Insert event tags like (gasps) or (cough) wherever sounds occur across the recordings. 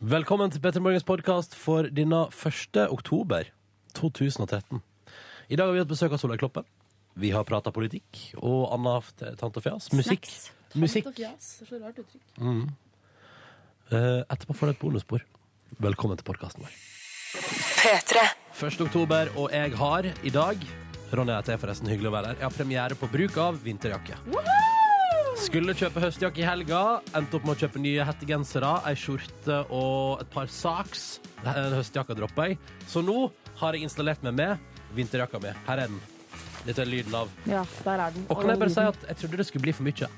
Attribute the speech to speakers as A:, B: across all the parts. A: Velkommen til Petter Morgens podkast for denne 1. oktober 2013. I dag har vi hatt besøk av Solveig Kloppe. Vi har prata politikk og Anna haft tant og fjas. Musikk.
B: Snacks.
A: Musikk.
C: Så rart uttrykk.
A: Eh, etterpå får du et bonusspor. Velkommen til podkasten vår. 1. oktober, og jeg har i dag Ronny heter jeg forresten, hyggelig å være her. Jeg har premiere på bruk av vinterjakke. Skulle kjøpe høstjakke i helga, endte opp med å kjøpe nye hettegensere, ei skjorte og et par saks. Den Høstjakka droppa jeg. Så nå har jeg installert meg med vinterjakka mi. Her er den. Dette er lyden av.
C: Ja, der er den.
A: Og kan jeg bare si at jeg trodde det skulle bli for mye,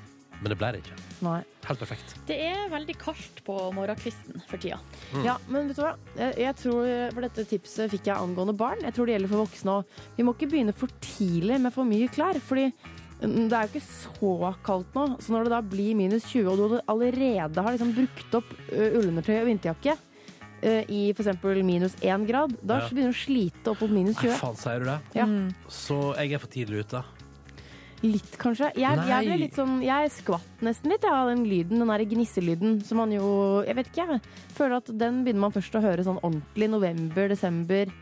A: men det ble det ikke.
C: Nei.
A: Helt perfekt.
B: Det er veldig kaldt på morgenkvisten for tida.
A: Mm.
C: Ja, men vet du hva? Jeg, jeg tror, eh, for dette tipset fikk jeg angående barn. Jeg tror det gjelder for voksne òg. Vi må ikke begynne for tidlig med for mye klær. Fordi mm, det er jo ikke så kaldt nå. Så når det da blir minus 20, og du allerede har liksom brukt opp ø, ullundertøy og vinterjakke ø, i f.eks. minus 1 grad, da
A: Ja.
C: begynner du å slite opp mot minus
A: Nei,
C: 20.
A: faen, sier du det?
C: Ja,
A: Så jeg er for tidlig ute.
C: litt, kanskje. Jeg,
A: Nei.
C: jeg ble litt sånn Jeg skvatt nesten litt jeg, av den lyden, den derre gnisselyden som man jo Jeg vet ikke, jeg. Føler at den begynner man først å høre sånn ordentlig november, desember.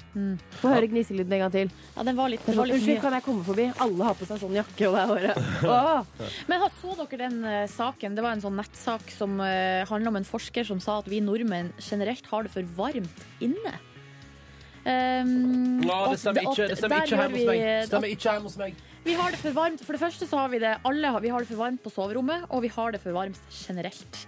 C: Få høre gnisselyden en gang til.
B: Mm. Ja, den var litt,
C: Det
B: det
C: er
B: var
C: sånn,
B: litt
C: Unnskyld,
B: mye.
C: kan jeg komme forbi? Alle har på seg sånn jakke, og det
B: (laughs)
C: er håret. Åh!
B: Men har- så dere den eh, saken? Det var en sånn nettsak som uh, handla om en forsker som sa at vi nordmenn generelt har det for varmt inne. Um,
A: Nå,
B: og
A: det stemmer
B: at-
A: ikke, det stemmer
B: der
A: ikke
B: gjør
A: hjemme hos meg.
B: vi- eh,
A: Det Stemmer ikke hjemme hos meg.
B: Vi har det for varmt. For det første så har vi det alle har, vi har det for varmt på soverommet, og vi har det for varmt generelt.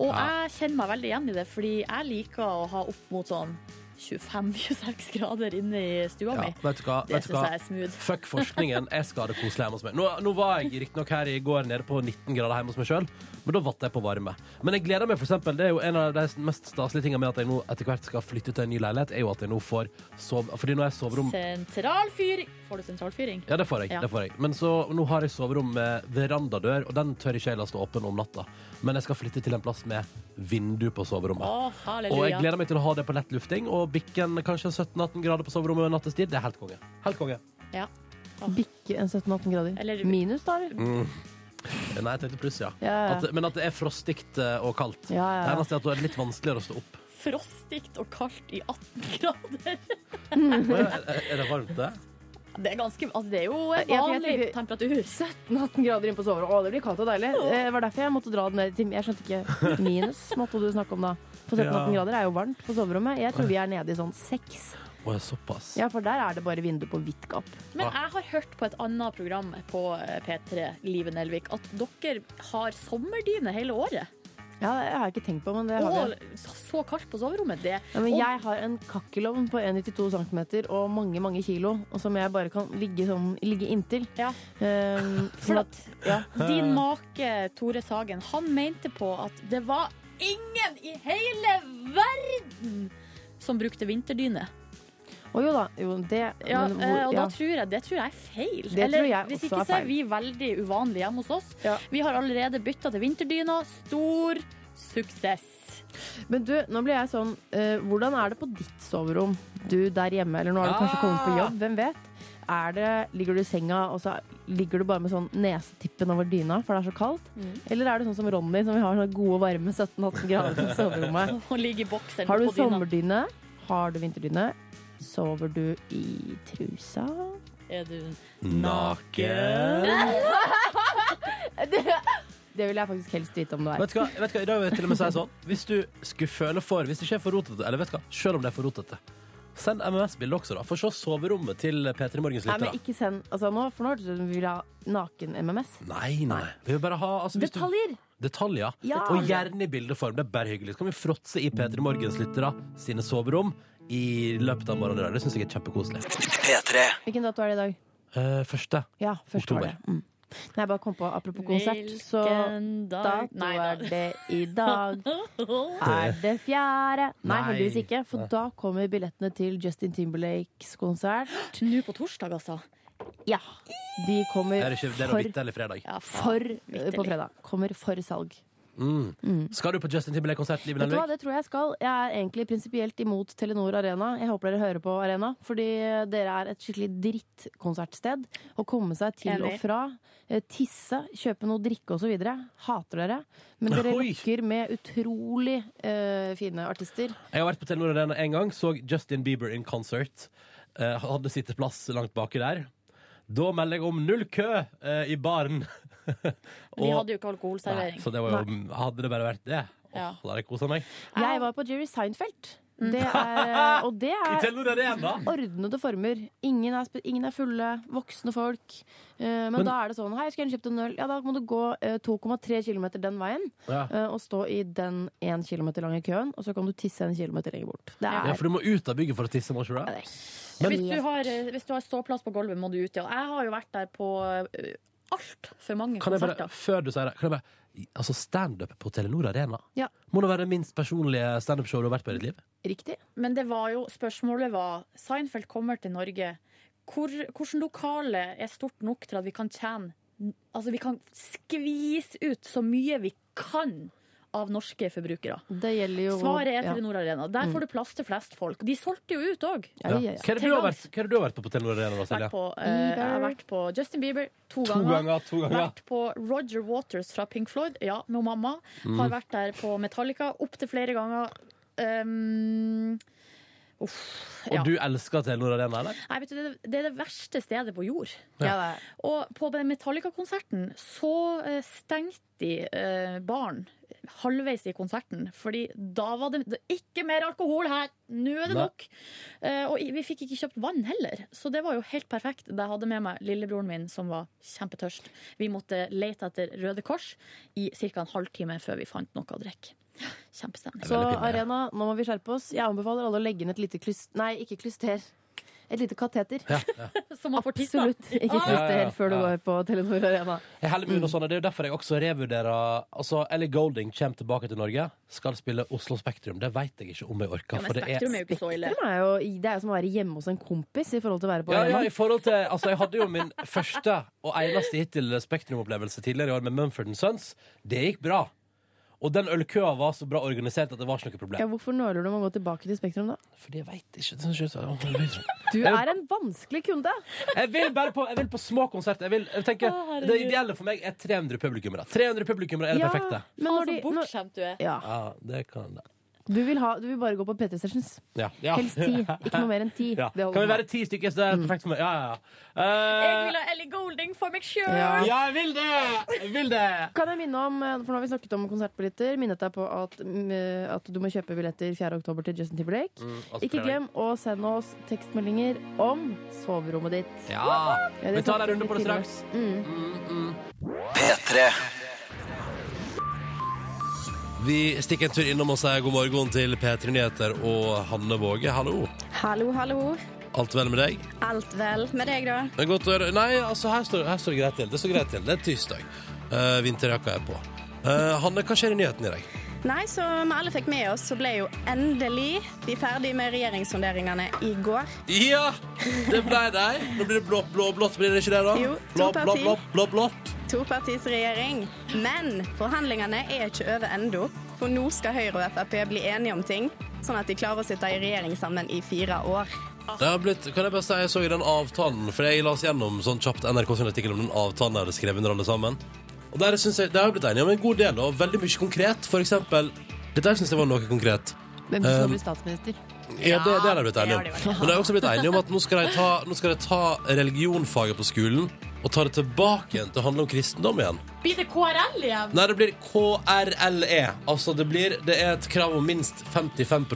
B: Og
A: Ja.
B: jeg kjenner meg veldig igjen i det, fordi jeg liker å ha opp mot sånn 25-26 grader inne i stua
A: Ja,
B: mi.
A: vet du hva?
B: Det
A: Vet du
B: syns
A: hva?
B: jeg er smooth.
A: Fuck forskningen, jeg skal ha det koselig hjemme hos meg. Nå, nå var jeg riktignok her i går nede på 19 grader hjemme hos meg sjøl, men da vatt jeg på varme. Men jeg gleder meg, for eksempel, det er jo en av de mest staselige tingene med at jeg nå etter hvert skal flytte til en ny leilighet, er jo at jeg nå får sove... Fordi nå har jeg soverom
B: Sentralfyring. Får du sentralfyring?
A: ja, det får, jeg,
B: Ja.
A: det får jeg. Men så, nå har jeg soverom med verandadør, og den tør ikke jeg la stå åpen om natta. Men jeg skal flytte til en plass med vindu på
B: Å,
A: soverommet. Og jeg
B: halleluja.
A: gleder meg til å ha det på lettlufting og bikken kanskje 17-18 grader på soverommet nattestid. Det er helt konge. Helt konge.
B: Ja.
C: Bikke en 17-18 grader.
B: Eller-
C: Minus, da? eller?
A: Mm. Nei, jeg tenkte pluss, ja.
C: Ja, ja.
A: At, men at det er frostigt eh, og kaldt.
C: Ja, ja, ja.
A: Det eneste er at det er litt vanskeligere å stå opp.
B: Frostigt og kaldt i 18 (laughs) grader.
A: Å, ja, Er, er det varmt, det?
B: Det er, ganske, altså det er jo en
C: Ja, for jeg
B: vanlig
C: tenker-
B: temperatur.
C: 17-18 grader inn på soverommet. Å, det blir kaldt og deilig. Eh, Det var derfor jeg måtte dra den ned til Jeg skjønte
B: (laughs)
C: ikke. Minus måtte du snakke om da. For 17-18
A: Ja.
C: grader er jo varmt på soverommet. Jeg tror vi er nede i sånn seks.
A: Å, ja, såpass.
C: Ja, for der er det bare vindu på hvitt gap.
B: Men jeg har hørt på et annet program på eh, P3, Live Nelvik, at dere har sommerdyne hele året.
C: Ja, det har jeg ikke tenkt på, men det har vi.
B: Og så så kaldt på soverommet. Det.
C: Ja, men
B: og,
C: jeg har en kakkelovn på 1,92 cm og mange, mange kilo, og som jeg bare kan ligge, sånn, ligge inntil.
B: Ja.
C: Ehm,
B: for
C: sånn
B: at, Din make Tore Sagen, han mente på at det var ingen i hele verden som brukte vinterdyne.
C: Å jo da, jo det
B: Ja,
C: men hvor-
B: eh, og da
C: ja.
B: tror jeg, det tror jeg er feil.
C: Det tror jeg
B: hvis
C: også
B: ikke
C: er
B: så
C: feil.
B: er vi veldig uvanlige hjemme hos oss.
C: Ja.
B: Vi har allerede bytta til vinterdyna. Stor suksess.
C: Men du, nå blir jeg sånn eh, Hvordan er det på ditt soverom? Du der hjemme, eller nå har du
B: Ah.
C: kanskje kommet på jobb, hvem vet? Er det, ligger du i senga, og så ligger du bare med sånn nesetippen over dyna, for det er så kaldt?
B: Mm.
C: Eller er det sånn som Ronny, som vi har sånn gode, varme 17-18 grader på
B: (laughs)
C: soverommet?
B: Å ligge i bokseren
C: Har du
B: på dyna.
C: sommerdyne? Har du vinterdyne? Sover du i trusa?
B: (laughs) Er du-
A: Naken.
C: Det vil jeg faktisk helst vite om du er.
A: Vet du hva, vet du hva? i dag vil jeg til og med si sånn Hvis du skulle føle for Hvis det ikke er for rotete, eller vet du hva, selv om det er for rotete, send MMS-bilde også, da. Få se soverommet til P3 Morgens
C: Nei, men
A: lyttere.
C: ikke send altså, nå, For nå hørtes det ut som vi vil ha naken-MMS.
A: Nei, nei. Vi vil bare ha altså, hvis du-
C: Detaljer!
A: Detaljer.
C: Ja.
A: Og gjerne i bildeform. Det er bare hyggelig. Så kan vi fråtse i P3 Morgens lyttere sine soverom i løpet av morgenen i dag. Det syns jeg er kjempekoselig.
C: Hvilken dato er det i dag?
A: Eh, første.
C: Ja, første
A: Oktober.
C: var det. Mm. Nei, jeg bare kom på apropos konsert, så
B: Hvilken dag
C: dato
B: Nei,
C: er
B: da.
C: det i dag? Er det fjerde? Nei,
A: Nei.
C: heldigvis ikke. For da kommer billettene til Justin Timberlakes konsert.
B: Nå på torsdag, altså.
C: Ja, De kommer
A: Er det ikke det er noe
C: for
A: vitt eller fredag?
B: Ja,
C: for,
B: faen, vitterlig.
C: på fredag. Kommer for salg.
A: Mm. Skal du på Justin Timberlake-konsert, Liven
C: Vet du hva,
A: Elvik?
C: det tror jeg jeg skal. Jeg er egentlig prinsipielt imot Telenor Arena. Jeg håper dere hører på Arena, fordi dere er et skikkelig drittkonsertsted. Å komme seg til
B: Enig.
C: og fra, eh, tisse, kjøpe noe drikke osv. Hater dere. Men dere
A: Oi.
C: lokker med utrolig eh, fine artister.
A: Jeg har vært på Telenor Arena en gang, så Justin Bieber in concert. Eh, hadde sitteplass langt baki der. Da melder jeg om null kø eh, i baren. (laughs)
B: Vi
A: Og-
B: hadde jo ikke
A: Nei,
B: alkoholservering.
A: så det var jo, hadde det bare vært det, åh,
B: Ja.
A: da hadde jeg kosa meg.
C: Jeg var på Jerry Seinfeld.
B: Mm.
C: Det
B: (laughs)
C: er, eh, og det
A: I
C: er
A: Telenor Arena!
C: ordnede former. Ingen er, spe- ingen er fulle, voksne folk. Eh, men,
A: Men-
C: da er det sånn Hei, skulle gjerne kjøpt en øl. Ja, da må du gå eh, 2,3 km den veien
A: Ja.
C: eh, og stå i den 1 km lange køen, og så kan du tisse en kilometer lenger bort. Det er
A: Ja, for du må ut av bygget for å tisse. må ikke du det? Men-
B: Hvis du, har, eh, hvis du har ståplass på gulvet, må du ut. Ja. Jeg har jo vært der på eh, altfor mange
A: Kan jeg bare,
B: konserter.
A: før du sier det, kan jeg bare Altså, standup på Telenor Arena
C: Ja.
A: må da være det minst personlige standup-showet du har vært på i ditt liv?
C: riktig.
B: Men det var jo, spørsmålet var Seinfeld kommer til Norge. Hvor, hvordan lokale er stort nok til at vi kan tjene Altså, vi kan skvise ut så mye vi kan av norske forbrukere.
C: Det gjelder jo
B: Svaret er
C: ja.
B: Telenor Arena. Der får du plass til flest folk. De solgte jo ut òg.
C: Ja, ja,
A: Hva
C: ja.
A: er det du har vært, hva er det du har vært på på Telenor Arena, da,
B: Vært
A: Silje?
B: på, eh, jeg har vært på Justin Bieber to,
A: To ganger, to ganger.
B: Vært på Roger Waters fra Pink Floyd, ja, med mamma.
A: Mm.
B: Har vært der på Metallica opptil flere ganger. Um, uff. Ja.
A: Og du elsker Telenor Arena, eller?
B: Nei, vet du, det, det er det verste stedet på jord.
C: Ja, det er-
B: Og på den Metallica-konserten så eh, stengte de eh, baren halvveis i konserten. Fordi da var det, det ikke mer alkohol her! Nå er det
A: Nei.
B: nok! Eh, og i- vi fikk ikke kjøpt vann heller, så det var jo helt perfekt. Jeg hadde med meg lillebroren min som var kjempetørst. Vi måtte lete etter Røde Kors i ca. en halvtime før vi fant noe å drikke. Kjempestemning.
A: er
C: Så
A: veldig pinlig, ja.
C: Arena, nå må vi skjerpe oss. Jeg anbefaler alle å legge inn et lite klyster Nei, ikke klyster. Et lite kateter.
B: (laughs) Så man får tissa.
C: Absolutt
B: Ja.
C: ikke
A: Ja, ja, ja.
C: klyster før du
A: Ja.
C: går på Telenor Arena.
A: Jeg heller
B: Mm.
A: meg unna sånne. Det er jo derfor jeg også revurderer Altså, Ellie Golding kommer tilbake til Norge. Skal spille Oslo Spektrum. Det veit jeg ikke om jeg orker.
B: Ja, men
A: for det er
B: Spektrum er jo ikke så ille.
C: Det er, jo, det er jo som å være hjemme hos en kompis i forhold til å være på
A: ja, ja,
C: Arena.
A: i forhold til Altså, jeg hadde jo min første og eneste hittil Spektrum-opplevelse tidligere i år med Mumford Sons. Det gikk bra. Og den ølkøa var så bra organisert at det var ikke noe
C: Ja,
A: problem.
C: hvorfor nøler du med å gå tilbake til Spektrum, da?
A: Fordi jeg veit ikke. Det synes jeg-
C: Du er en vanskelig kunde!
A: Jeg vil bare på, jeg vil på små konserter. Jeg vil, jeg tenker, det ideelle for meg er 300 publikummere. 300 publikummere er det
C: Ja,
A: perfekte.
C: men når de, når,
B: bortskjemt du er.
C: ja.
A: Ja, det kan det.
C: du, vil ha, du vil bare gå på P3 Sessions.
A: Ja. ja.
C: Helst ti.
A: (laughs)
C: Ikke noe mer enn ti. Mm.
A: Ja.
C: Det
A: Kan
C: holder
A: vi
C: meg.
A: være ti stykker, så det er perfekt for meg. Ja, ja, ja.
B: Jeg
A: Eh,
B: vil ha Ellie Golding for meg sjøl!
C: Ja.
A: ja, jeg vil det! Jeg vil det!
C: Kan jeg minne om, eh, for nå har vi snakket om konsertbilletter, minnet deg på at, mm, eh, at du må kjøpe billetter 4. oktober til Justin Timberlake.
A: altså
C: Ikke
A: fredag.
C: glem å sende oss tekstmeldinger om soverommet ditt.
A: Ja.
C: det Mm.
A: Vi tar en
C: snakket
A: runde på det
C: litt tidligere.
A: straks. Mm, Vi stikker en tur innom og sier god morgen til P3 Nyheter og Hanne Våge. Hallo.
D: Hallo, hallo.
A: Alt vel med deg?
D: Alt vel med deg, da?
A: Det er godt å høre. Nei, altså, her står, her står det greit til. Det står greit til. Det er tirsdag. Eh, vinterjakka er på. Eh, Hanne, hva skjer i nyhetene i dag?
D: Nei, som alle fikk med oss, så ble jo endelig de ferdig med regjeringssonderingene i går.
A: Ja, det ble deg. Nå blir det blå, blå, blått, blir det ikke det, da?
D: Jo, to
A: blå, blå,
D: parti.
A: blå, blå, blått.
D: Topartisregjering. Men forhandlingene er ikke over ennå. For nå skal Høyre og Frp bli enige om ting, sånn at de klarer å sitte i regjering sammen i fire år.
A: Det har blitt, kan jeg bare si, jeg så i den avtalen, for jeg las gjennom sånn kjapt NRK sin artikkel om den avtalen jeg hadde skrevet under alle sammen. Og der synes jeg, det har jeg blitt enig om en god del, og veldig mye konkret. For eksempel, dette her synes jeg var noe konkret. Eh,
C: Hvem som blir statsminister?
A: Ja, det, det har jeg blitt
D: det
A: enig om.
D: har de vært.
A: Men jeg har også blitt enig om at nå skal jeg ta, nå skal jeg ta religionfaget på skolen, og ta det tilbake igjen til å handle om kristendom igjen.
B: Blir det KRL igjen?
A: Nei, det blir KRLE. Altså, det, blir, det er et krav om minst 55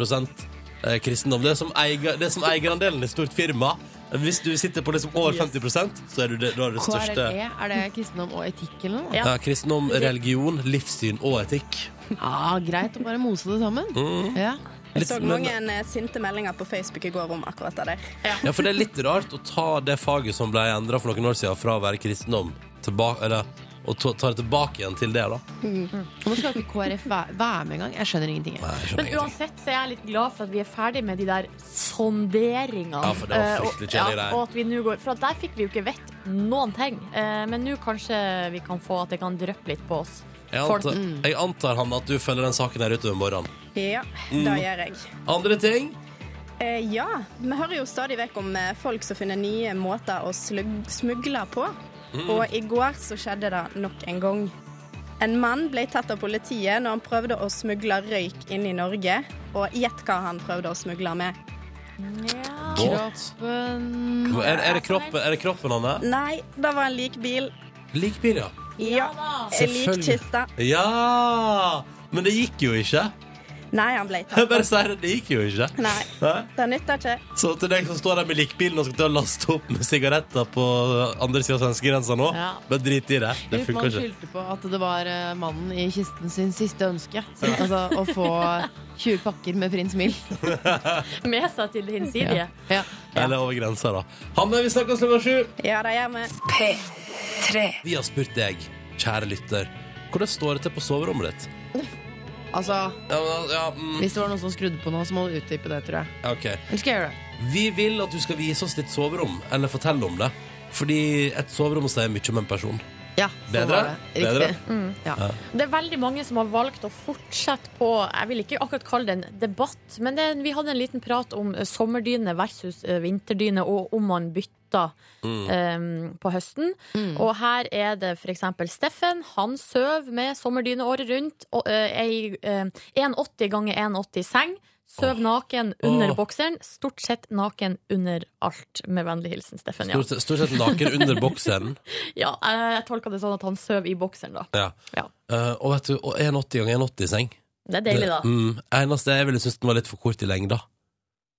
A: eh, kristendom. Det er som, eier, det er som eierandelen i stort firma. Hvis du sitter på liksom over 50 så er du det, da er du det største.
D: E.
C: KRLE, E, er det kristendom og etikk eller noe?
B: Ja.
A: Ja, kristendom, religion, livssyn og etikk.
C: Ja, greit å bare mose det sammen. Ja.
D: Jeg så
A: Mm. Litt- men-
D: mange eh, sinte meldinger på Facebook i går om akkurat det der.
A: Ja, for det er litt rart å ta det faget som ble endra for noen år siden, fra å være kristendom, tilbake, eller, og ta, ta det tilbake igjen til det, da.
C: Og nå Mm. skal ikke KrF være, være med engang. Jeg skjønner ingenting. jeg.
A: Nei, jeg skjønner
B: Men
A: ingenting.
B: uansett så er jeg litt glad for at vi er ferdig med de der sonderingene.
A: Ja, for det var
B: Eh, og-
A: fryktelig kjedelig, det her.
B: ja, og at vi nå går, For at der fikk vi jo ikke vett noen ting. Eh, Men nå kanskje vi kan få at det kan dryppe litt på oss.
A: Jeg
E: Folk-
C: mm.
A: antar, jeg antar Hanne, at du følger den saken her utover morgenen.
D: Ja,
A: Mm.
D: det gjør jeg.
A: Andre ting?
D: Eh, ja, vi hører jo stadig vekk om eh, folk som finner nye måter å slug- smugle på.
A: Mm.
D: Og i går så skjedde det nok en gang. En mann ble tatt av politiet når han prøvde å smugle røyk inn i Norge. Og gjett hva han prøvde å smugle med.
A: Båt.
C: Kroppen
A: Er, er, det kroppen, er det kroppen, Hanne?
D: Nei, det var en likbil.
A: Likbil, ja.
D: Ja, en
A: Selvfølgelig.
D: likkiste.
A: Ja! Men det gikk jo ikke. (laughs)
D: Nei, han ble
A: Jeg
D: tatt.
A: bare sier det, det gikk jo ikke.
D: Nei,
A: Hæ?
D: det nytter ikke.
A: Så til deg som står der med likbilen og skal til å laste opp med sigaretter på andre sida av svenskegrensa nå,
C: Ja.
A: bare drit i det. Det
C: Litt
A: funker
C: man
A: ikke.
C: skyldte på at det var eh, mannen i kisten sin siste ønske. Så, altså, å få 20 pakker med Prins Mild.
E: (laughs)
A: (laughs)
E: Med seg til hinsidige.
C: Ja.
A: Eller over grensa, da. Hanne, vi snakkes klokka sju.
D: Ja, det gjør vi.
A: Vi har spurt deg, kjære lytter, hvordan står det til på soverommet ditt?
C: Altså,
A: Ja, men, ja, mm,
C: hvis det var noen som skrudde på nå, så må du utdype det, tror jeg.
A: ok.
C: Eller skal jeg gjøre det?
A: Vi vil at du skal vise oss ditt soverom, eller fortelle om det. Fordi et soverom sier mye om en person.
C: Ja, sånn
A: Bedre?
C: var det. Riktig.
A: Bedre?
B: Mm.
C: Ja.
B: Det er veldig mange som har valgt å fortsette på Jeg vil ikke akkurat kalle det en debatt, men det, vi hadde en liten prat om eh, sommerdyne versus eh, vinterdyne, og om man bytter
A: Mm.
B: eh, på høsten. Og her er det f.eks. Steffen. Han sover med sommerdyne året rundt. Og, eh, ei, eh, 1,80 ganger 1,80 seng. Sover naken under
A: Åh.
B: bokseren. Stort sett naken under alt. Med vennlig hilsen Steffen. Ja,
A: Stort, sett- stort sett naken under bokseren.
B: (laughs) ja jeg, jeg tolker det sånn at han sover i bokseren, da.
A: Ja.
B: Ja.
A: Eh, og vet du, og 1,80 ganger 1,80 i seng.
B: Det er deilig, da.
A: Det- Mm, eneste jeg ville synes den var litt for kort i lengda.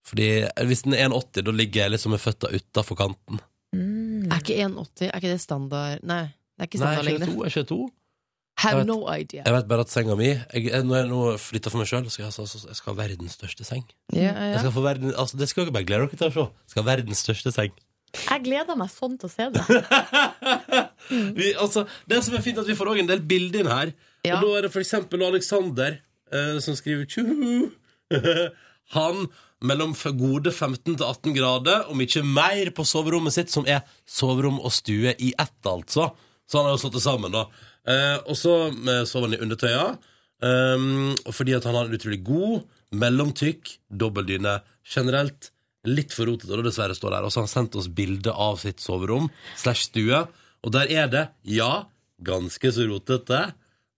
A: Fordi hvis den er 1,80, da ligger jeg liksom med føtta utafor kanten.
B: Mm.
C: Er ikke 1,80 Er ikke det standard Nei, det er ikke
A: Nei, jeg er
C: standardlengde.
A: ikke to, jeg er ikke to.
C: Have
A: Jeg vet-
C: no idea.
A: Jeg vet bare at senga mi jeg, jeg- Når jeg nå flytter for meg sjøl, skal jeg, altså- altså- jeg skal ha verdens største seng.
C: Ja, ja,
A: Jeg
C: ja.
A: skal få verden, altså, det skal dere bare glede dere til å se. Jeg skal ha verdens største seng.
B: Jeg gleder meg sånn til å se det.
C: Mm.
A: vi, altså, det som er fint er at vi får også en del bilder inn her
C: Ja.
A: Og da er det for eksempel Alexander eh, Som skriver «Tjuhu!» (laughs) Han mellom f- gode 15 til 18 grader Om ikke mer på soverommet sitt Som er soverom og stue i ett altså Så han har jo slått det sammen da eh, Og så eh, sover han i undertøya um, og Fordi at han har en utrolig god Mellomtykk, dobbeldyne Generelt litt for rotet Og det dessverre står der Og så har han sendt oss bilder av sitt soverom Slash stue Og der er det, ja, ganske så rotete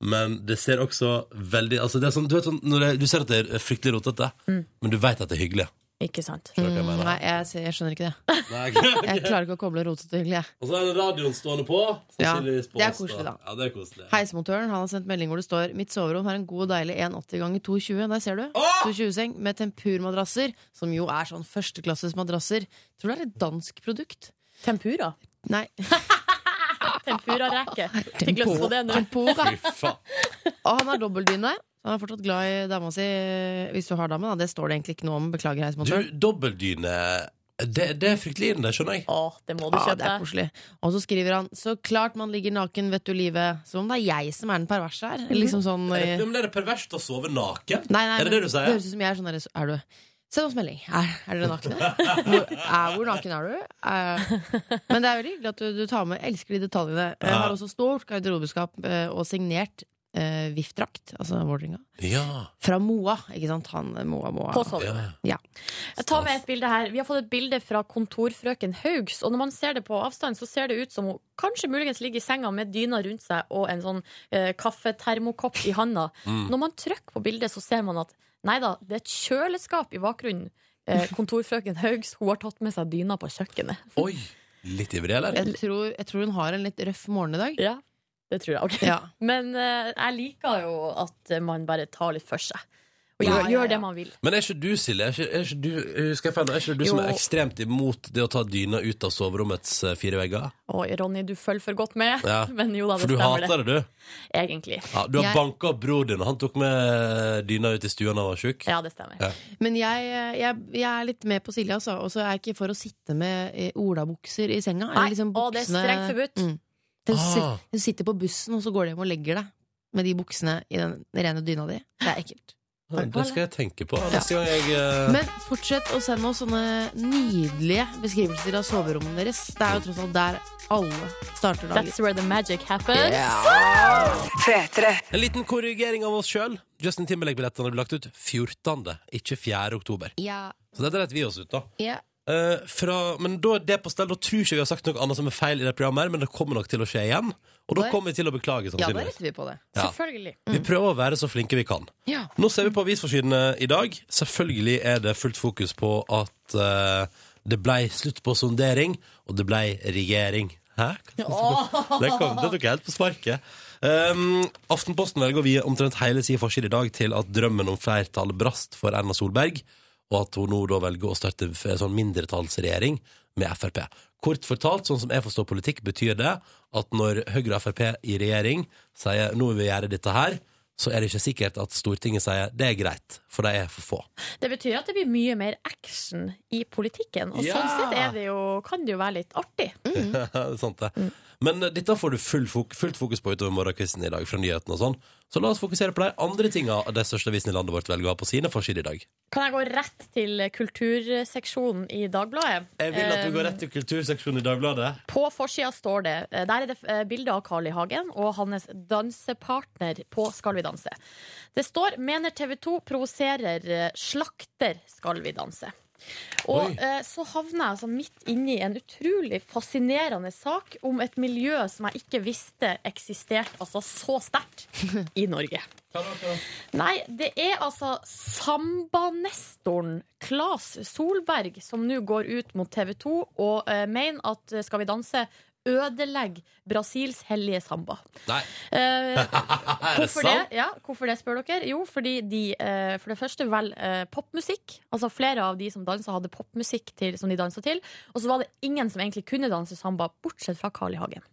A: Men det ser også veldig altså det er sånn, du, vet, sånn, når det, du ser at det er fryktelig rotete Men du vet at det er hyggelig
B: Ikke sant?
A: Skjønner du hva
C: Mm,
A: jeg mener?
C: Nei, jeg, ser- jeg skjønner ikke det.
A: Nei.
C: Jeg klarer ikke å koble rotet til hyggelig. jeg.
A: Og så er det radioen stående på
C: Ja,
A: sannsynligvis på
C: det er
A: oss,
C: koselig, da.
A: Ja, det er koselig
C: Heismontøren han har sendt melding hvor det står Mitt soverom har en god og deilig 1,80 ganger 2,20. Der ser du. 2,20-seng med tempurmadrasser, som jo er sånn førsteklasses madrasser. Tror det er et dansk produkt.
B: Tempura. (laughs)
C: Nei,
B: Tempura-reke. Fikk lyst på
C: tempura.
B: det nå.
C: tempura.
A: Fy faen
C: Og han har dobbeldyne. Så Han er fortsatt glad i dama si, hvis du har dame. Da. Det står det egentlig ikke noe om. Beklager,
A: Du,
C: heismontøren.
A: dobbeldyne det, det er fryktelig inn det, skjønner jeg
B: Å, det må du
C: Ja,
B: kjøpe.
C: det er koselig. Og så skriver han så klart man ligger naken, vet du livet. Som om det er jeg som er den perverse
B: Mhm.
C: her. Liksom sånn
A: Er
C: eh,
A: det- Men er det perverst å sove naken?
C: Nei, nei,
A: Er det
C: men
A: det du sier?
C: høres ut som jeg er sånn der, så Er du Send oss melding. Er, er dere nakne? Hvor, er, hvor naken er du? Er, men det er veldig hyggelig at du, du tar med. Jeg elsker de detaljene. Jeg har også stort garderobeskap eh, og signert eh, VIF-drakt, altså Vålerenga.
A: Ja,
C: Fra Moa, ikke sant? Han eh, Moa Moa.
B: På soverommet.
A: ja.
B: Jeg tar med et bilde her. Vi har fått et bilde fra kontorfrøken Haugs. Og når man ser det på avstand, så ser det ut som hun kanskje muligens ligger i senga med dyna rundt seg og en sånn eh, kaffetermokopp i handa. Når man trykker på bildet, så ser man at nei da, det er et kjøleskap i bakgrunnen. Eh, kontorfrøken Haugs hun har tatt med seg dyna på kjøkkenet.
A: Oi, litt ivrig, eller?
C: Jeg tror, jeg tror hun har en litt røff morgen i dag.
B: Ja, det tror jeg. ok
C: Ja.
B: (laughs) Men eh, jeg liker jo at man bare tar litt for seg. Og
C: Ja,
B: gjør,
C: ja, ja.
B: gjør det man vil.
A: Men er ikke du, Silje, er ikke, er ikke du, eh, skal jeg feile, nå? er ikke du som er
B: Jo.
A: ekstremt imot det å ta dyna ut av soverommets eh, fire vegger?
B: Og Ronny, du følger for godt med.
A: Ja.
B: (laughs) Men jo da, det
A: For du
B: stemmer det.
A: hater det, du.
B: Egentlig.
A: Ja, du har
C: Jeg-
A: banka opp bror din, og han tok med eh, dyna ut i stua da han var sjuk.
B: Ja, det stemmer.
A: Ja.
C: Men jeg, eh, jeg, jeg er litt med på Silje, altså. Og så er jeg ikke for å sitte med eh, olabukser i senga. liksom
B: Nei, å, det er strengt forbudt.
C: Mm. Du, sit-
A: Ah.
C: du sitter på bussen, og så går du hjem og legger deg med de buksene i den rene dyna di. Det er ekkelt.
A: Det skal jeg tenke på neste gang jeg eh,
C: Men fortsett å sende oss sånne nydelige beskrivelser av soverommene deres. Det er jo tross alt der alle starter dagen.
B: That's where the magic happens.
A: En liten korrigering av oss sjøl. Justin Timberlake-billettene ble lagt ut 14., ikke 4. oktober.
C: Ja,
A: Så dette rett vi oss ut, da.
C: ja.
A: Eh, fra, men da er det på stell. Da tror ikke vi har sagt noe annet som er feil i det programmet, her, men det kommer nok til å skje igjen. Og da
C: Det-
A: kommer vi til å beklage.
C: ja, Mm. da
A: sannsynligvis.
C: retter vi på det.
A: sånn Ja.
B: Selvfølgelig.
A: Vi prøver å være så flinke vi kan.
C: Ja.
A: Nå ser vi på avisforsidene i dag. Selvfølgelig er det fullt fokus på at eh, det blei slutt på sondering, og det blei regjering. Hæ? (laughs) Det, kom, det tok jeg helt på sparket. Um, Aftenposten velger å vie omtrent hele sin forside i dag til at drømmen om flertall brast for Erna Solberg, og at hun nå da velger å starte f- en sånn mindretallsregjering med Frp. Kort fortalt, sånn som jeg forstår politikk, betyr det at når Høyre og Frp i regjering sier nå vil vi gjøre dette her, så er det ikke sikkert at Stortinget sier det er greit, for de er for få.
B: Det betyr at det blir mye mer action i politikken, og
A: Ja!
B: sånn sett er det jo, kan det jo være litt artig.
A: (laughs) det er sant det. Men eh, dette får du full fok fullt fokus på utover morgenkvisten i dag fra nyhetene og sånn. Så la oss fokusere på de andre tinga de største avisene i landet vårt velger å ha på sine forsider i dag.
B: Kan jeg gå rett til kulturseksjonen i Dagbladet?
A: Jeg vil at du går rett til kulturseksjonen i Dagbladet.
B: På forsida står det eh, Der er det eh, bilder av Carl I. Hagen og hans dansepartner på Skal vi danse. Det står 'Mener TV 2 provoserer eh, slakter Skal vi danse'. Og
A: Oi.
B: eh, så havner jeg altså midt inni en utrolig fascinerende sak om et miljø som jeg ikke visste eksisterte altså så sterkt i Norge. Nei, det er altså sambanestoren Claes Solberg som nå går ut mot TV 2 og eh, mener at eh, Skal vi danse ødelegger Brasils hellige samba.
F: (laughs)
A: Nei,
B: Eh,
A: (laughs) er det
B: hvorfor, det?
A: sant?
B: Ja, hvorfor det, spør dere? Jo, fordi de eh, for det første vel eh, popmusikk. Altså Flere av de som dansa, hadde popmusikk til, som de dansa til. Og så var det ingen som egentlig kunne danse samba, bortsett fra Carl I. Hagen.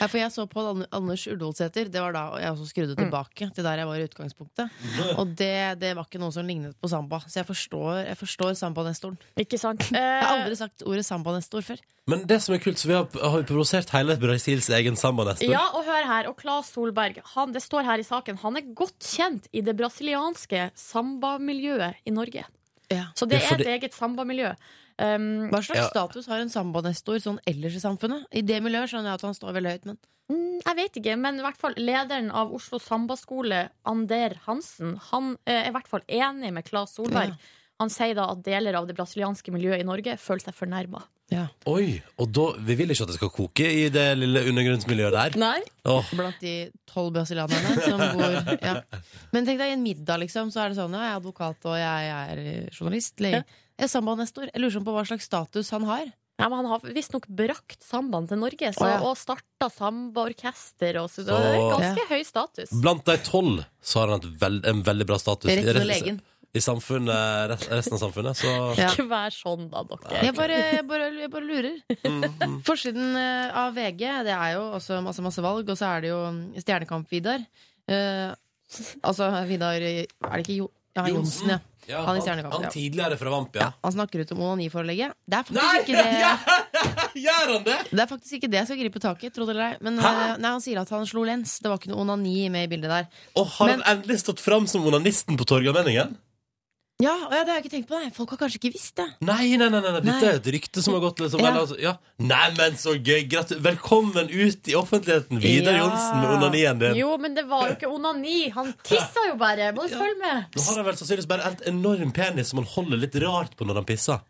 C: Ja, for jeg så på An- Anders Ullevålseter. Det var da jeg også skrudde
B: Mm.
C: tilbake til der jeg var i utgangspunktet. Og det, det var ikke noe som lignet på samba. Så jeg forstår, jeg forstår sambanestoren.
B: Ikke sant?
C: Jeg har aldri sagt ordet sambanestor før.
A: Men det som er kult, så vi har, har vi provosert hele Brasils egen samba neste år.
B: Ja, og hør her. Og Claes Solberg, han, det står her i saken, han er godt kjent i det brasilianske sambamiljøet i Norge.
C: Ja.
B: Så det
A: Ja,
B: er
A: for
B: et
A: det-
B: eget sambamiljø. Um,
C: Hva slags
A: Ja.
C: status har en sambanestor sånn ellers i samfunnet? I det miljøet skjønner jeg at han står veldig høyt, men
B: mm, jeg vet ikke, men i hvert fall lederen av Oslo sambaskole, Ander Hansen, han eh, er i hvert fall enig med Claes Solberg.
C: Ja.
B: Han sier da at deler av det brasilianske miljøet i Norge føler seg fornærma.
C: ja.
A: Oi, og da, vi vil ikke at det skal koke i det lille undergrunnsmiljøet der.
B: Nei.
A: Åh,
C: blant de tolv brasilianerne
B: (laughs)
C: som bor ja. Men tenk deg i en middag, liksom, så er det sånn ja, jeg er advokat og jeg, jeg er journalist. Lege. Jeg er sambanestor. Jeg lurer sånn på hva slags status han har.
B: Nei, men han har visstnok brakt sambaen til Norge så,
C: Å, ja.
B: og starta sambaorkester. og Så,
A: Så-
B: det er ganske høy status.
A: blant de tolv så har han et vel, en veldig bra status
C: Det er ikke noe
A: i resten-
C: legen.
A: i samfunnet, rest- resten av samfunnet. Så
C: Ja.
B: Ikke vær sånn, da, dere.
C: Jeg bare, jeg bare, jeg bare lurer.
A: Mhm.
C: Forsiden eh, av VG, det er jo også masse, masse valg, og så er det jo mm, Stjernekamp-Vidar. Eh, altså Vidar Er det ikke jo, ja, Johnsen, ja.
A: Ja,
C: Han i Stjernekamp,
A: Han,
C: ja.
A: han tidligere fra Vamp, ja.
C: Han snakker ut om onaniforelegget. Det er faktisk
A: Nei!
C: ikke det.
A: (laughs) Gjør han det?!
C: Det er faktisk ikke det jeg skal gripe tak i. tro det eller ei. Men
A: Hæ?
C: eh, nei, Han sier at han slo lens. Det var ikke noe onani med i bildet der.
A: Og har
C: Men-
A: han endelig stått fram som onanisten på Torgallmenningen?
C: Ja, å ja, det har jeg ikke tenkt på. Nei. Folk har kanskje ikke visst det.
A: Nei, nei, nei, nei, nei. dette
C: Nei.
A: er et rykte som har gått liksom,
C: Ja.
A: eller, altså, ja. Nei, men så gøy! Gratu Velkommen ut i offentligheten, Vidar
C: Ja.
A: Johnsen, med onanien din.
B: Jo, men det var jo ikke onani. Han tissa jo bare. Må du følge med?
A: Nå har han vel sannsynligvis bare en enorm penis som han holder litt rart på når han pisser.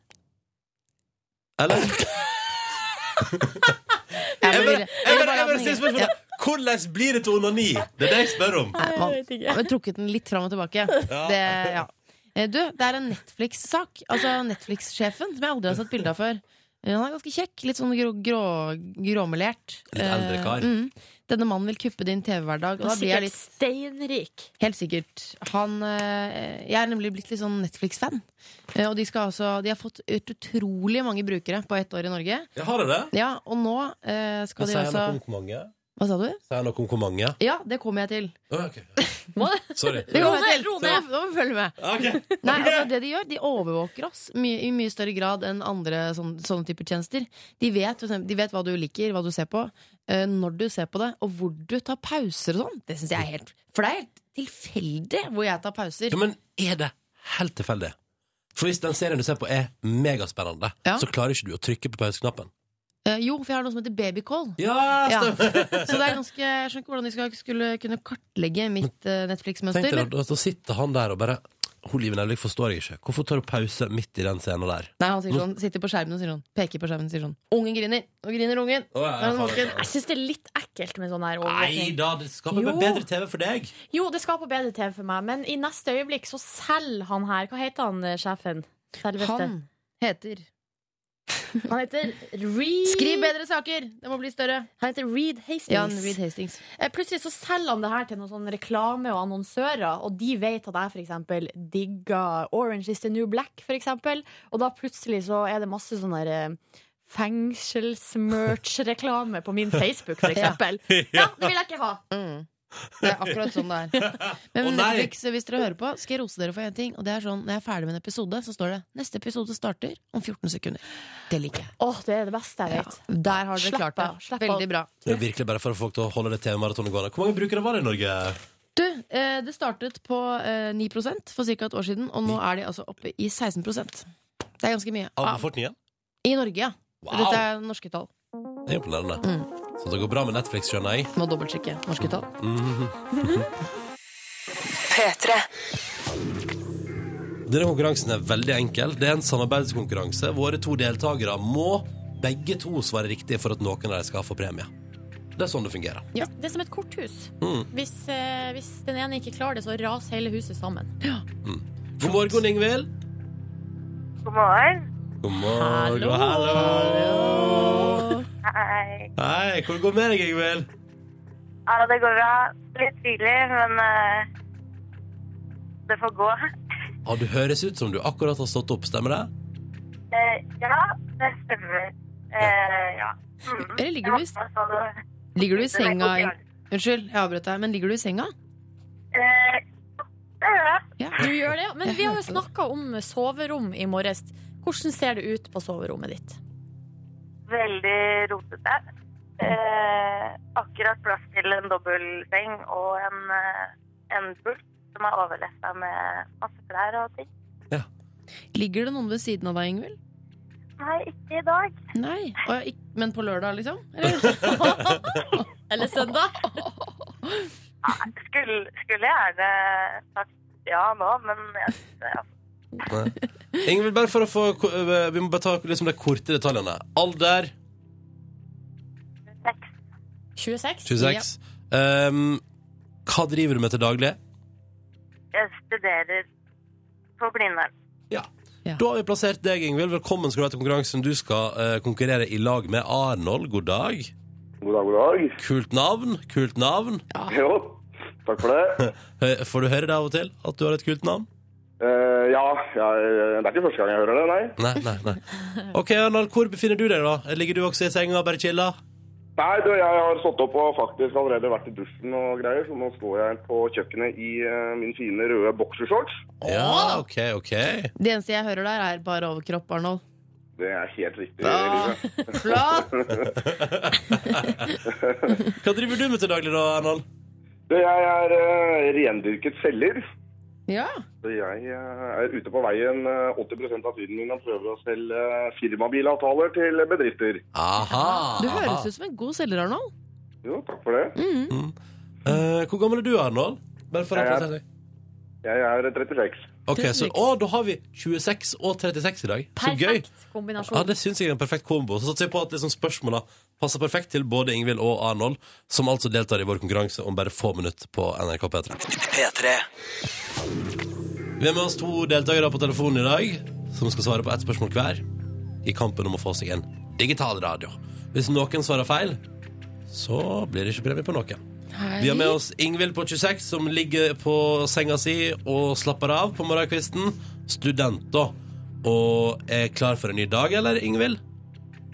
C: (laughs)
A: Eller?
C: Jeg
A: Jeg
C: vil- vil
A: bare, jeg bare, jeg
C: ha den
A: bare stiller
C: ingen-
A: spørsmålet Hvordan blir det til onani? Det er det jeg spør om.
C: Ja,
B: Jeg vet
C: man,
B: ikke.
C: man har trukket den litt fram og tilbake. Det, ja. Eh, Du, det er en Netflix-sak. Altså Netflix-sjefen, som jeg aldri har sett bilde av før. Eh, Han er ganske kjekk. Litt sånn grå, grå, gråmelert.
A: Litt eldre
C: Eh,
A: kar.
C: mm. Denne mannen vil kuppe din TV-hverdag. Og da blir
B: Sikkert
C: jeg litt
B: steinrik.
C: Helt sikkert. Han, eh, jeg er nemlig blitt litt sånn Netflix-fan. Eh, Og de, skal altså, de har fått ut utrolig mange brukere på ett år i Norge.
A: Jeg har det.
C: Ja, Og nå eh, skal de
A: Sier han
C: altså
A: noe om hvor mange?
C: Hva sa du?
A: Sier han noe om hvor mange?
C: Ja, det kommer jeg til.
A: Å, ok.
B: Må
A: Sorry.
C: Det
B: Ro
C: kommer
B: ned,
C: jeg til.
B: ro
C: Nå
B: ned.
C: må- nå må du følge med.
A: Ok.
C: Nei, altså det De gjør, de overvåker oss my i mye større grad enn andre sånne, sånne typer tjenester. De vet, for eksempel- de vet hva du liker, hva du ser på, eh, når du ser på det, og hvor du tar pauser og sånn. Det syns jeg er helt For det er helt
B: tilfeldig hvor jeg tar pauser.
A: Ja, men er det helt tilfeldig? For hvis den serien du ser på er megaspennende,
B: Ja.
A: så klarer ikke du å trykke på pauseknappen.
C: Eh, jo, for jeg har noe som heter babycall.
A: Ja,
C: Ja.
A: stemmer!
C: (laughs) Så det er ganske, jeg skjønner ikke hvordan de skal, skulle kunne kartlegge mitt eh,
A: Tenk
C: Netflix-mønster.
A: deg,
C: men-
A: da, da sitter han der og bare Hun Live Nelvik forstår jeg ikke. Hvorfor tar du pause midt i den scenen der?
C: Nei, han sier sånn, sitter på skjermen og sier sånn, peker på skjermen og sier sånn Ungen griner! Nå griner ungen!
A: Å, ja,
C: Nå er han våken.
A: jeg faen,
B: Jeg syns det er litt ekkelt med sånn her
A: Nei
B: overvåkning.
A: da, det skaper bare
B: Jo.
A: bedre TV for deg.
B: Jo, det skaper bedre TV for meg, men i neste øyeblikk så selger han her Hva heter han eh, sjefen? Selveste.
C: Han heter
B: Han heter Reed
C: Skriv bedre saker! Det må bli større.
B: Han heter Reed Hastings.
C: Jan Reed Hastings.
B: Eh, Plutselig så selger han det her til noen sånn reklame og annonsører, og de vet at jeg for eksempel digger Orange is the New Black, for eksempel. Og da plutselig så er det masse sånn der eh, fengselsmerch-reklame på min Facebook,
C: (laughs)
B: for eksempel. Ja, det vil jeg ikke ha!
C: Mm. Det er akkurat sånn
A: (laughs)
C: det er. Men
A: Å, nei!
C: Netflix, hvis dere hører på, skal jeg rose dere for én ting. Og det er sånn, Når jeg er ferdig med en episode, så står det 'Neste episode starter om 14 sekunder'. Det liker jeg.
B: Åh, det er det beste jeg
C: Ja,
B: vet.
C: der har dere
B: Slapp
C: klart
B: av,
C: det.
B: slapp av.
C: Veldig bra.
A: Det er virkelig bare for folk til å holde det TV-maratonet gående. Hvor mange brukere var det i Norge?
C: Du, eh, det startet på eh, 9 for ca. et år siden, og nå er de altså oppe i 16 Det er ganske mye.
A: Av
C: Ah,
A: befolkningen?
C: I Norge, ja.
A: Wow!
C: Dette er norske tall.
B: (laughs)
A: Det er imponerende. Så det går bra med Netflix, skjønner jeg.
C: Mm.
A: Mm.
C: Må dobbeltsjekke norske tall.
A: Denne konkurransen er veldig enkel. Det er en samarbeidskonkurranse. Våre to deltakere må begge to svare riktig for at noen av dem skal få premie. Det er sånn det fungerer.
B: Det er som et korthus.
A: Mm.
B: Hvis, eh, hvis den ene ikke klarer det, så raser hele huset sammen.
A: God morgen, Ingvild.
G: God morgen.
A: God morgen.
B: Hallo.
A: Hallo.
G: Hei.
A: Hei, hvordan går det med deg, Ingvild?
G: Ja, det går bra. Litt tidlig, men eh, det får gå.
A: Ja, du høres ut som du akkurat har stått opp, stemmer det?
G: Eh, ja, det stemmer. Eh, ja. Mm.
C: Eller ligger du i,
G: Jeg håper at det-
C: ligger du i
G: det er
C: senga
G: godt i
C: Ing-
G: dag.
C: Unnskyld, jeg avbrøt deg, men ligger du i senga?
G: Eh, det gjør jeg.
C: Ja.
B: Du gjør det, ja. Men
C: Jeg
B: vi har jo
C: hørte det.
B: snakka om soverom i morges. Hvordan ser det ut på soverommet ditt?
G: Veldig rotete. Eh, akkurat plass til en dobbeltseng og en, eh, en pult som er overlessa med masse klær og ting.
C: Ligger det noen ved siden av deg, Ingvild?
G: Nei, ikke i dag.
C: Nei. Å, ja, ikk- men på lørdag, liksom? Eller?
B: (laughs) Eller søndag?
G: Skulle, skulle gjerne sagt ja nå, men jeg, ja.
A: Ingvild, bare for å få Vi må bare ta liksom de korte detaljene. Alder
G: Sex.
B: 26?
A: 26. Um, hva driver du med til daglig?
G: Jeg studerer på Blindern.
A: Da har vi plassert deg, Ingvild. Velkommen skal du være til konkurransen. Du skal eh, konkurrere i lag med Arnold. God dag.
H: God dag, god dag.
A: Kult navn. Kult navn.
H: Jo, takk for det.
A: (laughs) Hø- Får du høre det av og til? At du har et kult navn?
H: Eh, ja, jeg, det er ikke første gang jeg hører det, nei.
A: Nei, nei,
C: (laughs)
A: nei. OK, Arnold, hvor befinner du deg, da? Ligger du også i senga og bare chiller?
H: Nei, du, jeg har stått opp og faktisk allerede vært i dusjen og greier, så nå står jeg på kjøkkenet i eh, min fine røde boksershorts.
A: Ja, OK, OK.
C: Det eneste jeg hører der, er bare overkropp, Arnold.
H: Det er helt riktig.
C: Ah.
H: Livet. (laughs)
C: Flott!
A: Hva driver du med til daglig, da, Arnold?
H: Du, jeg er eh, rendyrket selger.
C: Ja.
H: Så jeg eh, er ute på veien eh, 80 av tiden min og prøver å selge eh, firmabilavtaler til bedrifter.
A: Aha.
C: Du høres ut som Mm. en god selger, Arnold.
H: Jo, takk for det.
A: Eh, Hvor gammel er du, Arnold? Bare for å
H: Jeg er-
A: plassere deg.
H: Jeg er 36.
A: OK, så Å, da har vi 26 og 36 i dag. Så gøy.
B: Perfekt kombinasjon.
A: Ja, det syns jeg er en perfekt kombo. Så satser jeg på at liksom spørsmåla passer perfekt til både Ingvild og Arnold, som altså deltar i vår konkurranse om bare få minutter på NRK P3. Vi har med oss to deltakere på telefonen i dag, som skal svare på ett spørsmål hver i kampen om å få seg en digital radio. Hvis noen svarer feil, så blir det ikke premie på noen. Vi har med oss Ingvild på 26, som ligger på senga si og slapper av på morgenkvisten. Student, da. Og er klar for en ny dag, eller, Ingvild?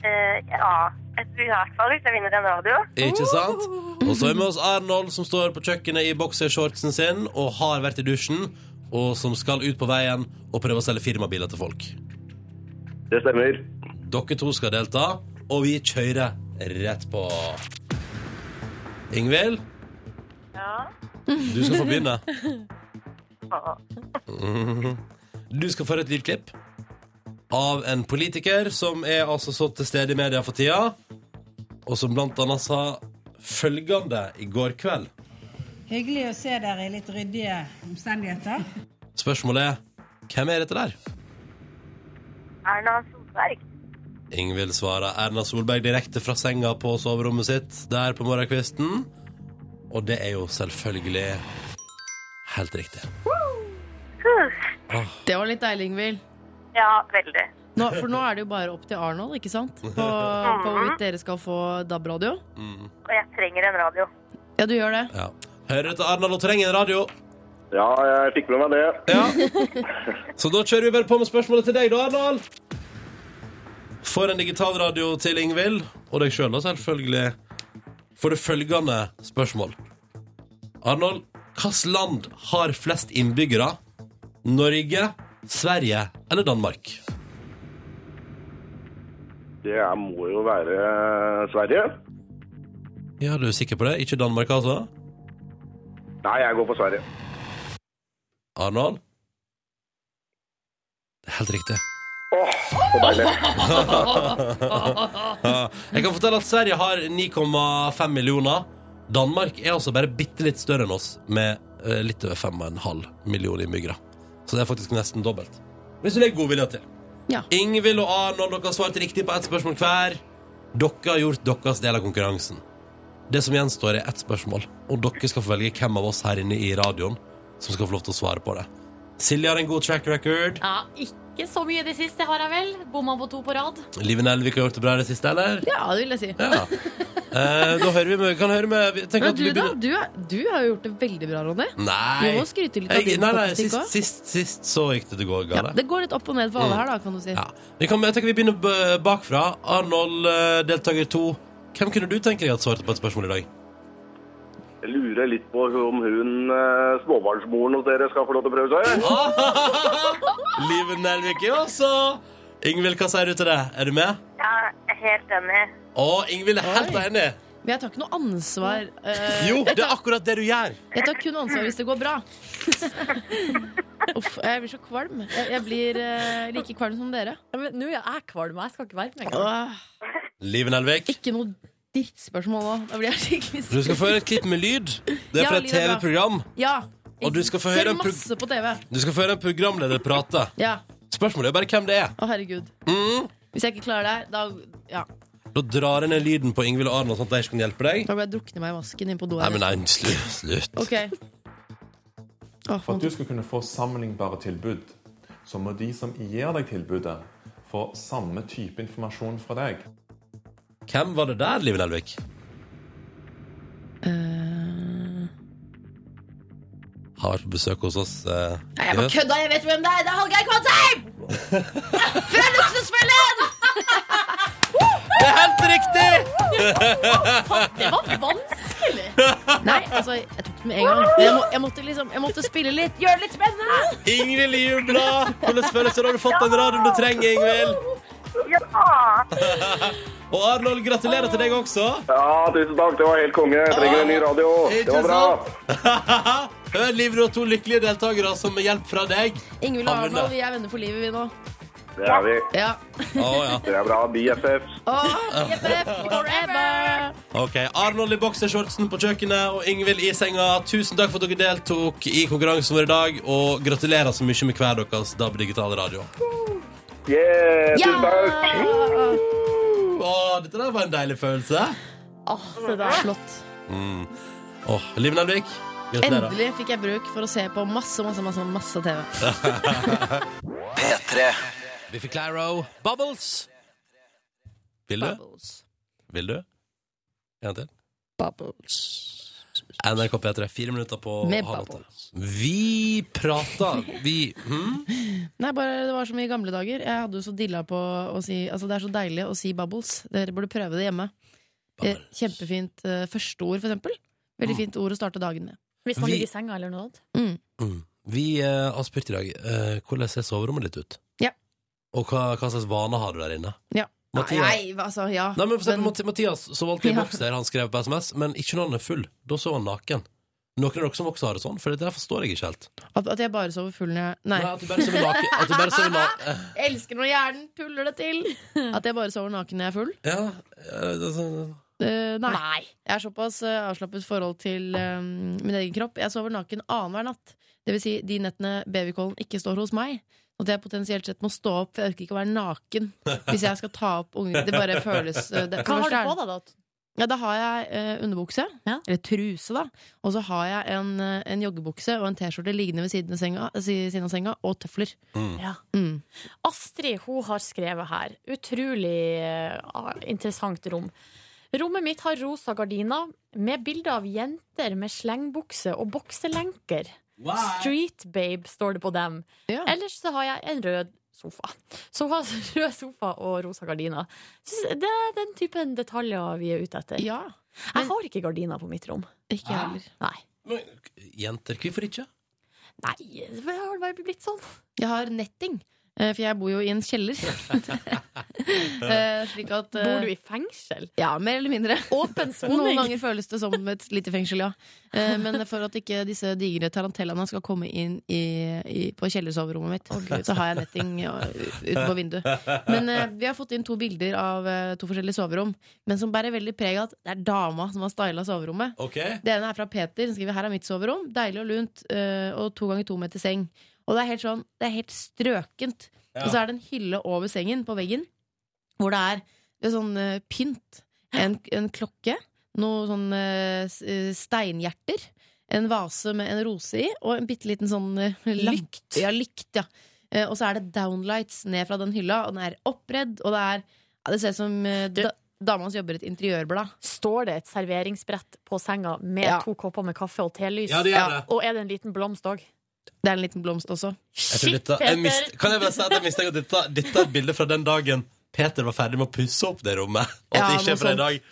G: Eh, ja, jeg tror i hvert fall hvis jeg vinner en radio.
A: Ikke sant? Og så er vi med oss Arnold, som står på kjøkkenet i boksershortsen sin og har vært i dusjen, og som skal ut på veien og prøve å selge firmabiler til folk.
H: Det stemmer.
A: Dere to skal delta, og vi kjører rett på. Ingvild,
G: Ja.
A: Du skal få begynne.
G: (laughs) Ja.
A: Mhm. Du skal få høre et lydklipp av en politiker som er altså så til stede i media for tida, og som blant annet sa følgende i går kveld.
I: Hyggelig å se dere i litt ryddige omstendigheter.
A: Spørsmålet er hvem er dette der?
G: Erna Solberg.
A: Ingvild svarer Erna Solberg direkte fra senga på soverommet sitt der på morgenkvisten. Og det er jo selvfølgelig helt riktig. Ah.
C: Det var litt deilig, Ingvild.
G: Ja, veldig.
C: Nå, for nå er det jo bare opp til Arnold, ikke sant? På, på hvorvidt dere skal få DAB-radio.
A: Mm,
G: Og jeg trenger en radio.
C: Ja, du gjør det.
A: ja. Hører du til Arnold og trenger en radio?
H: Ja, jeg fikk med meg det.
A: Ja.
H: (laughs)
A: Så da kjører vi bare på med spørsmålet til deg, da, Arnold. For en digitalradio til Ingvild, og deg sjøl, da, selvfølgelig, for det følgende spørsmål. Arnold, hvilket land har flest innbyggere? Norge, Sverige eller Danmark?
H: Det er, må jo være eh, Sverige.
A: Ja, du er sikker på det? Ikke Danmark, altså?
H: Nei, jeg går for Sverige.
A: Arnold? Det er helt riktig.
H: Åh, så deilig.
A: (laughs)
G: (laughs)
A: Jeg kan fortelle at Sverige har 9,5 millioner. Danmark er altså bare bitte litt større enn oss, med eh, litt over 5,5 millioner innbyggere. Så det er faktisk nesten dobbelt. Hvis du legger god vilje til.
C: Ja.
A: Ingvild og Arnold, dere har svart riktig på ett spørsmål hver. Dere har gjort deres del av konkurransen. Det som gjenstår, er ett spørsmål, og dere skal få velge hvem av oss her inne i radioen som skal få lov til å svare på det. Silje har en god track record.
B: Ja, ikke så mye i det siste, har jeg vel. Bomma på to på rad.
A: Live Nelvik har gjort det bra i det siste, eller?
C: Ja, det vil jeg si.
A: Ja. Eh, da hører vi med, kan høre med vi- tenker
C: Men
A: at
C: du,
A: vi
C: da?
A: begynner-
C: Du, er, du har jo gjort det veldig bra, Ronny. Du
A: Nei.
C: må skryte litt av
A: Jeg,
C: din
A: nei, nei
C: statistikk
A: sist,
C: òg.
A: sist, sist så gikk det til går
C: Ja,
A: galt.
C: det går litt opp og ned for alle her, da, kan du si.
A: Ja. Vi kan, jeg tenker vi begynner b- bakfra. Arnold, eh, deltaker to. Hvem kunne du tenke deg at svarte på et spørsmål i dag?
H: Jeg lurer litt på om hun eh, småbarnsmoren hos dere skal få lov til å prøve seg.
A: Liven Nelvik er også Ingvild, hva sier du til det? Er du med?
G: Jeg er helt enig.
A: Å, Ingvild er helt enig.
C: Men jeg tar ikke noe ansvar. eh,
A: (laughs) Jo, det er akkurat det du gjør.
C: Jeg tar kun ansvar hvis det går bra. (laughs) Uff, jeg blir så kvalm. Jeg, jeg blir eh, like kvalm som dere.
B: Ja, men Nå er jeg kvalm, og jeg skal ikke være med engang.
C: Åh,
A: Liven Nelvik,
C: ikke noe drittspørsmål nå. Da blir jeg skikkelig
A: du skal få høre et klipp med lyd. Det er
C: Ja,
A: fra et
C: lyd er bra.
A: TV-program.
C: Ja.
A: Og du skal få høre en
C: Ser
A: prog-
C: masse på TV.
A: Du skal få høre en programleder prate.
C: Ja.
A: Spørsmålet er bare hvem det er.
C: Å, herregud.
A: Mm.
C: Hvis jeg ikke klarer det, da, ja.
A: Da drar jeg ned lyden på Ingvild og Arnold, sånn at de ikke kan hjelpe deg.
C: da blir jeg drukne meg i vasken inn på do
A: Nei,
C: her.
A: men nei, slutt. slutt.
C: Ok. Å,
J: For at
C: faen.
J: du skal kunne få sammenlignbare tilbud, så må de som gir deg tilbudet, få samme type informasjon fra deg.
A: Hvem var det der, Live Nelvik?
C: Eh,
A: Har vært på besøk hos oss. Eh,
C: Nei, jeg bare
A: i høst.
C: kødda! Jeg vet hvem det er! Det er Hallgeir Kvadsheim! Fra Luksusfellen!
A: det er helt riktig!
B: Det var vanskelig!
C: Nei, altså, jeg tok den med en gang. Men Jeg, må, jeg måtte liksom, jeg måtte spille litt. Gjøre det litt spennende!
A: Ingvild jubla! Hvordan føles det? Har du fått den radioen du trenger, Ingvild?
G: Ja!
A: Og Arnold, gratulerer til deg også. Ah,
H: Ja, tusen takk. Det var helt konge. Jeg trenger en ny radio. Det var bra.
A: (laughs) Hør, Liv, du har to lykkelige deltakere som med hjelp fra deg.
C: Ingvild og
A: Han vinner.
C: Arnold, vi er venner for livet, vi nå.
H: Det er vi.
C: Ja.
A: Å ja.
H: Det er bra. BFF.
C: Åh, BFF forever!
A: Ok, Arnold i boksershortsen på kjøkkenet og Ingvild i senga. Tusen takk for at dere deltok i konkurransen vår i dag, og gratulerer så mye med hver deres DAB digitale radio.
H: Yeah,
C: Ja!
H: tusen takk.
A: Å, dette der var en deilig følelse.
C: Åh, det der er flott.
A: Mm. Åh, Liv Nelvik, gratulerer.
C: Endelig fikk jeg bruk for å se på masse, masse, masse, masse TV.
A: Vi fikk Claro. Bubbles. Vil du? Vil du? En gang til. NRK P3, fire minutter på
C: Med
A: halv åtte.
C: bubbles.
A: Vi prater. Vi hm?
C: Nei, bare det var som i gamle dager. Jeg hadde jo så dilla på å si Altså, det er så deilig å si bubbles. Dere burde prøve det hjemme. Eh,
A: Bubbles. Ah.
C: Kjempefint eh, førsteord, for eksempel. Veldig fint ord å starte dagen med.
B: Hvis man
A: Vi-
B: ligger i senga eller noe annet.
A: Mm. Vi eh, har spurt i dag eh, hvordan ser soverommet ditt ut?
C: Ja.
A: Og hva, hva slags vaner har du der inne?
C: Ja.
A: Mathias, nei,
C: Nei, altså, ja.
A: men for eksempel,
C: Men-
A: Mathi- Mathias som valgte i
C: Ja.
A: bokser, han skrev på SMS, men ikke når han er full. Da sover han naken. Noen av dere som også har det sånn, for det der forstår jeg ikke helt.
C: At, at jeg bare sover full når jeg Nei.
A: Nei, at du bare sover naken. At du bare sover
C: (laughs)
A: na- eh,
C: Elsker når hjernen tuller det
B: (laughs)
C: til! At jeg bare sover naken når jeg er full?
A: ja, eh, det er sånn-
C: Eh, nei.
B: Nei.
C: Jeg har såpass eh, avslappet forhold til eh, min egen kropp. Jeg sover naken annenhver natt. Det vil si de nettene babycallen ikke står hos meg. At jeg potensielt sett må stå opp, for jeg orker ikke å være naken hvis jeg skal ta opp ungen. Det bare føles eh, det,
B: Hva
C: for
B: har du
C: det første er-
B: på deg, da?
C: Ja, da har jeg eh, underbukse,
B: Ja.
C: eller truse, da. Og så har jeg en, eh, en joggebukse og en T-skjorte liggende ved siden av senga, eh, si- siden av senga og tøfler.
A: Mm.
B: Ja.
C: Mm.
B: Astrid hun har skrevet her. Utrolig eh, interessant rom. Rommet mitt har rosa gardiner med bilde av jenter med slengbukse og bokselenker. Street babe står det på dem.
C: Ja.
B: Ellers så har jeg en rød sofa. Så hun har (laughs) rød sofa og rosa gardiner. Synes Det er den typen detaljer vi er ute etter.
C: ja.
B: Jeg har ikke gardiner på mitt rom.
C: Ikke jeg heller.
B: Nei.
A: Men, jenter, hvorfor ikke?
B: Nei, det har bare blitt sånn.
C: Jeg har netting, eh, for jeg bor jo i en kjeller.
B: (laughs)
C: Eh, Slik at eh,
B: Bor du i fengsel?
C: Ja, mer eller (laughs) mindre.
B: Åpen
C: Noen
B: soning?
C: ganger føles det som et lite fengsel, ja. Eh, Men for at ikke disse digre tarantellaene skal komme inn i, i, på kjellersoverommet mitt, så har jeg netting ja, ute på vinduet.
A: (laughs)
C: Men eh, vi har fått inn to bilder av eh, to forskjellige soverom, men som bærer veldig preg av at det er dama som har styla soverommet.
A: (laughs) Ok,
C: Det ene er fra Peter. som skriver her er mitt soverom. Deilig og lunt. eh, og to ganger to meter seng. Og det er helt sånn, det er helt strøkent.
A: Ja.
C: Og så er det en hylle over sengen på veggen hvor det er det er sånn eh, pynt. En, en klokke, noen sånn eh, s- eh, steinhjerter, en vase med en rose i, og en bitte liten sånn eh, lamp- Ja, lykt, ja. Eh, og så er det downlights ned fra den hylla, og den er oppredd, og det er ja, Det ser ut som eh, da, dama som jobber i et interiørblad.
B: Står det et serveringsbrett på senga med
C: Ja.
B: to kopper med kaffe og telys?
A: Ja, det gjør det.
B: Og er det en liten blomst òg?
C: Det er en liten blomst også.
A: jeg tror dette, jeg mist, Kan jeg bare si at jeg mistenker at dette, dette er et bilde fra den dagen Peter var ferdig med å pusse opp det rommet. Og at
C: Ja,
A: det ikke er fra i
C: noe
A: dag.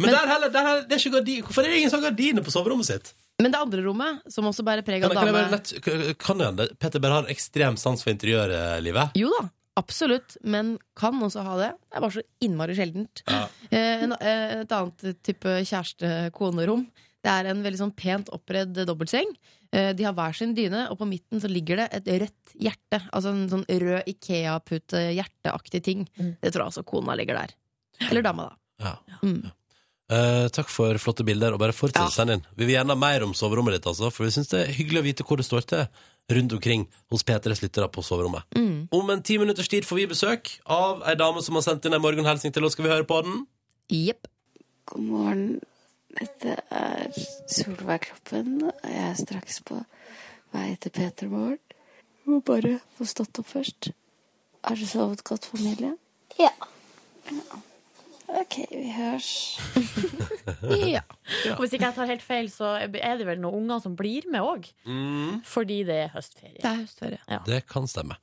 A: Men, der heller, der heller, det er ikke gardin. hvorfor er det ingen som har gardiner på soverommet sitt?
C: Men det andre rommet, som også bærer preg
A: Kan,
C: av
A: kan, jeg bare
C: dame
A: lett, kan det hende Peter bare har ekstrem sans for interiørlivet?
C: Jo da, absolutt, men kan også ha det. Det er bare så innmari sjeldent.
A: Ja.
C: Eh, en- eh, Et annet type kjæreste-konerom. Det er en veldig sånn pent oppredd dobbeltseng. Eh, De har hver sin dyne, og på midten så ligger det et rødt hjerte. Altså en sånn rød Ikea-pute-hjerteaktig ting.
B: Mm.
C: Det tror jeg altså kona ligger der. Eller dama, da.
A: Ja.
C: Mm.
A: Eh, takk for flotte bilder, og bare fortsett å sende inn. Vi vil gjerne ha mer om soverommet ditt, altså, for vi syns det er hyggelig å vite hvor det står til rundt omkring hos P3s lyttere på soverommet.
C: Mm.
A: Om en ti minutters tid får vi besøk av ei dame som har sendt inn ei morgenhilsing til oss. Skal vi høre på den?
C: Jepp.
K: God morgen. Dette er Solveig Kloppen, og jeg er straks på vei til Peter Morgen. Må bare få stått opp først. Har du sovet godt, familie? Ja. OK, vi høres.
B: (laughs)
C: Ja.
B: Og hvis ikke jeg tar helt feil, så er det vel noen unger som blir med òg. Fordi det er
C: Det
B: høstferie.
C: er høstferie.
A: Mm. Det kan stemme.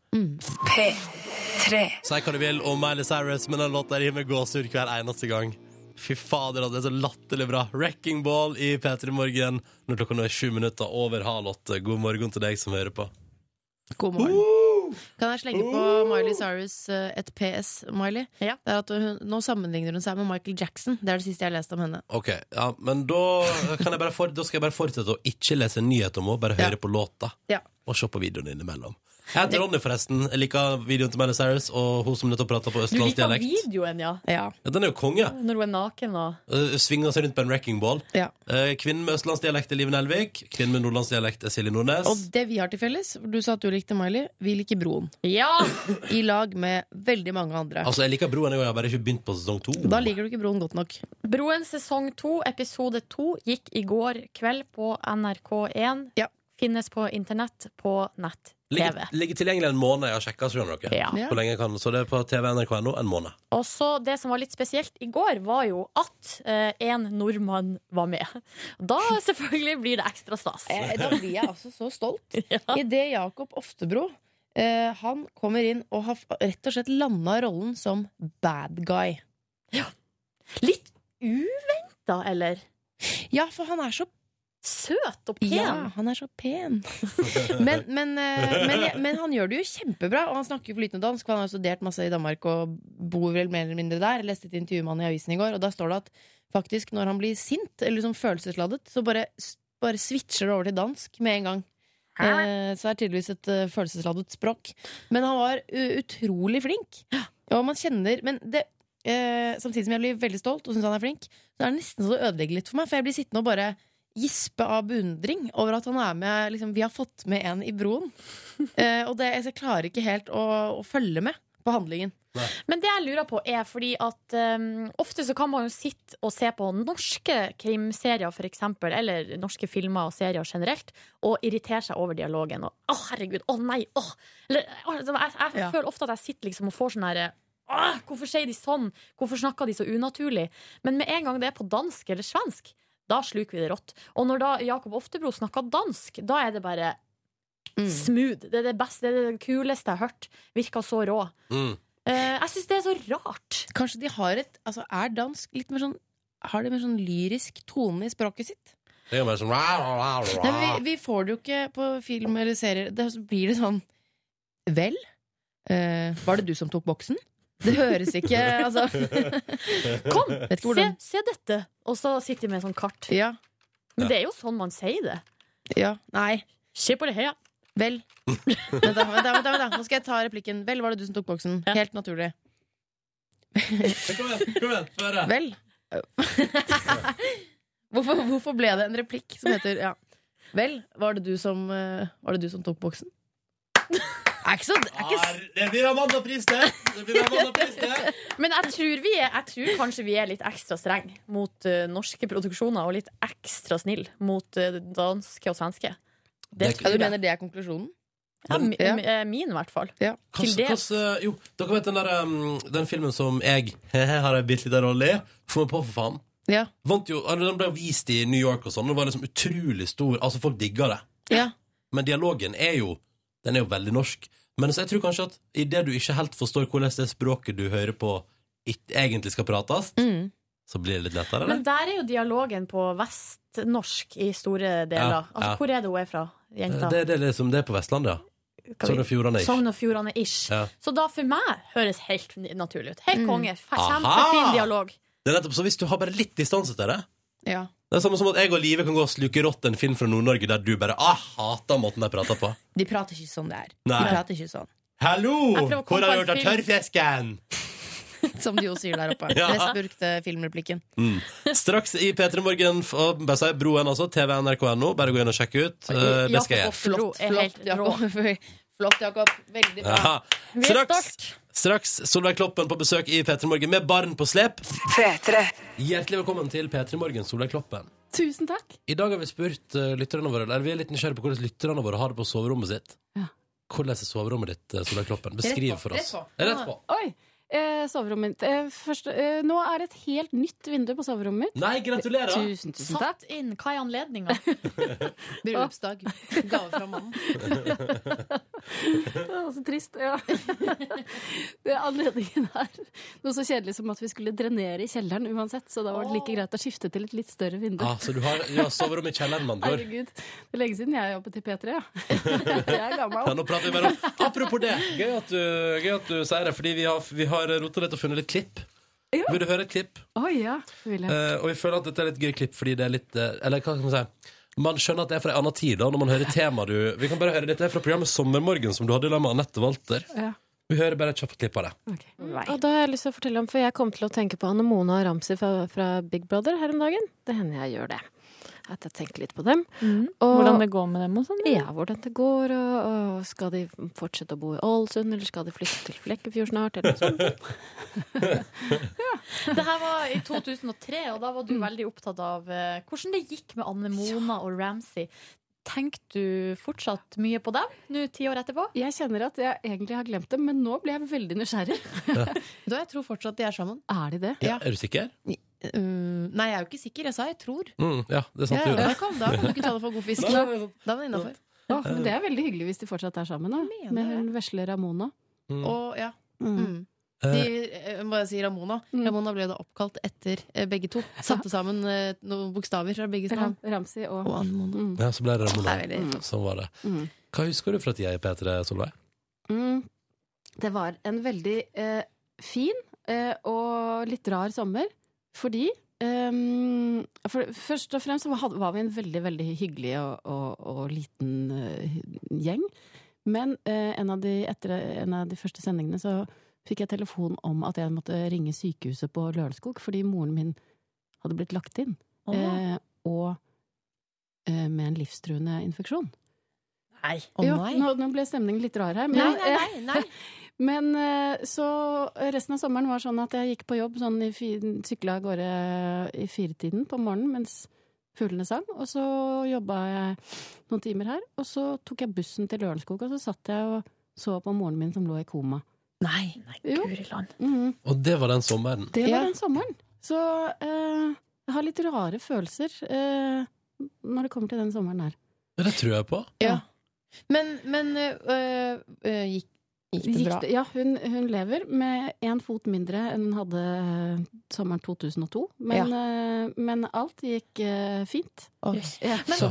A: Si hva du vil om Miley Cyrus, men den låta gir meg gåsehud hver eneste gang. Fy fader, det er så latterlig bra. Wrecking Ball i P3 Morgen når klokka nå er sju minutter over halv åtte. God morgen til deg som hører på.
C: God morgen. Kan jeg slenge på Miley Cyrus eh, et PS, Miley?
B: Ja.
C: Det er at hun, nå sammenligner hun seg med Michael Jackson. Det er det siste jeg har lest om henne.
A: Ok, ja, men da, kan jeg bare for, da skal jeg bare fortsette å ikke lese nyheter om henne, bare høre
C: Ja.
A: på låta.
C: Ja.
A: Og se på videoen innimellom. Jeg heter Ronny, forresten. Jeg liker videoen til Miley Cyrus og hun som nettopp prata
B: Du
A: på
B: liker
A: østlandsdialekt.
B: videoen, ja?
A: Ja, den er jo konge.
B: Når hun er naken og
A: Uh, Svinger seg rundt på en wrecking ball.
C: Ja.
A: Eh, Kvinnen med østlandsdialekt er Liv Nelvik. Kvinnen med nordlandsdialekt er Silje Nordnes.
C: Og det vi har til felles, for du sa at du likte Miley, vi liker Broen.
B: Ja!
C: I lag med veldig mange andre.
A: Altså, jeg liker broen, jeg har bare ikke begynt på sesong to.
C: Da liker du ikke Broen godt nok.
B: Broen sesong to, episode to, gikk i går kveld på NRK1.
C: Ja.
B: Finnes på internett, på nett-TV.
A: Ligger, ligger tilgjengelig en måned. Jeg har sjekka, skjønner dere.
B: Ja.
C: Ja.
A: Hvor lenge jeg kan, så det er på tv.nrk.no en måned.
B: Og så Det som var litt spesielt i går, var jo at eh, en nordmann var med. Da selvfølgelig blir det ekstra stas.
C: Eh, Da blir jeg altså så stolt.
B: (laughs)
C: Idet Jakob Oftebro eh, han kommer inn og har f- rett og slett landa rollen som bad guy.
B: Litt uventa, eller?
C: Ja, for han er så
B: Søt og pen.
C: Ja, han er så pen. men, men, eh, men, jeg- men han gjør det jo kjempebra, og han snakker flytende dansk. For han har jo studert masse i Danmark og bor vel mer eller mindre der. Jeg leste et intervju med han i avisen i går, og da står det at faktisk når han blir sint eller liksom følelsesladet, så bare s- bare switcher det over til dansk med en gang. Eh, så det er tydeligvis et eh, følelsesladet språk. Men han var eh, utrolig flink. Og man kjenner Men det, eh, samtidig som jeg blir veldig stolt og syns han er flink, så er det nesten så det ødelegger litt for meg. For jeg blir sittende og bare gispe av beundring over at han er med liksom, Vi har fått med en i
B: (laughs)
C: broen. Eh, og det, jeg klarer ikke helt å, å følge med på handlingen.
B: Men det jeg lurer på er fordi at um, ofte så kan man jo sitte og se på norske krimserier for eksempel, eller norske filmer og serier generelt, og irritere seg over dialogen. Og 'Å, herregud, å nei, åh'. Eller, «Åh», liksom, jeg, jeg
L: Ja.
B: føler ofte at jeg sitter liksom og får sånn herre «Åh, Hvorfor sier de sånn? Hvorfor snakker de så unaturlig? Men med en gang det er på dansk eller svensk, da sluker vi det rått. Og når da Jakob Oftebro snakker dansk, da er det bare smooth. Det er det beste, det er det kuleste jeg har hørt. Virker så rå. Eh, jeg syns det er så rart.
C: Kanskje de har et altså, Er dansk litt mer sånn Har de mer sånn lyrisk tone i språket sitt?
A: Det er jo mer sånn rah, rah, rah,
C: Nei,
A: rah.
C: men vi, vi får det jo ikke på film eller serier. Det, så blir det sånn Vel? Eh, var det du som tok boksen? Det høres ikke
B: (laughs)
C: altså.
B: Kom,
C: Vet ikke
B: se,
C: hvordan.
B: se dette! Og så sitter de med et sånt kart.
C: Ja.
B: Men det er jo sånn man sier det.
C: Ja. Nei.
B: Se på det her.
C: Vel.
A: (laughs)
C: Vent, da, vent, da, vent, da, vent da. Nå skal jeg ta replikken. Vel, var det du som tok boksen? Helt naturlig.
A: Kom igjen, kom igjen, få høre.
C: Vel. hvorfor, hvorfor ble det en replikk som heter ja. (laughs) Vel, var det du som, eh, var det du som tok boksen? Er ikke så, er ikke s-
A: Det blir Amanda-pris, det! Det blir Amanda-pris, det!
B: (laughs) Men jeg tror, vi er, jeg tror kanskje vi er litt ekstra streng mot eh, norske produksjoner, og litt ekstra snill mot eh, danske og svenske. Det
A: Det-
B: tror
A: Ja, du
B: jeg.
A: mener
C: det er konklusjonen?
B: Ja, mi,
A: Ja.
B: eh, Min, i hvert fall.
A: Hva-
B: Til dels.
A: hva- jo, dere vet den, der, um, den filmen som jeg (laughs) har en bitte liten rolle i? Få meg på, for faen.
C: Ja.
A: Vant jo, eller den ble vist i New York og sånn. Den var liksom utrolig stor. Altså, folk digga det.
C: Ja.
A: Men dialogen er jo Den er jo veldig norsk. Men så jeg tror kanskje at idet du ikke helt forstår hvordan det språket du hører på, ikke egentlig skal prates,
B: Mm.
C: Mm.
A: så blir det litt lettere,
B: Men
A: eller?
B: der er jo dialogen på vestnorsk i store deler.
A: Ja, ja.
B: Altså, hvor er det hun er fra, jenta?
A: Det, det er liksom det er på Vestlandet,
B: Hva
A: ja.
B: vi-
A: Sogn og Fjordane.
B: Sogn og Fjordane-ish.
A: Ja.
B: Så da for meg høres helt n- naturlig ut. Helt konge. Fe-
A: Aha!
B: Kjempefin dialog.
A: Det er nettopp så hvis du har bare litt distanse til det
C: Ja.
A: Det er samme som at jeg og Live kan gå og sluke rått en film fra Nord-Norge der du bare ah, hater måten de prater på.
C: De prater ikke sånn det er.
A: Nei.
C: De prater ikke sånn.
A: Hallo!
C: Jeg prøver å
A: Hvor
C: komme
A: har
C: på en
A: du gjort av
C: film.
A: tørrfisken?
C: (laughs) Som de jo sier der oppe.
A: Ja.
C: Mest brukte filmreplikken.
A: Mm. Straks i P3 Morgen, f- og bare si broen altså, tv.nrk.no. Bare gå inn og sjekk ut. Eh, det skal jeg gjøre.
C: Flott, flott, Jakob. (laughs) flott, Jakob. Veldig bra.
A: Jaha. Straks, straks Solveig Kloppen på besøk i P3 Morgen med barn på slep. Hjertelig velkommen til P3 Morgen, Solveig Kloppen.
F: Tusen takk.
A: I dag har vi spurt eh, lytterne våre Eller vi er litt nysgjerrige på hvordan lytterne våre har det på soverommet sitt.
F: Ja.
A: Hvordan er soverommet ditt, eh, Solveig Kloppen? Beskriv
F: Rett på,
A: for
F: Rett
A: oss.
F: på.
A: Eh, Rett på.
F: Oi. Eh, soverommet mitt. Eh, først, eh, nå er det et helt nytt vindu på soverommet mitt.
A: Nei, gratulerer!
F: Tusen, tusen takk.
B: Satt inn. Hva er anledninga?
F: (laughs) Bryllupsdag.
C: Gave fra mannen.
F: Det var så trist. Ja. (laughs) Det er anledningen her. Noe så kjedelig som at vi skulle drenere i kjelleren uansett, så da var det like greit å skifte til et litt større vindu.
A: Ah, så du har, du har
F: (laughs)
A: soverom i kjelleren, med andre ord.
F: Herregud. Det er lenge siden jeg jobbet i P3,
A: (laughs)
F: ja. Jeg er gammel.
A: Ja, nå prater vi bare om Apropos det, gøy at du, gøy at du sier det, fordi vi har, vi har rota litt og funnet litt klipp. Vil du høre et klipp?
F: Oi, ja. Vil jeg.
A: Eh, og vi føler at dette er litt gøy klipp fordi det er litt eh, Eller hva skal man si Man skjønner at det er fra en annen tid da når man hører tema du Vi kan bare høre dette er fra programmet Sommermorgen som du hadde i lag med Anette Walter.
F: Ja.
A: Vi hører bare et kjapt klipp av det.
M: Og Mm. da har jeg lyst til å fortelle om, for jeg kom til å tenke på Anne Mona og Ramsi fra, fra Big Brother her om dagen. Det hender jeg gjør det. At jeg tenker litt på dem.
L: Mm. Hvordan det går med dem og sånn?
M: Ja, hvordan det går, og, og skal de fortsette å bo i Ålesund, eller skal de flytte til Flekkefjord snart, eller noe sånt.
L: (laughs)
B: Det her var i 2003, og da var du veldig opptatt av eh, hvordan det gikk med Anne Mona og Ramsay. Tenker du fortsatt mye på dem nå ti år etterpå?
F: Jeg kjenner at jeg egentlig har glemt det, men nå blir jeg veldig
L: (laughs)
F: nysgjerrig.
C: Da, jeg tror fortsatt de er sammen.
F: Er de det?
A: Ja, er du sikker?
C: Uh, nei, jeg er jo ikke sikker. Jeg sa jeg tror.
A: Mm, ja, det er sant.
C: Ja,
A: du gjorde
C: da
A: det.
C: kan, da kan du ikke ta det for god fisk.
A: Nei, nei,
C: Da var det innafor.
F: Åh, men det er veldig hyggelig hvis de fortsatt er sammen, da. Med hun vesle Ramona.
A: Mm.
C: Og ja.
F: Mm.
C: Mm. De, eh, må jeg si Ramona. Ramona ble da oppkalt etter eh, begge
F: (laughs)
C: to. Satte sammen eh, noen bokstaver fra begges navn.
F: Ramsi og,
C: Anne
A: Ja, så ble det Ramona.
C: Det er veldig flott.
A: Sånn var det.
F: Mm.
A: Hva husker du fra tida i P3, Solveig?
F: Mm. Det var en veldig eh, fin eh, og litt rar sommer, fordi eh, ehm, for, Først og fremst så had- var vi en veldig, veldig hyggelig og, og, og liten eh, gjeng. Men eh, en, av de, etter en av de første sendingene så fikk jeg telefon om at jeg måtte ringe sykehuset på Lørenskog fordi moren min hadde blitt lagt inn.
E: Å.
F: eh, og eh, med en livstruende infeksjon.
B: Nei.
F: jo, nå, nå ble stemningen litt rar her.
B: Nei, nei, nei, nei.
F: (laughs) men eh, så resten av sommeren var sånn at jeg gikk på jobb, sånn i fi- sykla av gårde i firetiden på morgenen mens fuglene sang. Og så jobba jeg noen timer her, og så tok jeg bussen til Lørenskog, og så satt jeg og så på moren min som lå i koma.
B: Nei,
F: jo. Mhm.
A: Og det var den sommeren.
F: Det var den sommeren. Så eh, jeg har litt rare følelser eh, når det kommer til den sommeren her.
A: Ja, det tror jeg
F: (laughs)
A: på. (laughs)
F: Ja.
C: Men, men øh, øh, gikk, gikk det bra?
F: ja, hun, hun lever med én fot mindre enn hun hadde øh, sommeren 2002. Men, eh, men alt gikk eh, fint. Ja.
B: Men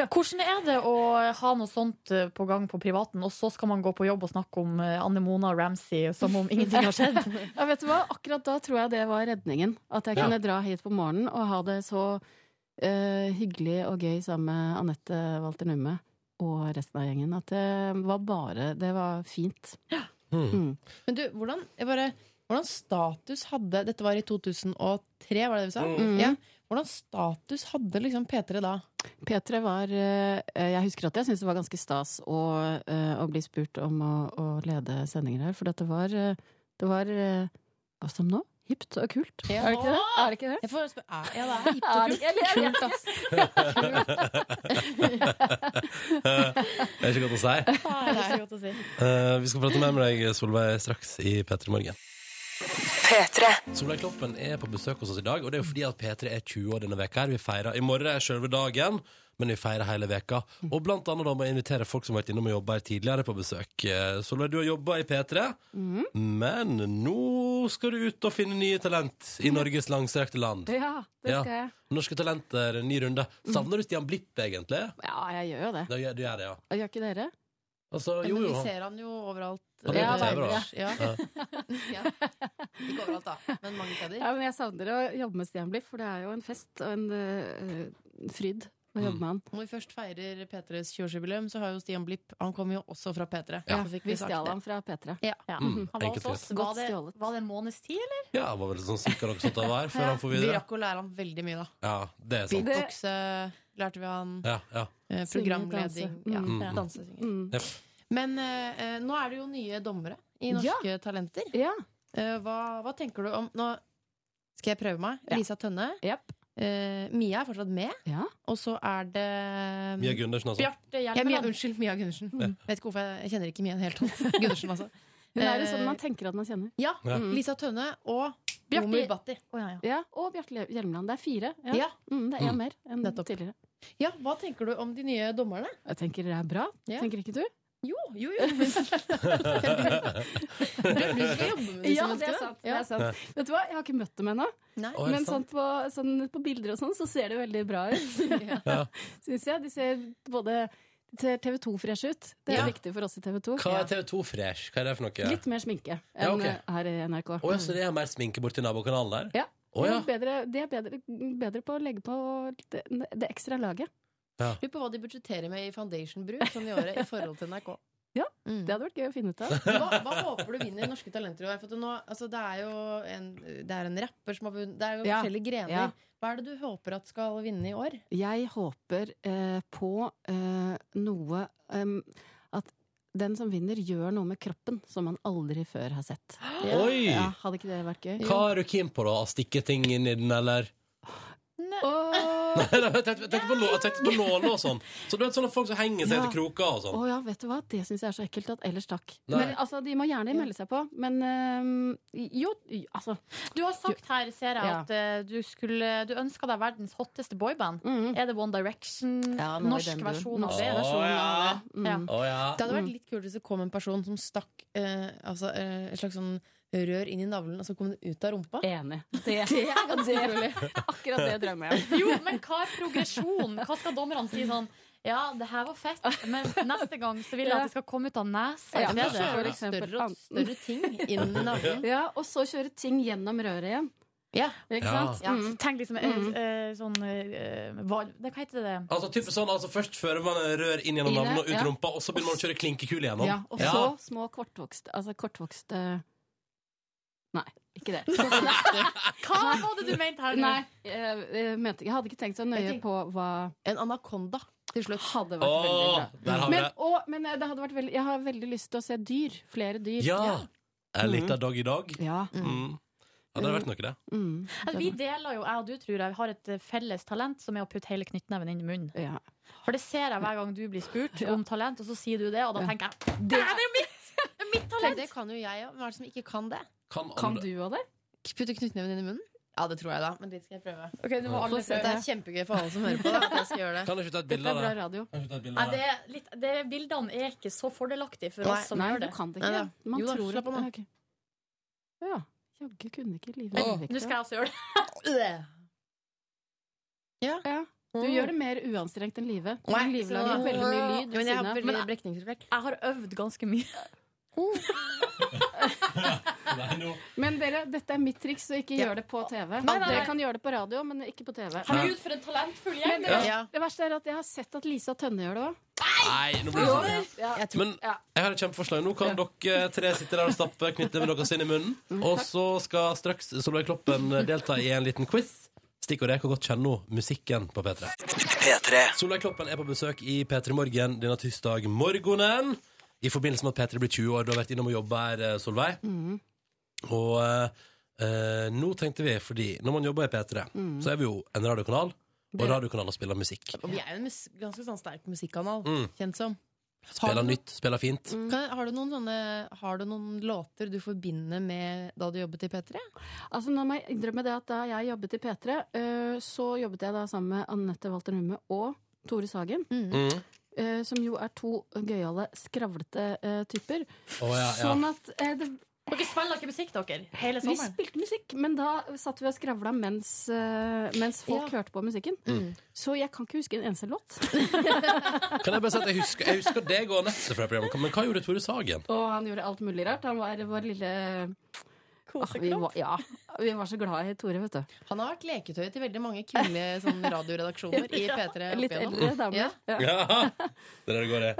B: hvordan er det å ha noe sånt eh, på gang på privaten, og så skal man gå på jobb og snakke om eh, Anne Mona og Ramsay eh, som om ingenting har
F: (laughs)
B: skjedd?
F: ja, vet du hva? Akkurat da tror jeg det var redningen. At jeg
B: Ja.
F: kunne dra hit på morgenen og ha det så eh, hyggelig og gøy sammen med Anette Walter Numme og resten av gjengen. At det var bare Det var fint.
C: Hmm.
F: Mm.
C: Men du, hvordan, jeg bare, hvordan status hadde Dette var i 2003, var det det vi sa?
F: Mm.
C: Ja. Hvordan status hadde liksom P3 da?
F: P3 var eh, Jeg husker at jeg syntes det var ganske stas å, eh, å bli spurt om å, å lede sendinger her, for at det var, eh, det var eh, hva som nå? Hipt og kult.
C: Ja.
F: Er det ikke det? Er det, ikke det?
C: Jeg får spørre- er- ja, det er hipt og
F: (laughs) Er det-
C: kult.
F: eller- eller-
C: Kult, ass.
A: det er ikke godt å si.
E: Nei, det er ikke godt å si.
A: Eh, vi skal prate mer med deg, Solveig, straks i P3 Morgen. Solveig Kloppen er på besøk hos oss i dag, og det er jo fordi at P3 er 20 år denne veka her. Vi feirer i morgen er selve dagen, men vi feirer hele veka. Og blant annet da må jeg invitere folk som har vært innom og jobba her tidligere, på besøk. Eh, Solveig, du har jobba i P3,
F: Mhm.
A: men nå skal du ut og finne nye talent i Norges langstrakte land.
F: Ja, det
A: Ja.
F: skal jeg.
A: Norske talenter, ny runde. Savner du Stian Blipp, egentlig?
F: Ja, jeg gjør jo det.
A: Du gjør, du gjør det, ja.
F: Og Gjør ikke dere?
A: Altså,
C: Ja,
A: jo,
C: men
A: jo,
C: vi
A: han-
C: ser han jo overalt.
A: Han er på TV, da.
C: verden, ja.
A: Ja.
C: (laughs) Ja. Ikke overalt, da, men mange steder.
F: Ja, men jeg savner å jobbe med Stian Blipp, for det er jo en fest og en eh, fryd å
A: Mm.
F: jobbe med han.
C: Når vi først feirer P3s 20-årsjubileum, så har jo Stian Blipp Han kommer jo også fra P3.
A: Ja.
C: Så fikk
F: Vi
C: sagt
F: stjal
C: det.
F: han fra P3.
C: Ja.
A: Mm,
B: Han var
A: enkelt
B: hos oss.
A: greit.
B: Var det, var det en måneds tid, eller?
A: Ja, det var vel sånn cirka noe sånt det var før han får
C: Vi
A: videre.
C: rakk å lære han veldig mye, da.
A: Ja, det er sant.
C: Beatboxe lærte vi han.
A: Ja, ja.
C: eh, Programleding.
F: Synge, danse.
C: Ja,
F: Mm.
C: dansesinging.
A: Jepp.
C: Men eh, eh, nå er det jo nye dommere i Norske Talenter. Eh, hva, hva tenker du om Nå skal jeg prøve meg.
F: Ja.
C: Lisa Tønne. Eh, Mia er fortsatt med.
F: Ja.
C: Og så er det
A: Mia Gundersen, altså.
C: Bjarte Hjelmeland. Ja, Mia, unnskyld, Mia Gundersen.
A: Ja.
C: Vet ikke hvorfor jeg, jeg kjenner ikke Mia i det hele
F: (laughs)
C: tatt. Gundersen, altså.
F: Hun er jo
C: Eh,
F: sånn man tenker at man kjenner.
C: Ja.
A: Ja.
F: Mm.
C: Lisa Tønne og
F: Bjarte-
C: Omar Bhatti.
F: Ja, og Bjarte Hjelmeland. Det er fire.
C: Ja.
F: Mm, det er én
C: Mm.
F: mer enn tidligere.
C: Ja, hva tenker du om de nye dommerne?
F: Jeg tenker det er bra.
C: Ja.
F: Tenker ikke du?
C: Jo, jo, jo. Det
F: (laughs)
C: er du som skal jobbe med disse
F: Ja, det
C: menneskene.
F: er sant. Det er sant. Vet du hva, jeg har ikke møtt dem ennå.
C: Å, er det
F: Men sånn
C: sant?
F: på, sånn på bilder og sånn, så ser det veldig bra (laughs) ut. Syns jeg. De ser både de ser TV 2-fresh ut. Det er
A: Ja.
F: viktig for oss i TV 2.
A: Hva er TV2 Fresh? Hva er det for noe?
F: Litt mer sminke enn
A: Ja, ok.
F: eh, her i NRK.
A: Å ja, så det er mer sminke borti nabokanalen der?
F: Ja.
A: Å ja.
F: Bedre, de er bedre, bedre på å legge på det, det ekstra laget.
A: Ja.
C: Lurer på hva de budsjetterer med i foundation-bruk sånn i året i forhold til NRK.
F: Ja, det hadde vært gøy å finne (laughs) ut av.
C: Hva, hva håper du vinner Norske Talenter i år? For at nå, altså, det er jo en, det er en rapper som har vunnet Det er jo
F: Ja,
C: forskjellige grener.
F: ja.
C: Hva er det du håper at skal vinne i år?
F: Jeg håper eh, på eh, noe em, At den som vinner, gjør noe med kroppen som man aldri før har
A: (gasps)
F: sett.
A: Oi!
F: Ja, hadde ikke det vært gøy?
A: Hva er du keen på, da? Å stikke ting inn i den, eller? (laughs)
F: Åh.
A: Nei, nei, jeg tenkte jeg tenkte på lå- jeg tenkte på nåler og sånn. Så du vet sånne folk som henger seg
F: Ja.
A: etter kroker og
F: Å
A: sånn?
F: ja, vet du hva? Det syns jeg er så ekkelt at ellers takk.
A: Nei.
F: Men altså, De må gjerne melde seg på, men eh, jo, altså
B: Du har sagt her, ser jeg,
F: Ja.
B: at eh, du, skulle- du ønska deg verdens hotteste boyband. Er det One Direction?
F: Mm. Ja, noe i
B: norsk
F: den duren.
B: versjon av
F: Norsk
B: det?
F: versjon
A: av
F: det. Mm.
A: Å ja.
C: Det hadde vært litt kult hvis det kom en person som stakk eh, altså, eh, et slags sånn rør inn i navlen, og så kom den ut av rumpa.
F: Enig.
C: (laughs)
F: (laughs)
C: Det er ganske
F: det-
C: utrolig.
F: Akkurat det drømmer jeg om.
B: Jo, men hva er progresjon? Hva skal dommerne si sånn? Ja, det her var fett, men neste gang så vil jeg at det skal komme ut av nesa. i
F: Ja,
B: stedet.
F: for eksempel.
C: Større og større ting inn i navlen.
F: Ja, og så kjøre ting gjennom røret igjen.
E: Ja,
A: ikke sant? Ja.
E: Mm. Tenk liksom eh, eh, sånn eh, hva, det- Hva heter det?
A: Altså, typisk sånn, altså Først fører man rør inn gjennom
F: Inn i-
A: navlen og ut
F: ja.
A: rumpa, og så begynner man å kjøre klinkekul igjennom.
F: Ja, og så små kortvokste Altså kortvokste Nei, ikke det. Hva
B: var det du mente her nå?
F: Nei, jeg, jeg, mente, jeg hadde ikke tenkt så nøye på hva En anakonda til slutt hadde vært
A: Åh,
F: veldig
A: der
F: bra.
A: har vi
F: Men,
A: det.
F: og, men eh, det hadde vært veldig, jeg har veldig lyst til å se dyr. Flere dyr.
A: Ja! En liten dag i dag.
F: Ja.
A: Mm. ja det hadde vært noe, det.
B: Altså, vi deler jo, jeg og du tror jeg, har et eh, felles talent som er å putte hele knyttneven inn i munnen. For det ser jeg hver gang du blir spurt om talent, og så sier du det, og da tenker jeg Det er det jo mitt! Mitt talent!
C: Det kan jo jeg òg. Hvem er det som ikke kan det?
A: Kan,
C: du òg det? Putte knyttneven inn i munnen? Ja, det tror jeg, da. Men det skal jeg prøve.
E: Ok, nå må alle
C: Få se,
E: prøve.
C: Det er kjempegøy for alle som hører på. Da. at Jeg skal gjøre det.
A: (laughs) Kan du ikke ta et bilde av det? Kan du ikke ta et bilde
B: Nei,
A: av
B: det
A: det?
B: er litt, det, bildene er ikke så fordelaktige for
F: Nei,
B: oss som
F: nei,
B: gjør
F: du
B: det.
F: kan det ikke. Nei, nei. Man Jo da, tror slapp av nå. at- Ja. Jaggu kunne ikke livet
B: Men nå skal jeg også gjøre det.
F: Ja. Mm. Du gjør det mer uanstrengt enn livet. Livet lager veldig mye lyd. ved siden av. Men jeg-
B: brekningsrefleks. Jeg har øvd ganske mye.
F: Men dere, dette er mitt triks, så ikke gjør det på TV.
B: Nei, nei, nei.
F: Dere kan gjøre det på radio, men ikke på TV.
B: Herregud, for en talentfull
F: Men
B: gjeng!
F: det, det verste er at jeg har sett at Lisa Tønne gjør det òg.
A: Nei, nå blir det sånn.
F: Ja. Jeg tror-
A: Men jeg har et kjempeforslag. Nå kan dere tre sitte der og stappe knyttneven deres inn i munnen.
F: Mm,
A: Og så skal straks Solveig Kloppen delta i en liten quiz. Stikkord er hvor godt kjenner hun musikken på P3. Solveig Kloppen er på besøk i P3 Morgen denne tirsdag morgenen. I forbindelse med at P3 blir 20 år. Du har vært innom og jobba her, eh, Solveig.
F: Mm.
A: Og eh, nå tenkte vi, fordi når man jobber i P3,
C: Mm.
A: så er vi jo en radiokanal. Og
C: Det-
A: radiokanaler spiller musikk.
C: Og vi er jo en mus ganske sånn sterk musikkanal,
A: Mm.
C: kjent som.
A: Spiller nytt, spiller fint.
F: Mm.
C: Kan, har, du noen sånne, har du noen låter du forbinder med da du jobbet i P3?
F: Altså, nå må jeg innrømme det at da jeg jobbet i P3, øh, så jobbet jeg da sammen med Anette Walter Numme og Tore Sagen.
A: Mm.
F: øh, Som jo er to gøyale, skravlete øh, typer.
A: Å, ja, ja.
F: Sånn at eh, det,
B: Dere spiller ikke musikk, dere? Hele
F: Vi
B: sommeren?
F: spilte musikk, men da satt vi og skravla mens, øh, mens folk hørte på musikken.
A: Mm.
F: Så jeg kan ikke huske en eneste låt.
A: Kan jeg bare si at jeg husker, jeg husker deg og Anette fra programmet, men hva gjorde Tore Sagen?
F: (laughs) Og han gjorde alt mulig rart. Han var vår lille Ah, vi var, ja, vi var så glad i Tore, vet du.
C: Han har vært leketøy til veldig mange kule
F: (laughs)
C: sånn, radioredaksjoner i
F: Ja,
C: P3. opp
F: litt
C: igjennom.
F: eldre damer.
C: Ja.
A: Ja, det er der det går, det.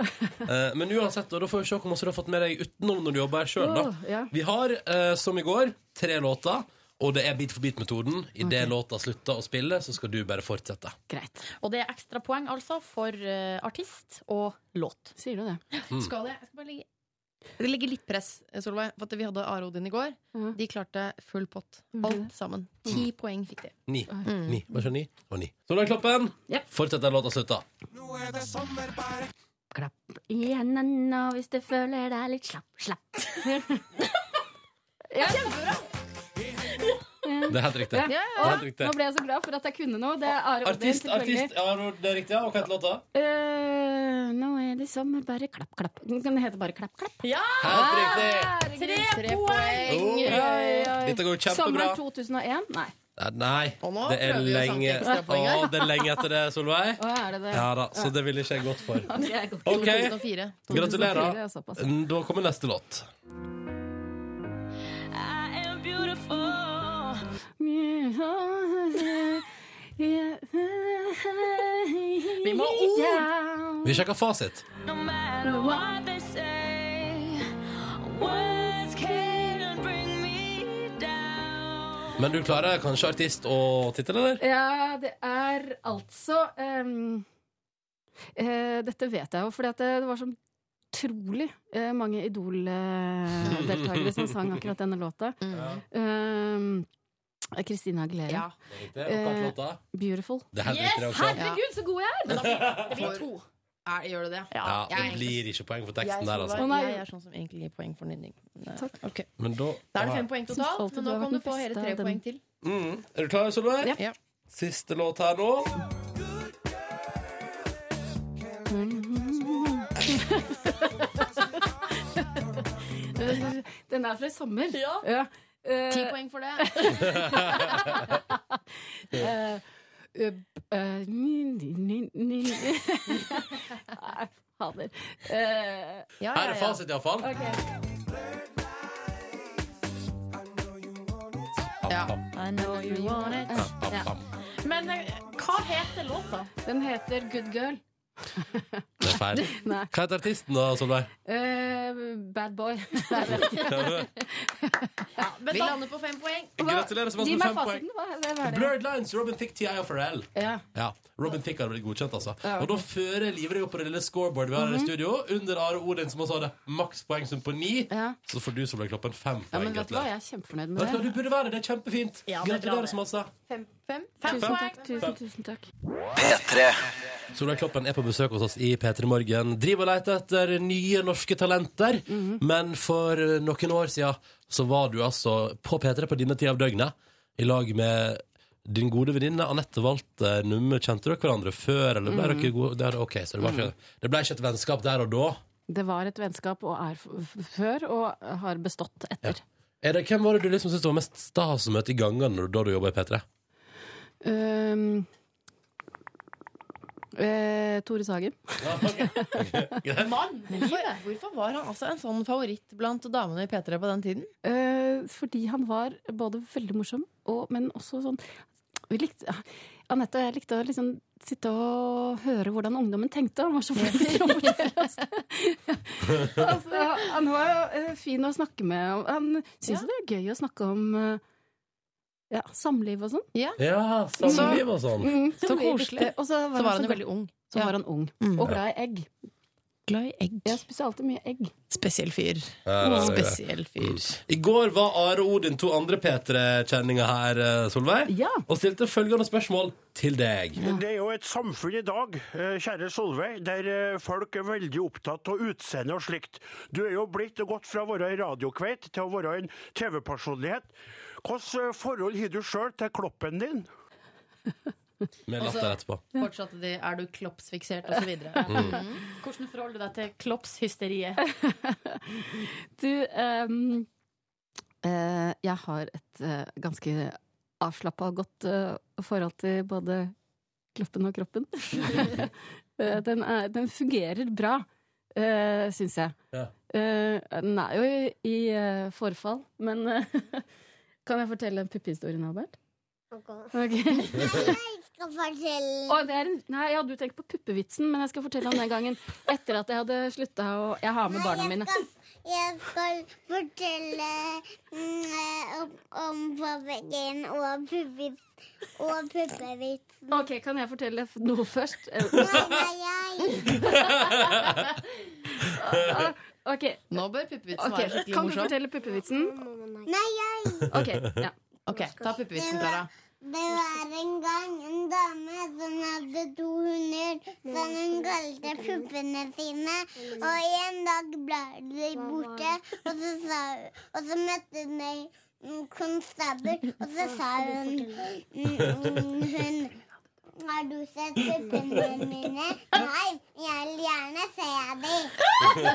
A: Eh, Men uansett, da, da får vi se hvor mye du har fått med deg utenom når du jobber her sjøl, da.
F: Åh, ja.
A: Vi har, eh, som i går, tre låter, og det er Beat for beat-metoden. Idet låta slutter å spille, så skal du bare fortsette.
F: Greit.
B: Og det er ekstra poeng altså for eh, artist og låt.
F: Sier du det?
A: Mm.
C: Skal jeg? Jeg skal bare legge det ligger litt press, Solveig. For at vi hadde Are Odin i går. De klarte full pott. Alt sammen. Ti poeng fikk de.
A: Mm.
C: Mm.
A: Ni. Ni. Hva skjer ni? Og ni. Solveig Kloppen,
F: Yep.
A: fortsett der låta slutter.
M: I hendene hvis du føler deg litt slapp, slapp.
F: (laughs)
M: ja.
F: Kjempebra!
A: Det er helt riktig.
F: Ja.
A: Det er helt riktig.
F: Nå ble jeg så glad for at jeg kunne noe. Det er Are Odin,
A: Artist,
F: selvfølgelig.
A: artist. Ja, det er riktig. ja. Og hva heter låta?
F: Eh, nå er det sommer, bare klapp, klapp. Den heter bare Klapp, klapp.
B: Ja!
A: Helt riktig.
F: Tre
C: Tre
F: poeng!
A: poeng.
F: Oi, oi, oi.
A: Dette går jo
F: Sommeren
A: kjempebra.
F: 2001? Nei.
A: Eh, Nei,
F: nå
A: det er
F: prøver vi å sanke
A: lenge
F: ekstrapoeng her.
A: Å, det er lenge etter det,
C: (laughs)
A: Solveig.
F: Å, er det det?
A: Ja da, Så det ville ikke jeg gått for. Ok.
C: 2004.
A: Gratulerer.
C: altså,
A: Mm,
F: såpass.
A: Da kommer neste låt.
F: Vi
B: må
F: ord!
A: Vi sjekker fasit. Men du klarer kanskje artist og tittel, eller?
F: Ja, det er altså ehm, eh, Dette vet jeg jo, for det, det var så utrolig eh, mange Idol-deltakere som sang akkurat denne låta. Ehm, Christina Aguilera.
A: Ja. Det er riktig. Og hva er låta?
F: Eh, Beautiful.
A: Det er helt Yes! riktig, det også.
F: Herregud, så god jeg er!
C: Er, gjør det det?
A: Ja,
C: Jeg er
A: det blir ikke poeng for teksten
C: jeg, Solveig,
A: der, altså.
C: Jeg er sånn som egentlig gir poeng for nynning. Nei, ok.
A: Men da
C: Da er det fem poeng
F: Syns
C: totalt,
F: alltid
C: men
F: du
C: nå
F: har vært
C: kan du
F: den
C: få hele
F: beste
C: tre
F: av dem.
C: poeng til.
A: Mm. Er du klar, Solveig?
C: Ja.
A: Siste låt her nå.
F: (laughs) Den er fra i sommer. Ja. Eh,
C: Ti poeng for det.
F: (laughs) Eh, eh, eh, ni, ni, ni, ni. (laughs) Nei, Fader. Eh,
A: Her er fasit, iallfall.
F: Ok.
A: Ja.
C: Nei,
N: know you want it.
A: Ja.
B: Men eh, hva heter låta?
N: Den heter Good Girl.
A: Det er feil.
N: Nei.
A: Hva heter artisten, da, Solveig?
N: Eh, bad boy.
C: (laughs)
A: (laughs)
B: men
N: Vi
B: da-
N: lander på fem poeng.
A: Gratulerer så masse
N: Gi
A: med
N: meg
A: fem poeng.
N: fasiten, hva hva er det?
A: Blurred Lines, Robin Thicke, T.I. og Pharrell.
N: Ja.
A: Ja, Robin Thicke hadde blitt godkjent, altså.
N: Ja, ok.
A: Og da fører livet deg opp på det lille scoreboard vi har her i
N: Mhm.
A: studio. Under Are Odin, som også hadde makspoengsum på ni. Så får du som ble kloppen fem
F: Ja, men vet
A: poeng.
F: du hva,
A: gratulerer.
F: jeg er kjempefornøyd med
A: Vet du hva,
F: det.
A: du burde være det. Det er kjempefint. Gratulerer så masse.
F: Fem,
A: Fem
F: Tusen
A: poeng.
F: takk. Tusen, tusen takk.
A: P3. Solveig Kloppen er på besøk hos oss i P3 Morgen. Driver og leter etter nye norske talenter. Men for noen år siden så var du altså på P3 på denne tida av døgnet i lag med din gode venninne Anette Walter Numme. Kjente dere hverandre før, eller ble
F: Mhm.
A: dere gode der? Ok, så det, var ikke, det ble ikke et vennskap der og da.
F: Det var et vennskap og er f f før, og har bestått etter.
A: Er det, hvem var det du liksom syntes det var mest stas å møte i gangene når- da du jobba i P3?
F: Ehm, eh, Tore Sagen. (laughs)
A: Mann!
C: Hvorfor, hvorfor var han altså en sånn favoritt blant damene i P3 på den tiden?
F: Eh, fordi han var både veldig morsom, og, men også sånn vi likte, ja, Anette og jeg likte å liksom sitte og høre hvordan ungdommen tenkte. Han var
A: (laughs)
F: så flink til å fortelle oss det. altså, han var jo eh, fin å snakke med. og Han syntes det var gøy å snakke om eh, ja, samliv og sånn.
A: Ja, samliv og sånn.
F: Mm,
C: Så
F: som vi
C: koselig.
F: likte. Og så var,
C: Så var han
F: så
C: jo
F: glad-
C: veldig ung.
F: Så var han ung.
C: Mm.
F: Og glad i egg.
C: Glad i egg.
F: Jeg spiser alltid mye egg.
C: Spesiell fyr.
A: Ja, det er det.
C: Spesiell fyr.
A: Eh, mm. I går var Are Odin to andre P3-kjenninger her, eh, Solveig, og stilte følgende spørsmål til deg.
O: Det er jo et samfunn i dag, eh, kjære Solveig, der eh, folk er veldig opptatt av utseende og slikt. Du er jo blitt og gått fra å være en radiokveit til å være en TV-personlighet. Hvilke eh, forhold har du sjøl til kloppen din?
A: Med
C: Og så
B: Altså,
A: latter etterpå.
C: Fortsatte de 'er du kloppsfiksert' og så videre.
A: Mm.
B: Hvordan forholder du deg til kloppshysteriet?
F: Du, ehm, eh, jeg har et eh, ganske avslappa og godt eh, forhold til både kloppen og kroppen. (laughs) Eh, den, er, den fungerer bra, uh, syns jeg.
A: Ja.
F: Eh, den er jo i, i eh, forfall, men eh, (laughs) Kan jeg fortelle en puppehistorien, Albert? Ok. Å, det er en, nei, ja, du tenker på puppevitsen, men jeg skal fortelle om den gangen etter at jeg hadde slutta å Jeg har med barna mine.
P: Jeg skal fortelle mm, om, om pappegøyen og puppevits- og puppevitsen.
F: Ok, kan jeg fortelle f- noe først? Ah, ok.
C: Nå bør puppevitsen
F: Ok,
C: være skikkelig
F: Kan du
C: morsom.
F: fortelle puppevitsen?
P: Nei, jeg!
F: Ok, ja.
C: Mm. Ok, ta puppevitsen, Klara.
P: Det var en gang en dame som hadde to hunder som hun kalte puppene sine. Og en dag ble de borte, og så, sa, og så møtte hun ei mm, konstabel, og så sa hun, mm, hun har du sett puppene mine? Nei, jeg vil gjerne se dem.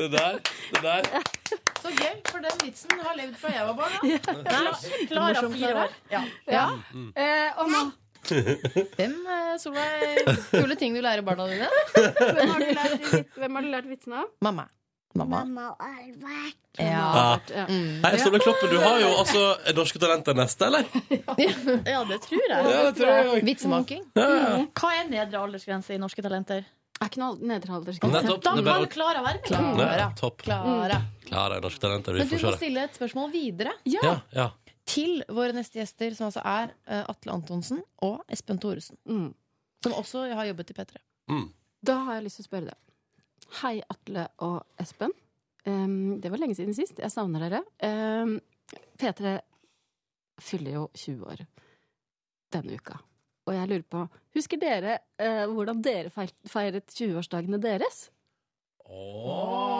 A: Det der, det der.
C: Så gøy, for den vitsen har levd fra jeg var barn. da.
A: Nei,
B: Klara,
C: Morsom,
B: fire
C: Klara.
B: år.
C: Ja.
F: (laughs)
A: Mm.
F: Eh, og nå-
C: Hvem, eh, Solveig? Kule ting du lærer barna dine?
F: (laughs) Hvem har du lært, vit- hvem har du lært vitsen av?
C: Mamma. Mamma.
P: og Albert.
A: Ja. Mm.
B: mm.
A: Hei, Solveig Kloppen, du har jo altså Norske Talenter neste,
C: (laughs)
A: eller?
B: Ja, det tror jeg.
A: Ja, det tror jeg også.
C: Vitsemaking.
A: Ja.
B: Mm. Hva er nedre aldersgrense i Norske Talenter?
F: Er ikke noe nedre
A: Mm. Nettopp,
B: Da kan
A: det er bare å- Mm.
B: Klara være med.
A: Ja, topp.
C: Klara.
A: Klara i Norske Talenter, vi
C: Men du
A: får
C: må
A: se det.
C: stille et spørsmål videre.
A: Ja, ja.
C: Til våre neste gjester, som altså er eh, Atle Antonsen og Espen Thoresen. Som også har jobbet i P3.
A: Mm.
F: Da har jeg lyst til å spørre deg. Hei, Atle og Espen. Em, det var lenge siden sist. Jeg savner dere. Em, P3 fyller jo 20 år denne uka. Og jeg lurer på Husker dere eh, hvordan dere feil- feiret 20-årsdagene deres?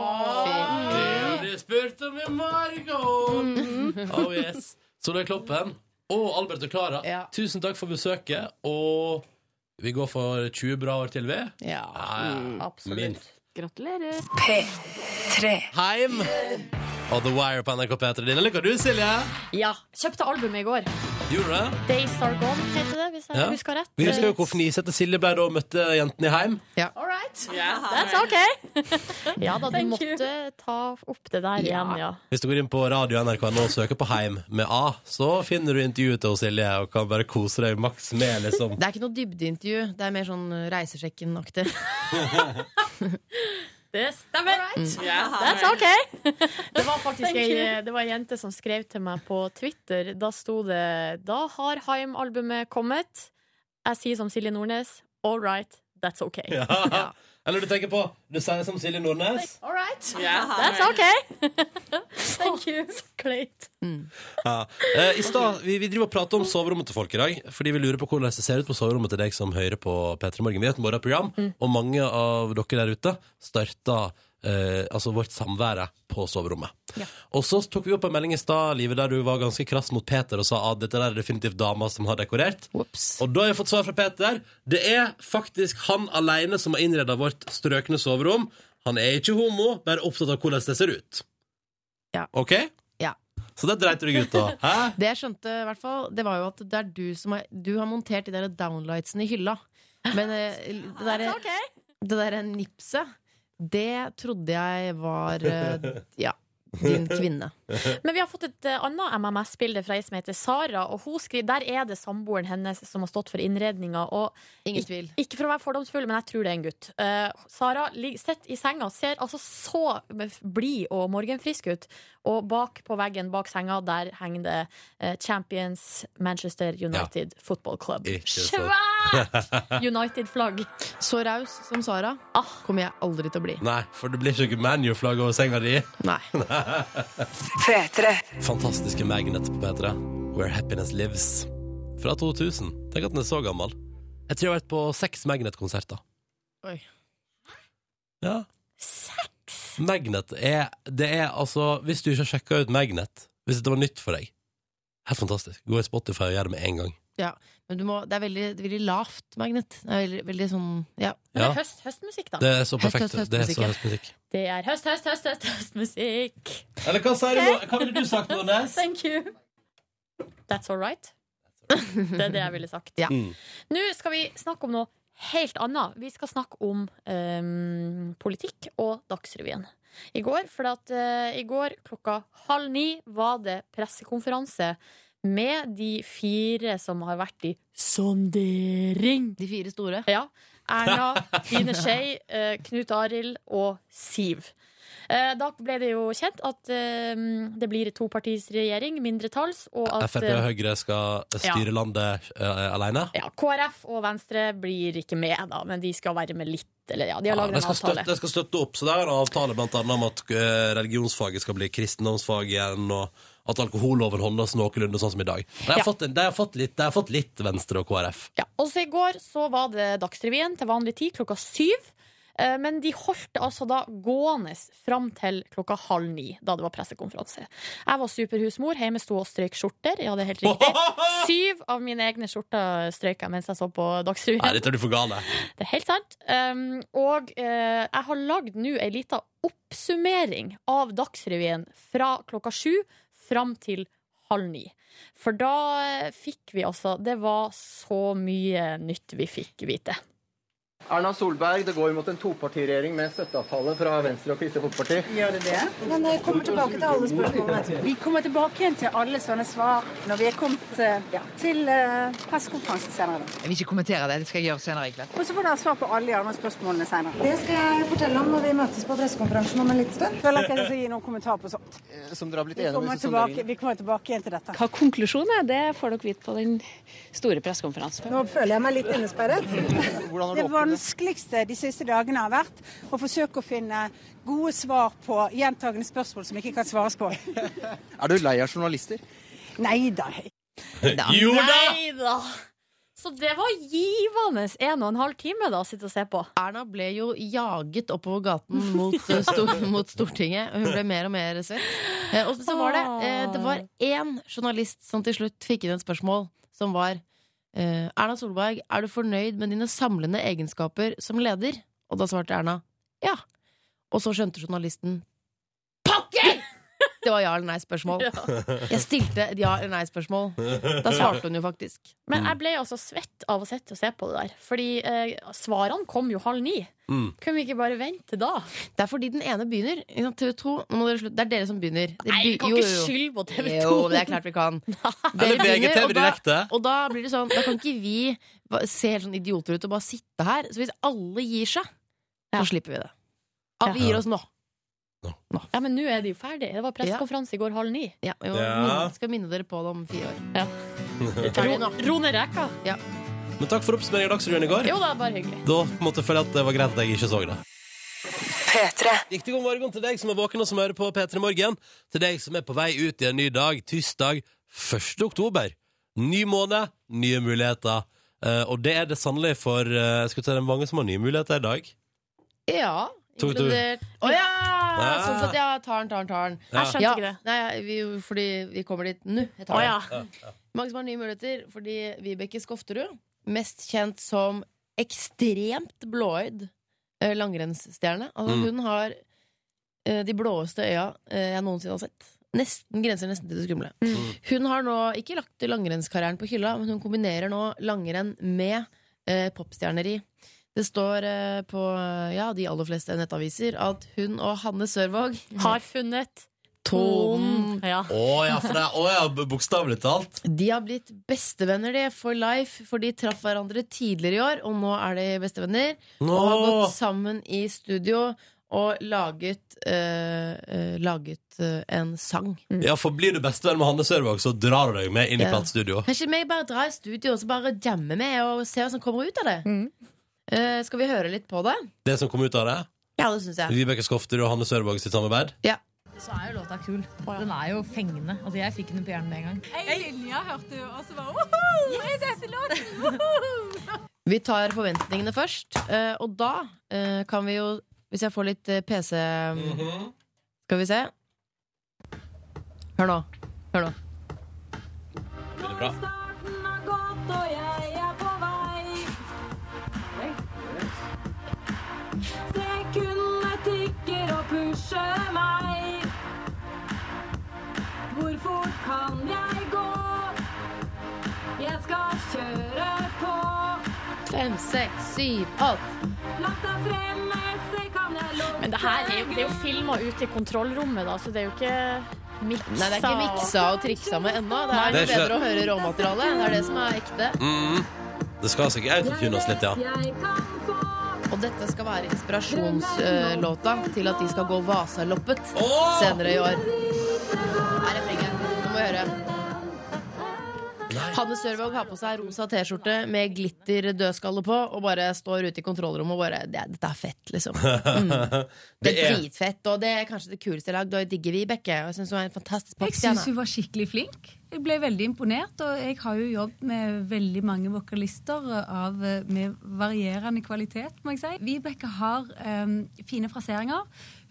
A: Det blir spurt om i
C: Mm. (laughs)
A: morgen! Oh yes. Solveig Kloppen og Albert og Klara, tusen takk for besøket. Og vi går for 20 bra år til, vi.
C: Ja,
A: absolutt. Minst.
F: Gratulerer.
A: Heim og The Wire på NRK P3. Din lykke du, Silje.
B: Ja. Kjøpte albumet i går.
A: Gjorde du det?
B: Days Are Gone heter det, hvis jeg
A: Ja.
B: husker rett.
A: Vi husker jo hvor fnisete Silje ble da hun møtte jentene i heim.
B: All right. That's OK. (laughs) ja da, du måtte ta opp det der igjen, ja.
A: Hvis du går inn på radio NRK nå og søker på Heim med A, så finner du intervjuet til Silje og kan bare kose deg maks med, liksom.
C: Det er ikke noe dybdeintervju. Det er mer sånn eh,
A: (laughs)
C: (laughs) Reisesjekken-aktig.
B: Det stemmer.
C: Mm.
B: That's OK. Det var faktisk
C: Thank
B: ei,
C: you.
B: det var ei jente som skrev til meg på Twitter. Da sto det Da har Haim-albumet kommet. Jeg sier som Silje Nordnes. All right, that's OK.
A: Ja. Eller du tenker på Du sier som Silje Nordnes.
B: All right,
A: Ja.
B: that's OK.
C: (laughs)
B: Thank you. (laughs) Så kleint.
A: Ja. Eh, I stad, vi, vi driver og prater om soverommet til folk i dag, fordi vi lurer på hvordan det ser ut på soverommet til deg som hører på P3 Morgen. Vi er et morgenprogram,
C: Mm.
A: og mange av dere der ute starter eh, altså vårt samvære på soverommet. Og så tok vi opp en melding i stad, Live, der du var ganske krass mot Peter og sa at dette der er definitivt dama som har dekorert. Og da har jeg fått svar fra Peter. Det er faktisk han aleine som har innreda vårt strøkne soverom. Han er ikke homo, bare opptatt av hvordan det ser ut. OK?
C: Ja.
A: Så det dreit du deg
C: (laughs)
A: ut, da. Hæ?
C: Det jeg skjønte, i hvert fall, det var jo at det er du som har, du har montert de der downlightsene i hylla. Men eh, det derre det der nipset, det trodde jeg var eh,
A: (laughs)
C: ja, din kvinne.
B: Men vi har fått et eh, annet MMS-bilde fra ei som heter Sara. Og hun skriver, Der er det samboeren hennes som har stått for innredninga. Og
C: Ingen tvil.
B: Ik ikke for å være fordomsfull, men jeg tror det er en gutt. Eh, Sara lig- sitter i senga, ser altså så blid og morgenfrisk ut. Og bak på veggen bak senga der henger det eh, Champions Manchester United Football Club. Svært (laughs) United-flagg.
C: Så raus som Sara kommer jeg aldri til å bli.
A: (laughs) Nei, for det blir ikke ManU-flagg over senga di.
C: Nei.
A: (laughs) Fantastiske Magnet på P3. Where Happiness Lives. Fra 2000. Tenk at den er så gammel. Jeg tror jeg har vært på seks Magnet-konserter.
C: Oi.
A: Ja. Seks? Magnet er Det er altså Hvis du ikke har sjekka ut Magnet, hvis det var nytt for deg Helt fantastisk. Gå i Spotify og gjør det med en gang.
C: Ja, men du må, det er veldig, veldig lavt magnet. Det er veldig, veldig sånn, ja.
A: Men det er Ja.
B: høst, høstmusikk, da.
A: Det er så perfekt.
C: Høst, høst,
A: det er
C: høstmusikk,
A: så
C: ja.
A: høstmusikk.
B: Det er høst, høst, høst, høst, høstmusikk.
A: Eller hva sier du nå? Hva ville du sagt, Nordnes?
B: Thank you. That's all
A: (laughs)
B: right. Det er det jeg ville sagt.
A: Mm.
B: Nå skal vi snakke om noe helt annet. Vi skal snakke om ehm, politikk og Dagsrevyen. I går, for at, eh, i går klokka halv ni var det pressekonferanse med de fire som har vært i sondering.
C: De fire store?
B: Ja. Erna, Trine Skei, eh, Knut Arild og Siv. Eh, Da ble det jo kjent at eh, det blir topartisregjering, mindretalls, og at eh,
A: Frp og Høyre skal styre
B: Ja.
A: landet uh, aleine?
B: ja, KrF og Venstre blir ikke med, da, men de skal være med litt. Eller ja, de har laget
A: de
B: en
A: skal
B: avtale.
A: Støtte, de skal støtte opp, så det er en avtale blant annet om at eh, religionsfaget skal bli kristendomsfag igjen, og at alkoholloven holdes noenlunde sånn som i dag. De har,
B: Ja.
A: fått, en- de har, fått, litt, de har fått litt Venstre og KrF.
B: Ja, og så I går så var det Dagsrevyen til vanlig tid klokka syv. Eh, Men de holdt altså da gående fram til klokka halv ni, da det var pressekonferanse. Jeg var superhusmor, hjemme sto og strøyk skjorter. Ja, det er helt
A: (laughs)
B: riktig. Syv av mine egne skjorter strøyk jeg mens jeg så på Dagsrevyen.
A: Nei, dette er du for gale.
B: Det er helt sant. Um, og eh, jeg har lagd nå ei lita oppsummering av Dagsrevyen fra klokka sju fram til halv ni. For da eh, fikk vi altså Det var så mye nytt vi fikk vite.
Q: Erna Solberg, det går mot en topartiregjering med støtteavtale fra Venstre og Kristelig Folkeparti.
I: Gjør det det? Men jeg kommer tilbake til alle spørsmålene. Vi kommer tilbake igjen til alle sånne svar når vi er kommet eh, ja, til eh, pressekonferansen senere.
R: Jeg vil ikke kommentere det. Det skal jeg gjøre senere i kveld.
I: Og så får dere svar på alle de andre spørsmålene senere.
R: Det skal jeg fortelle om når vi møtes på pressekonferansen om en liten stund.
I: Føler ikke jeg skal gi noen kommentar på sånt.
Q: Som dere har blitt
I: Vi
Q: enige om
I: kommer
Q: i sonderingen.
I: tilbake, vi kommer tilbake igjen til dette.
R: Hva konklusjonen er, det får dere vite på den store pressekonferansen. Nå føler jeg meg litt innesperret.
Q: Hvordan har
I: Det
Q: du opplevd det?
I: vanskeligste de siste dagene har vært å forsøke å finne gode svar på gjentagende spørsmål som ikke kan svares på.
Q: Er du lei av
O: (laughs)
Q: journalister?
I: Nei da.
Q: Jo
B: Nei da! Så det var givende en og en halv time da, å sitte og se på.
C: Erna ble jo jaget oppover gaten mot, eh, stor, mot Stortinget. Hun ble mer og mer svett. Eh, Og så var det, eh, det var én journalist som til slutt fikk inn et spørsmål som var eh, Erna Solberg, er du fornøyd med dine samlende egenskaper som leder? Og da svarte Erna ja. Og så skjønte journalisten Det var ja eller
B: (laughs)
C: nei-spørsmål. Jeg stilte et ja eller nei-spørsmål. Da svarte hun jo faktisk.
B: Men jeg ble altså svett av å sitte og se på det der. Fordi eh, svarene kom jo halv ni.
C: Mm.
B: Kunne vi ikke bare vente da?
C: Det er fordi den ene begynner. Ikke sant? TV 2, nå må dere slutte. Det er dere som begynner. Det
B: Nei, vi
C: be-
B: kan
C: jo,
B: ikke
C: jo.
B: skylde på TV 2.
C: Jo, det er klart vi
B: (laughs)
C: kan.
A: Eller VGTV
C: og da,
A: direkte.
C: og da blir det sånn Da kan ikke vi ba- se helt sånn idioter ut og bare sitte her. Så hvis alle gir seg, så slipper vi det. Ja, vi gir oss nå.
B: Ja, Men nå er de jo ferdige. Det var pressekonferanse i går halv ni.
C: Ja, jo,
A: Ja.
C: Minne, skal minne dere på det om fire år.
A: (laughs)
B: Ro, ro ned reka.
C: Ja.
A: Men takk for oppsummeringen av Dagsrevyen i går.
B: Jo da, bare hyggelig.
A: Da måtte jeg føle at det var greit at jeg ikke så det. Riktig god morgen til deg som er våken og som hører på P3 Morgen. Til deg som er på vei ut i en ny dag, tirsdag 1. oktober. Ny måned, nye muligheter. Eh, og det er det sannelig for eh, skal vi si, det er mange som har nye muligheter i dag.
C: Ja.
A: Tok du-
C: Inkludert Å ja!
A: Ja.
C: Sånn sett, ja. Tar den, tar den, tar den.
A: Jeg skjønte
C: ja.
A: ikke det.
C: Nei, vi, fordi vi kommer dit nå. Jeg tar
A: Å,
C: den.
A: ja. Ja, ja.
C: Mange som har nye muligheter fordi Vibeke Skofterud, mest kjent som ekstremt blåøyd eh, langrennsstjerne Altså,
L: Mm.
C: Hun har eh, de blåeste øya eh, jeg noensinne har sett. Nesten grenser nesten til det skumle. Hun har nå ikke lagt langrennskarrieren på hylla, men hun kombinerer nå langrenn med eh, popstjerneri. Det står eh, på ja, de aller fleste nettaviser at hun og Hanne Sørvåg
B: Har funnet
C: tonen.
B: Ja.
A: Å ja, for det er å, ja, b- bokstavelig talt.
C: De har blitt bestevenner de for life, for de traff hverandre tidligere i år, og nå er de bestevenner.
A: Nå!
C: Og har gått sammen i studio og laget, eh, eh, laget eh, en sang.
A: Ja, for blir du bestevenn med Hanne Sørvåg, så drar du deg med inn i
C: Ja.
A: platestudio.
C: Kan ikke vi bare dra i studio og så bare jamme med og se hva som kommer ut av det? Eh, skal vi høre litt på det?
A: Det som kom ut av det.
C: Ja, det syns jeg.
A: Vibeke Skofterud og Hanne Sørvåg sitt samarbeid.
S: Så er jo låta kul. Den er jo fengende. Altså, jeg fikk den på hjernen med en gang.
L: Ei linje hørte du, og så bare woho! Yes! Dette låten! Woho!
C: Vi tar forventningene først, eh, og da eh, kan vi jo Hvis jeg får litt eh, PC
A: Mhm.
C: Skal vi se. Hør nå. Hør nå.
A: Veldig bra.
L: Sekundene tikker og pusher meg. Hvor fort kan jeg gå? Jeg skal kjøre på.
C: Fem, seks, syv, åtte.
L: Langt der fremme et sted kan jeg lukte
B: Men det her er jo, det er jo filma ute i kontrollrommet, da, så det er jo ikke miksa.
C: Nei, det er ikke miksa og triksa med ennå. Det
A: Nei,
C: er
A: det er
C: jo bedre
A: ikke-
C: å høre råmaterialet. Det er det som er ekte.
A: Mm. Det skal sikkert autotunes litt, ja.
C: Og dette skal være inspirasjonslåta til at de skal gå Vasaloppet senere i år. Her er refrenget. Nå må vi høre. Hanne Sørvåg har på seg rosa T-skjorte med glitter-dødskalle på og bare står ute i kontrollrommet og bare det, 'Dette er fett', liksom. (laughs) Det er dritfett, og det er kanskje det kuleste jeg har lagd, og jeg digger Vibeke. Og jeg syns hun er en fantastisk
S: Jeg syns hun
C: popstjerne.
S: var skikkelig flink. Jeg ble veldig imponert, og jeg har jo jobbet med veldig mange vokalister av, med varierende kvalitet, må jeg si. Vibeke har em, fine fraseringer,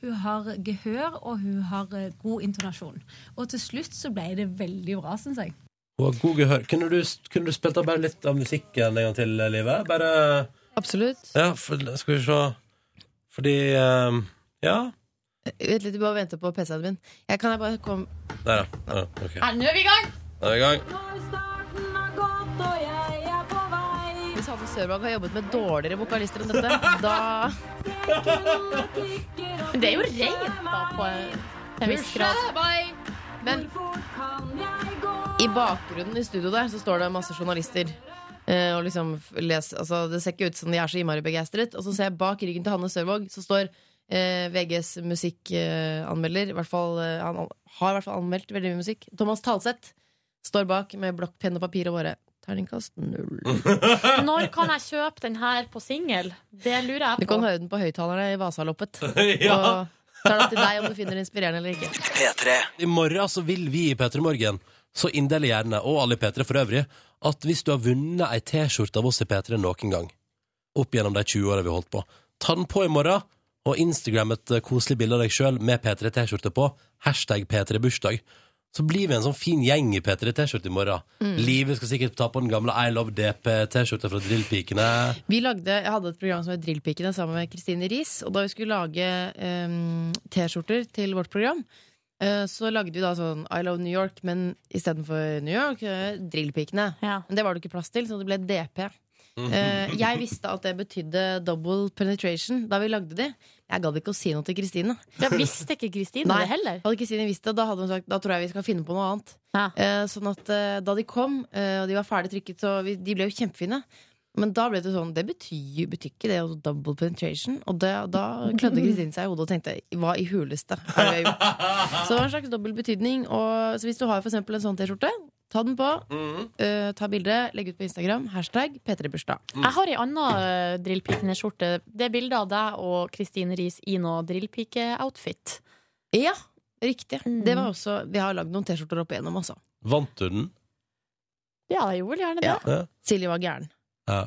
S: hun har gehør, og hun har eh, god intonasjon. Og til slutt så ble det veldig bra, syns jeg.
A: Hun har god gehør. Kunne du, kunne du spilt av bare litt av musikken en gang til, Live? Bare
C: Absolutt.
A: Ja, for, skal vi se Fordi ehm, Ja.
C: Eh, Vent litt, vi bare venter på PC-en min. Jeg kan jeg bare komme
A: Der, ja. ja. Ok.
C: Nå er vi i gang!
A: Da er vi i gang.
C: Hvis Hanne Sørvang har jobbet med dårligere vokalister enn dette, da
A: Mm.
B: Men det er jo rent, da, på en- til en viss grad.
C: Men i bakgrunnen i studio der så står det masse journalister. eh, Og liksom f- les, altså Det ser ikke ut som de er så innmari begeistret. Og så ser jeg bak ryggen til Hanne Sørvåg, så står eh, VGs musikkanmelder, i hvert fall eh, han an- har i hvert fall anmeldt veldig mye musikk, Thomas Talseth, står bak med blokk, penn og papir og bare terningkast null.
B: Når kan jeg kjøpe den her på singel? Det lurer jeg på.
C: Du kan høre den på høyttalerne i Vasaloppet.
A: Ja.
C: Og så er det opp til deg om du finner det inspirerende eller ikke.
A: I morgen så vil vi i P3 Morgen så inderlig gjerne, og alle i P3 for øvrig, at hvis du har vunnet ei T-skjorte av oss i P3 noen gang, opp gjennom de 20 åra vi har holdt på, ta den på i morgen, og Instagram et eh, koselig bilde av deg sjøl med P3T-skjorte på, hashtag P3bursdag. Så blir vi en sånn fin gjeng i P3T-skjorte i morgen.
C: Mm.
A: Live skal sikkert ta på den gamle I Love DP-T-skjorta fra Drillpikene.
C: Vi lagde, jeg hadde et program som het Drillpikene sammen med Kristine Riis. Og da vi skulle lage em, T-skjorter til ehm, vårt program, Eh, Så lagde vi da sånn I Love New York, men istedenfor New York, eh, Drillpikene. Men det var det ikke plass til, så det ble DP. Eh, Jeg visste at det betydde double penetration da vi lagde de. Jeg gadd ikke å si noe til Kristine.
T: Ja, visste ikke Kristine
C: Nei,
T: det heller?
C: Hadde Kristine visst det, da hadde hun sagt Da tror jeg vi skal finne på noe annet. Eh, Sånn at eh, da de kom, eh, og de var ferdig trykket, så vi, de ble jo kjempefine. Men da ble det sånn Det betyr, betyr ikke det, altså double penetration. Og det, da klødde Kristine seg i hodet og tenkte hva i huleste har jeg gjort? Så det var en slags dobbel betydning. Og, så hvis du har for eksempel en sånn T-skjorte, ta den på. eh, ta bilde, legg ut på Instagram. Hashtag P3bursdag.
B: Mm.
T: Jeg har ei anna eh, drillpikene-skjorte. Det er bilde av deg og Kristine Riis i noe drillpike-outfit.
C: Ja, riktig.
B: Mm.
C: Det var også, vi har lagd noen T-skjorter opp igjennom, altså.
A: Vant du den?
T: Ja, jeg gjorde vel gjerne
C: Ja.
A: Ja.
C: Silje var gæren.
A: Ja.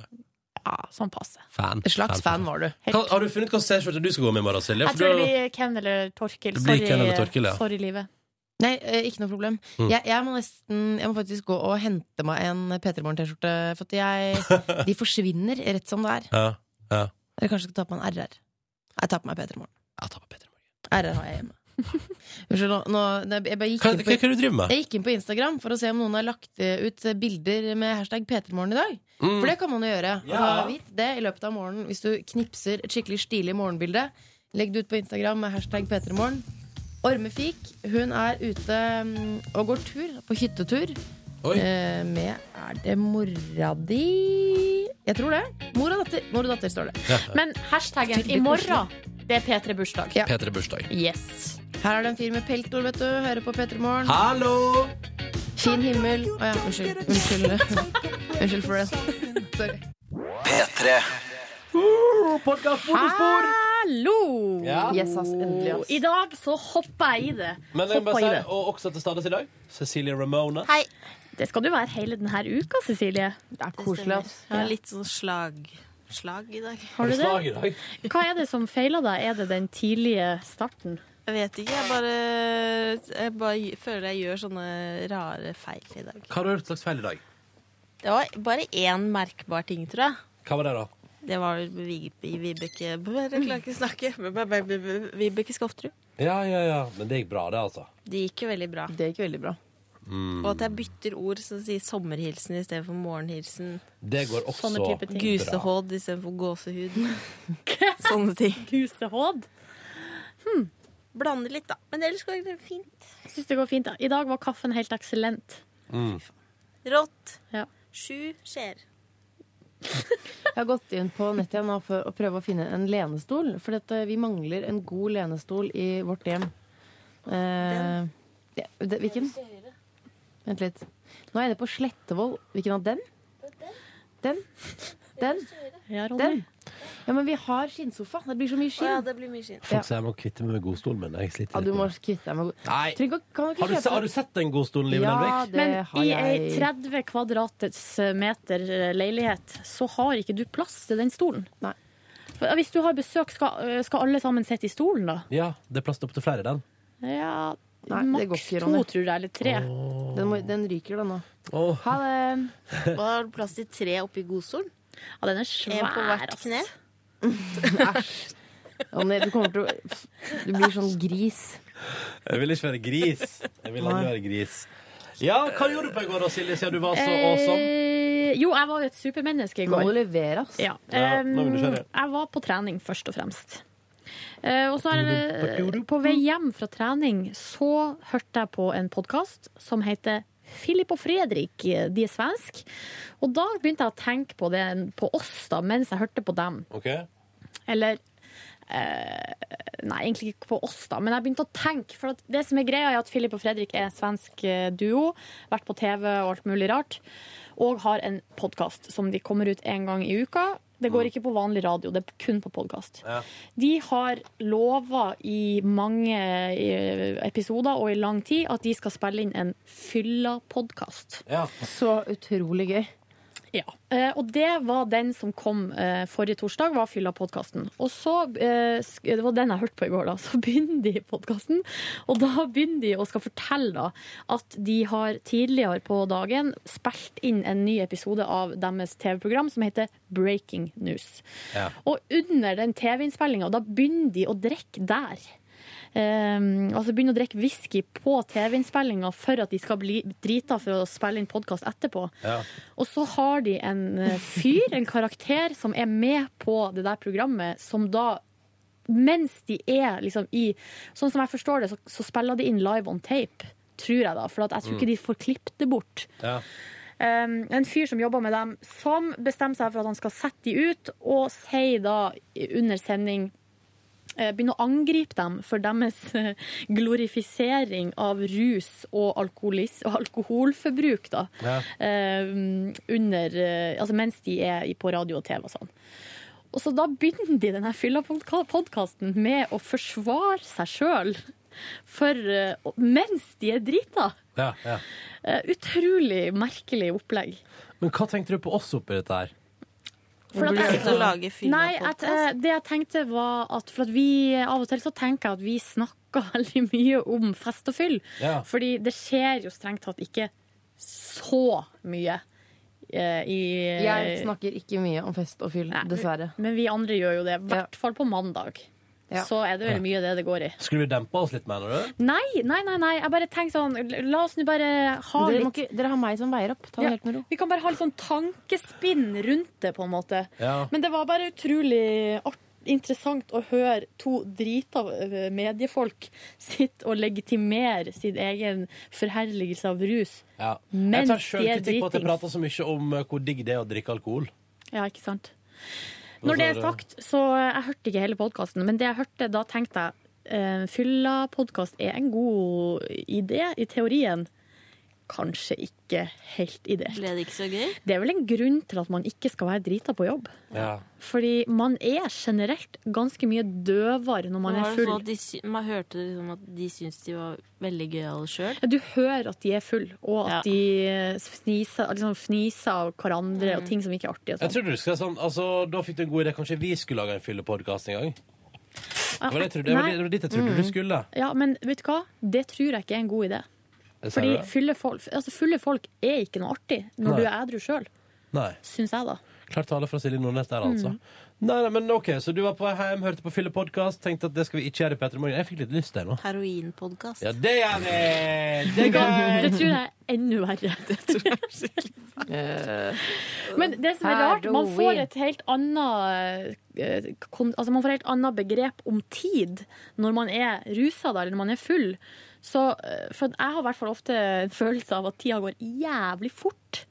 T: Ja, sånn passe.
A: Fan.
C: En slags fan var du.
A: Hva, har du funnet hvilken T-skjorte du skal gå med i morgen, Silje?
T: Jeg
A: For
T: tror det
A: du-
T: blir Ken eller Torkil.
A: Det blir
T: Sorry,
A: Ken eller Torkil, ja.
T: sorry livet.
C: Nei, eh, ikke noe problem.
A: Mm.
C: Jeg, jeg, må nesten, jeg må faktisk gå og hente meg en P3 Morgen-T-skjorte, for at jeg,
A: (laughs)
C: de forsvinner rett som det er.
A: Ja, ja.
C: Eller kanskje skal ta på en RR. Jeg tar på meg P3 Morgen. RR har jeg
A: (laughs)
C: hjemme. Unnskyld, nå, nå det- jeg bare gikk
A: Hva-
C: inn på,
A: hva- hva er det du driver med?
C: Jeg gikk inn på Instagram for å se om noen har lagt eh, ut bilder med hashtag P3morgen i dag.
A: Mm.
C: For det kan man jo gjøre.
A: Ja.
C: Altså, vit det i løpet av morgenen Hvis du knipser et skikkelig stilig morgenbilde, legg det ut på Instagram med hashtag P3morgen. Ormefik hun er ute mm, og går tur, på hyttetur,
A: Oi.
C: eh, med Er det mora di? Jeg tror det. Mor og datter, Mor og datter står det.
A: Ja.
T: Men hashtaggen i morgen, det er P3-bursdag.
A: P3 bursdag.
T: Yes.
C: Her er det en fyr med peltor, vet du. Hører på P3 Morgen.
A: Hallo!
C: Fin himmel. Å ja, unnskyld. Unnskyld, unnskyld for det. Sorry.
U: P3.
B: Hallo!
A: Ja. Yes, ass, endelig, ass.
B: I dag så hopper jeg i det.
A: Men jeg
B: Hopper
A: må bare
B: i
A: si,
B: det.
A: og også til stades i dag, Cecilie Ramona.
B: Hei. Det skal du være hele denne uka, Cecilie. Det er
A: koselig, ass.
B: Ja.
V: Jeg har litt sånn slag, slag i dag.
B: Har du det? Hva er det som feiler deg? Er det den tidlige starten?
V: Jeg vet ikke. Jeg bare, jeg bare føler jeg gjør sånne rare feil i dag.
A: Hva har du gjort slags feil i dag?
V: Det var bare én merkbar ting, tror jeg.
A: Hva var det, da?
V: Det var Vi- Vi- Vibeke Bare klarer ikke å snakke. Vibeke Skofterud.
A: Ja, ja, ja. Men det gikk bra, det, altså.
V: Det gikk jo veldig bra.
C: Det gikk veldig bra.
A: Mm.
V: Og at jeg bytter ord, så sier sommerhilsen istedenfor morgenhilsen.
A: Det går også Sånne type ting.
V: Gusehåd istedenfor gåsehud. (laughs) Sånne ting.
B: Gusehåd?
V: Hmm. Blander litt, da. Men ellers går det fint.
B: Jeg synes det går fint. da. I dag var kaffen helt eksellent.
V: Rått.
B: Ja.
V: Sju skjer.
C: Jeg har gått inn på nettet igjen nå for å prøve å finne en lenestol. For dette, vi mangler en god lenestol i vårt hjem. Eh, ja, det, hvilken? Vent litt. Nå er jeg inne på Slettevold. Hvilken av den? Den? Den?
B: Ja,
C: den? ja, men vi har skinnsofa. Det blir så mye skinn.
V: Ja, det blir mye skinn.
C: Ja.
A: Folk sier jeg må kvitte meg med godstolen, men jeg sliter
C: Ja, du
A: litt
C: må
A: med det.
C: kvitte deg med
A: Nei.
C: Trenger ikke- kan du ikke
A: Har du,
C: kjøpe
A: se- har du sett den godstolen, Liv Nelvik?
B: Men i ei 30 kvadratets eh, meter leilighet, så har ikke du plass til den stolen.
C: Nei.
B: Hvis du har besøk, skal, eh, skal alle sammen sitte i stolen da?
A: Ja, det er plass til opp til flere i den.
B: Ja,
C: Nei, det går
B: maks
C: ikke,
B: to,
C: Ronny.
B: tror jeg, eller tre.
C: Den, må, den ryker, den nå.
A: Åh.
C: Ha
A: (laughs)
C: det.
V: Og da har du plass til tre oppi godstolen.
B: Ja, den er
V: En på
B: svær,
V: hvert
B: ass.
C: (laughs)
V: kne.
C: Ronny, du kommer til å Du blir sånn gris.
A: Jeg vil ikke være gris. Jeg vil aldri
C: Nei.
A: være gris. Ja, hva gjorde du på i går da, Silje, siden du var så awesome?
B: Eh, jo, jeg var jo et supermenneske i
A: Nå
B: går.
A: må du
C: levere, ass.
B: Ja.
A: Ja,
B: Em,
A: nå er vi nysgjerrige.
B: jeg var på trening, først og fremst. Eh, og så er det, på vei hjem fra trening så hørte jeg på en podkast som heter Filip og Fredrik, eh, de er svensk. Og da begynte jeg å tenke på det på oss, da, mens jeg hørte på dem.
A: Ok.
B: Eller eh, Nei, egentlig ikke på oss, da, men jeg begynte å tenke. For at det som er greia, er at Filip og Fredrik er en svensk eh, duo. Vært på TV og alt mulig rart. Og har en podkast som de kommer ut én gang i uka. Det går ikke på vanlig radio, det er kun på podkast. De har lova i mange eh, episoder og i lang tid at de skal spille inn en fylla-podkast.
C: Så utrolig gøy.
B: Ja, eh, og det var den som kom eh, forrige torsdag, var fylla podkasten. Og så, eh, sk- det var den jeg hørte på i går, da, (laughs) så begynner de podkasten. Og da begynner de og skal fortelle da, at de har tidligere på dagen spilt inn en ny episode av deres TV-program som heter Breaking News.
F: Ja.
B: Og under den TV-innspillinga, da begynner de å drikke der. eh, altså begynner å drikke whisky på TV-innspillinga for at de skal bli drita for å spille inn podkast etterpå.
F: Ja.
B: Og så har de en eh, fyr, en karakter, som er med på det der programmet, som da mens de er liksom i Sånn som jeg forstår det, så, så spiller de inn live on tape, tror jeg da. For at jeg tror
F: Mm.
B: ikke de får klippet det bort.
A: Ja.
B: Um, en fyr som jobber med dem, som bestemmer seg for at han skal sette de ut, og sier da under sending eh, Begynner å angripe dem for deres eh, glorifisering av rus og, alkoholis, og alkoholforbruk. da.
F: Ja.
B: Um, under, eh, altså mens de er i- på radio og TV og sånn. Og så da begynner de denne fylla-podkasten med å forsvare seg sjøl eh, mens de er drita.
A: Ja, ja.
B: Eh, Utrolig merkelig opplegg.
A: Men hva tenkte du på oss oppi dette her?
B: For at
A: Burde
B: jeg-
A: du sitte og lage film og
B: sånn? Nei, at, eh, det jeg tenkte var at For at vi av og til så tenker jeg at vi snakker (laughs) veldig mye om fest og fyll.
F: Ja.
B: Fordi det skjer jo strengt tatt ikke så mye eh, i
C: Jeg snakker ikke mye om fest og fyll, dessverre.
B: Men vi andre gjør jo det. I hvert fall på mandag. Så er det
A: Ja.
B: vel mye det det går i.
A: Skulle du dempa oss litt, mener du?
B: Nei, nei, nei, nei. jeg bare tenker sånn La oss nå bare ha
C: Dere må
B: litt Dere har meg som veier opp.
C: Ta det helt med ro.
B: Vi kan bare ha litt sånn tankespinn rundt det, på en måte.
A: Ja.
B: Men det var bare utrolig art interessant å høre to drita eh, mediefolk sitte og legitimere sin egen forherligelse av rus.
A: Ja.
B: Mens
A: Jeg tar
B: de er
A: sjølkritikk på at jeg
B: dritings.
A: prater så mye om eh, hvor digg det er å drikke alkohol. Altså,
B: Ja, ikke sant?
A: Hva
B: Når det
A: sa
B: er
A: du?
B: sagt, så jeg hørte ikke hele podkasten, men det jeg hørte, da tenkte jeg eh, fylla podkast er en god idé i teorien. Kanskje ikke helt ideelt.
V: Ble det ikke så gøy?
B: Det er vel en grunn til at man ikke skal være drita på jobb.
A: Ja.
B: Fordi man er generelt ganske mye døvere når man
V: Men
B: er
V: var det sånn
B: full.
V: at de, sy- man hørte liksom at de syntes de var veldig gøyale sjøl.
B: Ja, Du hører at de er full, og at de eh, fniser, liksom fniser av hverandre
A: Mm.
B: og ting som ikke er artig. Og
A: Jeg
B: sånn.
A: trodde du skulle si sånn, altså, Da fikk du en god idé. Kanskje vi skulle lage en fyllepodkast en gang? Det var det jeg trodde- det var
B: Nei.
A: det- det var dit jeg trodde du
B: Mm.
A: skulle.
B: Ja, men vet du hva? Det tror jeg ikke er en god idé.
A: Jeg ser
B: Fordi
A: det.
B: fulle folk, altså fulle folk er ikke noe artig når
A: Nei.
B: du er edru sjøl,
A: Nei.
B: syns jeg da.
A: Klar tale fra Silje Nordnes der, altså.
B: Mm.
A: Nei, nei, men ok, Så du var på vei hjem, hørte på fyllepodkast, tenkte at det skal vi ikke gjøre i Petter Morgen. Jeg fikk litt lyst der nå.
V: Heroinpodkast.
A: Ja, det gjør vi! Det
B: Det,
A: er
V: (laughs)
A: gøy!
B: tror jeg er enda verre.
C: Eh,
B: Men det som er rart, man får et helt annet eh, kon- altså man får et helt annet begrep om tid når man er rusa da, eller når man er full. Så, eh, for at jeg har i hvert fall ofte en følelse av at tida går jævlig fort.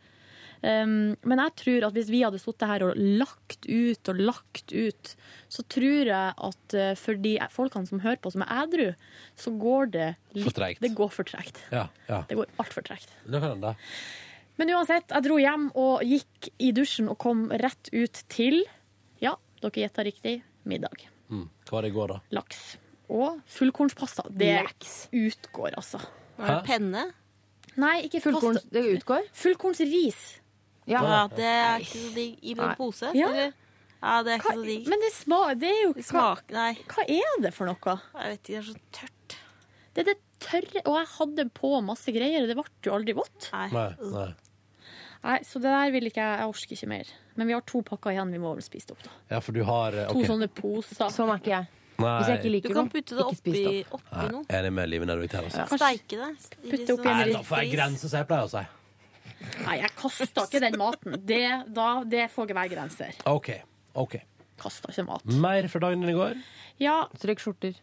B: Um, men jeg tror at hvis vi hadde sittet her og lagt ut og lagt ut, så tror jeg at eh, for de folkene som hører på som er edru, så går det litt
A: For tregt.
B: Det går for tregt.
A: Ja, ja.
B: Det går altfor tregt.
A: Det kan hende.
B: Men uansett, jeg dro hjem og gikk i dusjen og kom rett ut til, ja, dere gjetta riktig, middag.
A: Mm. Hva var det i går, da?
B: Laks. Og fullkornspasta. Det utgår, altså.
V: Var det penne?
B: Nei, ikke
C: Fullkorns-
B: fullkorns... Det utgår? Fullkornsris.
V: Ja, det er ikke så digg. I en
B: Nei.
V: pose?
B: Ja.
V: Eller? Ja, det er ikke så digg.
B: Men det, sma, det er jo
V: Smak, nei.
B: Hva er det for noe?
V: Jeg vet ikke, det er så tørt.
B: Det er det tørre Og jeg hadde på masse greier, og det ble jo aldri vått.
A: Nei, nei.
B: Nei, så det der vil ikke jeg Jeg orker ikke mer. Men vi har to pakker igjen, vi må vel spise det opp, da.
A: Ja, for du har eh,
B: To
A: ok.
B: sånne poser.
C: Sånn er ikke jeg.
A: Nei.
C: Hvis jeg ikke liker
V: Du kan
C: noe,
V: putte det
C: ikke spis
V: oppi,
C: det
V: oppi noe.
A: Enig med Live Nervik her, altså.
V: Steike det. i litt
B: oppi
V: sånn-
A: Nei, da får jeg grense, som jeg pleier å si.
B: Nei, jeg kasta ikke den maten. Det, da, det får ikke være grenser.
A: OK. ok.
B: Kasta ikke mat.
A: Mer fra dagen din i går. (laughs)
B: Ja,
C: Strøk skjorter.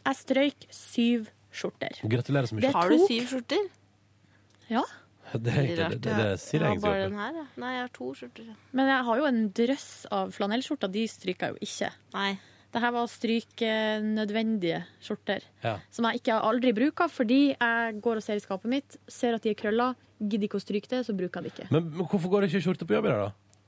B: jeg strøyk syv skjorter.
A: Gratulerer så mye.
B: Det
V: Har du
B: tok-
V: syv skjorter?
B: Ja,
A: Det er egentlig det, det, det sier jeg
V: Jeg har bare den
A: egentlig.
V: her, ja. Nei, jeg har to skjorter. ja.
B: men jeg har jo en drøss av flanellskjorter. De stryker jeg jo ikke.
V: Nei.
B: Dette var å stryke eh, nødvendige skjorter.
A: Ja.
B: Som jeg ikke aldri bruker, fordi jeg går og ser i skapet mitt, ser at de er krølla, gidder ikke å stryke det, så bruker jeg det ikke.
A: Men, men hvorfor går det ikke skjorte på jobb i dag, da?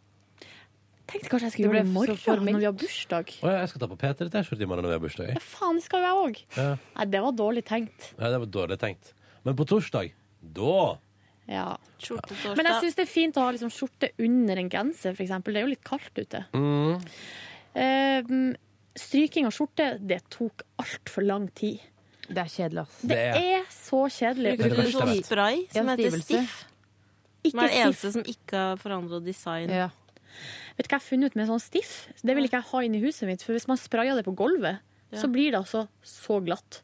B: Tenkte kanskje jeg
C: Det
B: skulle gjøre det i
C: ble så
B: morgen, når vi har bursdag.
A: Å ja, jeg skal ta på Peter til skjorte i morgen når vi har bursdag. jeg.
B: Faen, det skal jo jeg òg.
A: Ja.
B: Nei, det var dårlig tenkt.
A: ja, det var dårlig tenkt. Men på torsdag, da
B: Ja.
V: Skjortetorsdag.
B: Men jeg syns det er fint å ha liksom skjorte under en genser, f.eks. Det er jo litt kaldt ute.
A: mm.
B: Eh, stryking av skjorte, det tok altfor lang tid.
C: Det er kjedelig, ass.
B: Det er så kjedelig.
V: Bruker du sånn spray
B: Ja,
V: som heter
B: stivelse.
V: Stiff? Som
B: Ikke
V: er det eneste
B: stiff.
V: som ikke har forandra design.
B: Vet du hva jeg har funnet ut med sånn stiff? Det vil ikke jeg ha inn i huset mitt, for hvis man sprayer det på gulvet,
V: Ja.
B: så blir det altså så glatt.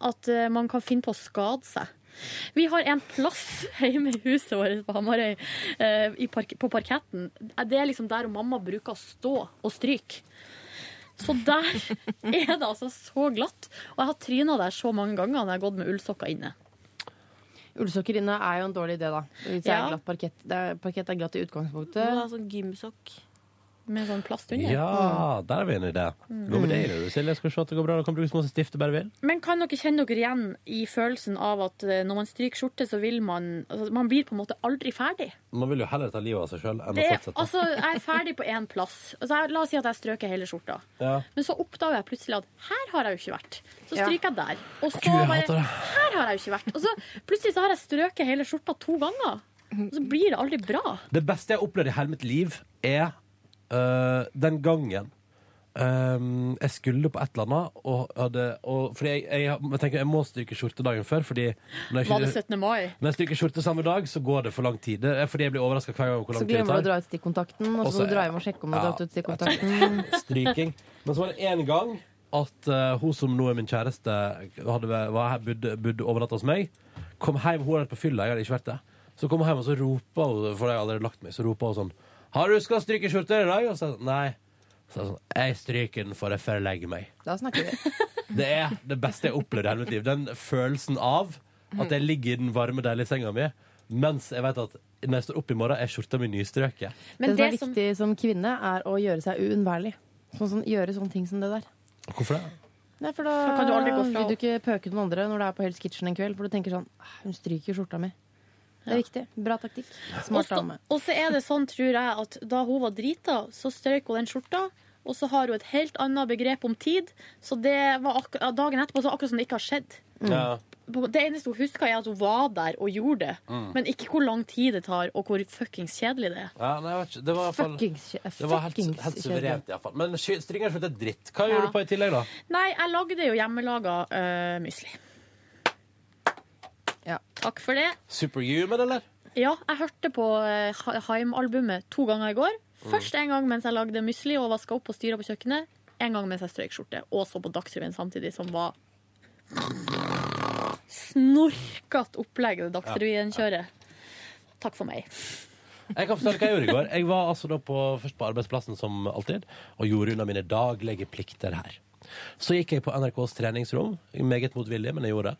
B: At eh, man kan finne på å skade seg. Vi har en plass (laughs) hjemme i huset vårt på Hamarøy, eh, i park på parketten. Det er liksom der mamma bruker å stå og stryke. Så der (laughs) er det altså så glatt. Og jeg har tryna der så mange ganger når jeg har gått med ullsokker inne.
C: Ullsokker inne er jo en dårlig idé, da. Hvis det
B: Ja.
C: er glatt parkett. Det er, parkett er glatt i utgangspunktet.
B: Må ha
C: sånn gymsokk.
B: Med sånn plast under.
A: Ja, der er vi inne i det.
B: Mm.
A: Gå med det, du, Silje. Skal vi se at det går bra. Du kan bruke så masse stift du bare vil.
B: Men kan dere kjenne dere igjen i følelsen av at eh, når man stryker skjorte, så vil man altså, Man blir på en måte aldri ferdig.
A: Man vil jo heller ta livet av seg sjøl enn
B: Det,
A: å
B: er-
A: fortsette.
B: altså, jeg er ferdig på én plass. Altså, jeg, la oss si at jeg strøker hele skjorta.
A: Ja.
B: Men så oppdager jeg plutselig at her har jeg jo ikke vært. Så
A: Ja.
B: stryker jeg der. Og så
A: Gud, jeg
B: bare,
A: hater det.
B: her har jeg jo ikke vært. Og så plutselig så har jeg strøket hele skjorta to ganger. Og så blir det aldri bra.
A: Det beste jeg har opplevd i hele mitt liv, er øh, den gangen øhm, jeg skulle på et eller annet og hadde og, Fordi jeg, jeg, jeg tenker jeg må stryke skjorte dagen før, fordi når jeg,
B: Var det
A: ikke-
B: 17. mai?
A: når jeg stryker skjorte samme dag, så går det for lang tid. Det er fordi jeg blir overraska hver gang hvor
C: Så
A: lang tid det
C: glemmer du å
A: tar.
C: dra ut stikkontakten, og
A: Og
C: så må
A: så-
C: du dra hjem og sjekke om du har
A: ja.
C: dratt ut stikkontakten.
A: (laughs) Stryking. Men så var det én gang at øh, hun som nå er min kjæreste, hadde, var her, bodde, bodde overnatta hos meg. Kom hjem, hun hadde vært på fylla, jeg hadde ikke vært det. Så kom hun hjem, og så ropa hun, for jeg hadde allerede lagt meg, så ropa hun sånn Har du huska å stryke skjorter i dag? Og så sa jeg sånn, nei. Så er det sånn, jeg stryker den for jeg forlegger meg.
C: Da snakker vi.
A: Det er det beste jeg har opplevd i hele mitt liv. Den følelsen av at jeg ligger i den varme, deilige senga mi, mens jeg vet at når jeg står opp i morgen, er skjorta mi nystrøket.
C: det, som er viktig som kvinne, er å gjøre seg uunnværlig. Sånn, som- gjøre sånne ting som det der.
A: Hvorfor det?
C: Nei, for da,
B: Da kan du aldri gå fra-
C: vil du ikke pøke noen andre når du er på Hell's Kitchen en kveld, for du tenker sånn «Ah, Hun stryker skjorta mi. Det er viktig. Bra taktikk.
B: Og
C: Smart
B: så
C: dame.
B: og så er det sånn, tror jeg, at da hun var drita, så strøyk hun den skjorta. Og så har hun et helt annet begrep om tid. Så det var akkur- ja, dagen etterpå så akkurat som det ikke har skjedd.
A: Ja.
B: På- Det eneste hun husker, er at hun var der og gjorde det.
A: Mm.
B: Men ikke hvor lang tid det tar, og hvor fuckings kjedelig det er.
A: Ja, nei, jeg vet ikke. Det var, i hvert fall,
B: Fuckings kje-
A: det var helt,
B: fuckings
A: helt
B: kjedelig.
A: suverent, iallfall. Men sky- stringer skjorte er dritt. Hva
B: Ja.
A: gjorde du på i tillegg, da?
B: Nei, jeg lagde jo hjemmelaga uh, musli. Takk for det.
A: Superhuman, eller?
B: Ja, jeg hørte på eh, Ha- Haim-albumet to ganger i går.
A: Mm.
B: Først en gang mens jeg lagde musli og vaska opp og styra på kjøkkenet. En gang mens jeg strøyk skjorte. Og så på Dagsrevyen samtidig, som var snorkete opplegg det Dagsrevyen kjører. Takk for meg.
A: Jeg kan fortelle hva jeg gjorde i går. Jeg var altså da på, først på arbeidsplassen som alltid, og gjorde unna mine daglige plikter her. Så gikk jeg på NRKs treningsrom, meget motvillig, men jeg gjorde det.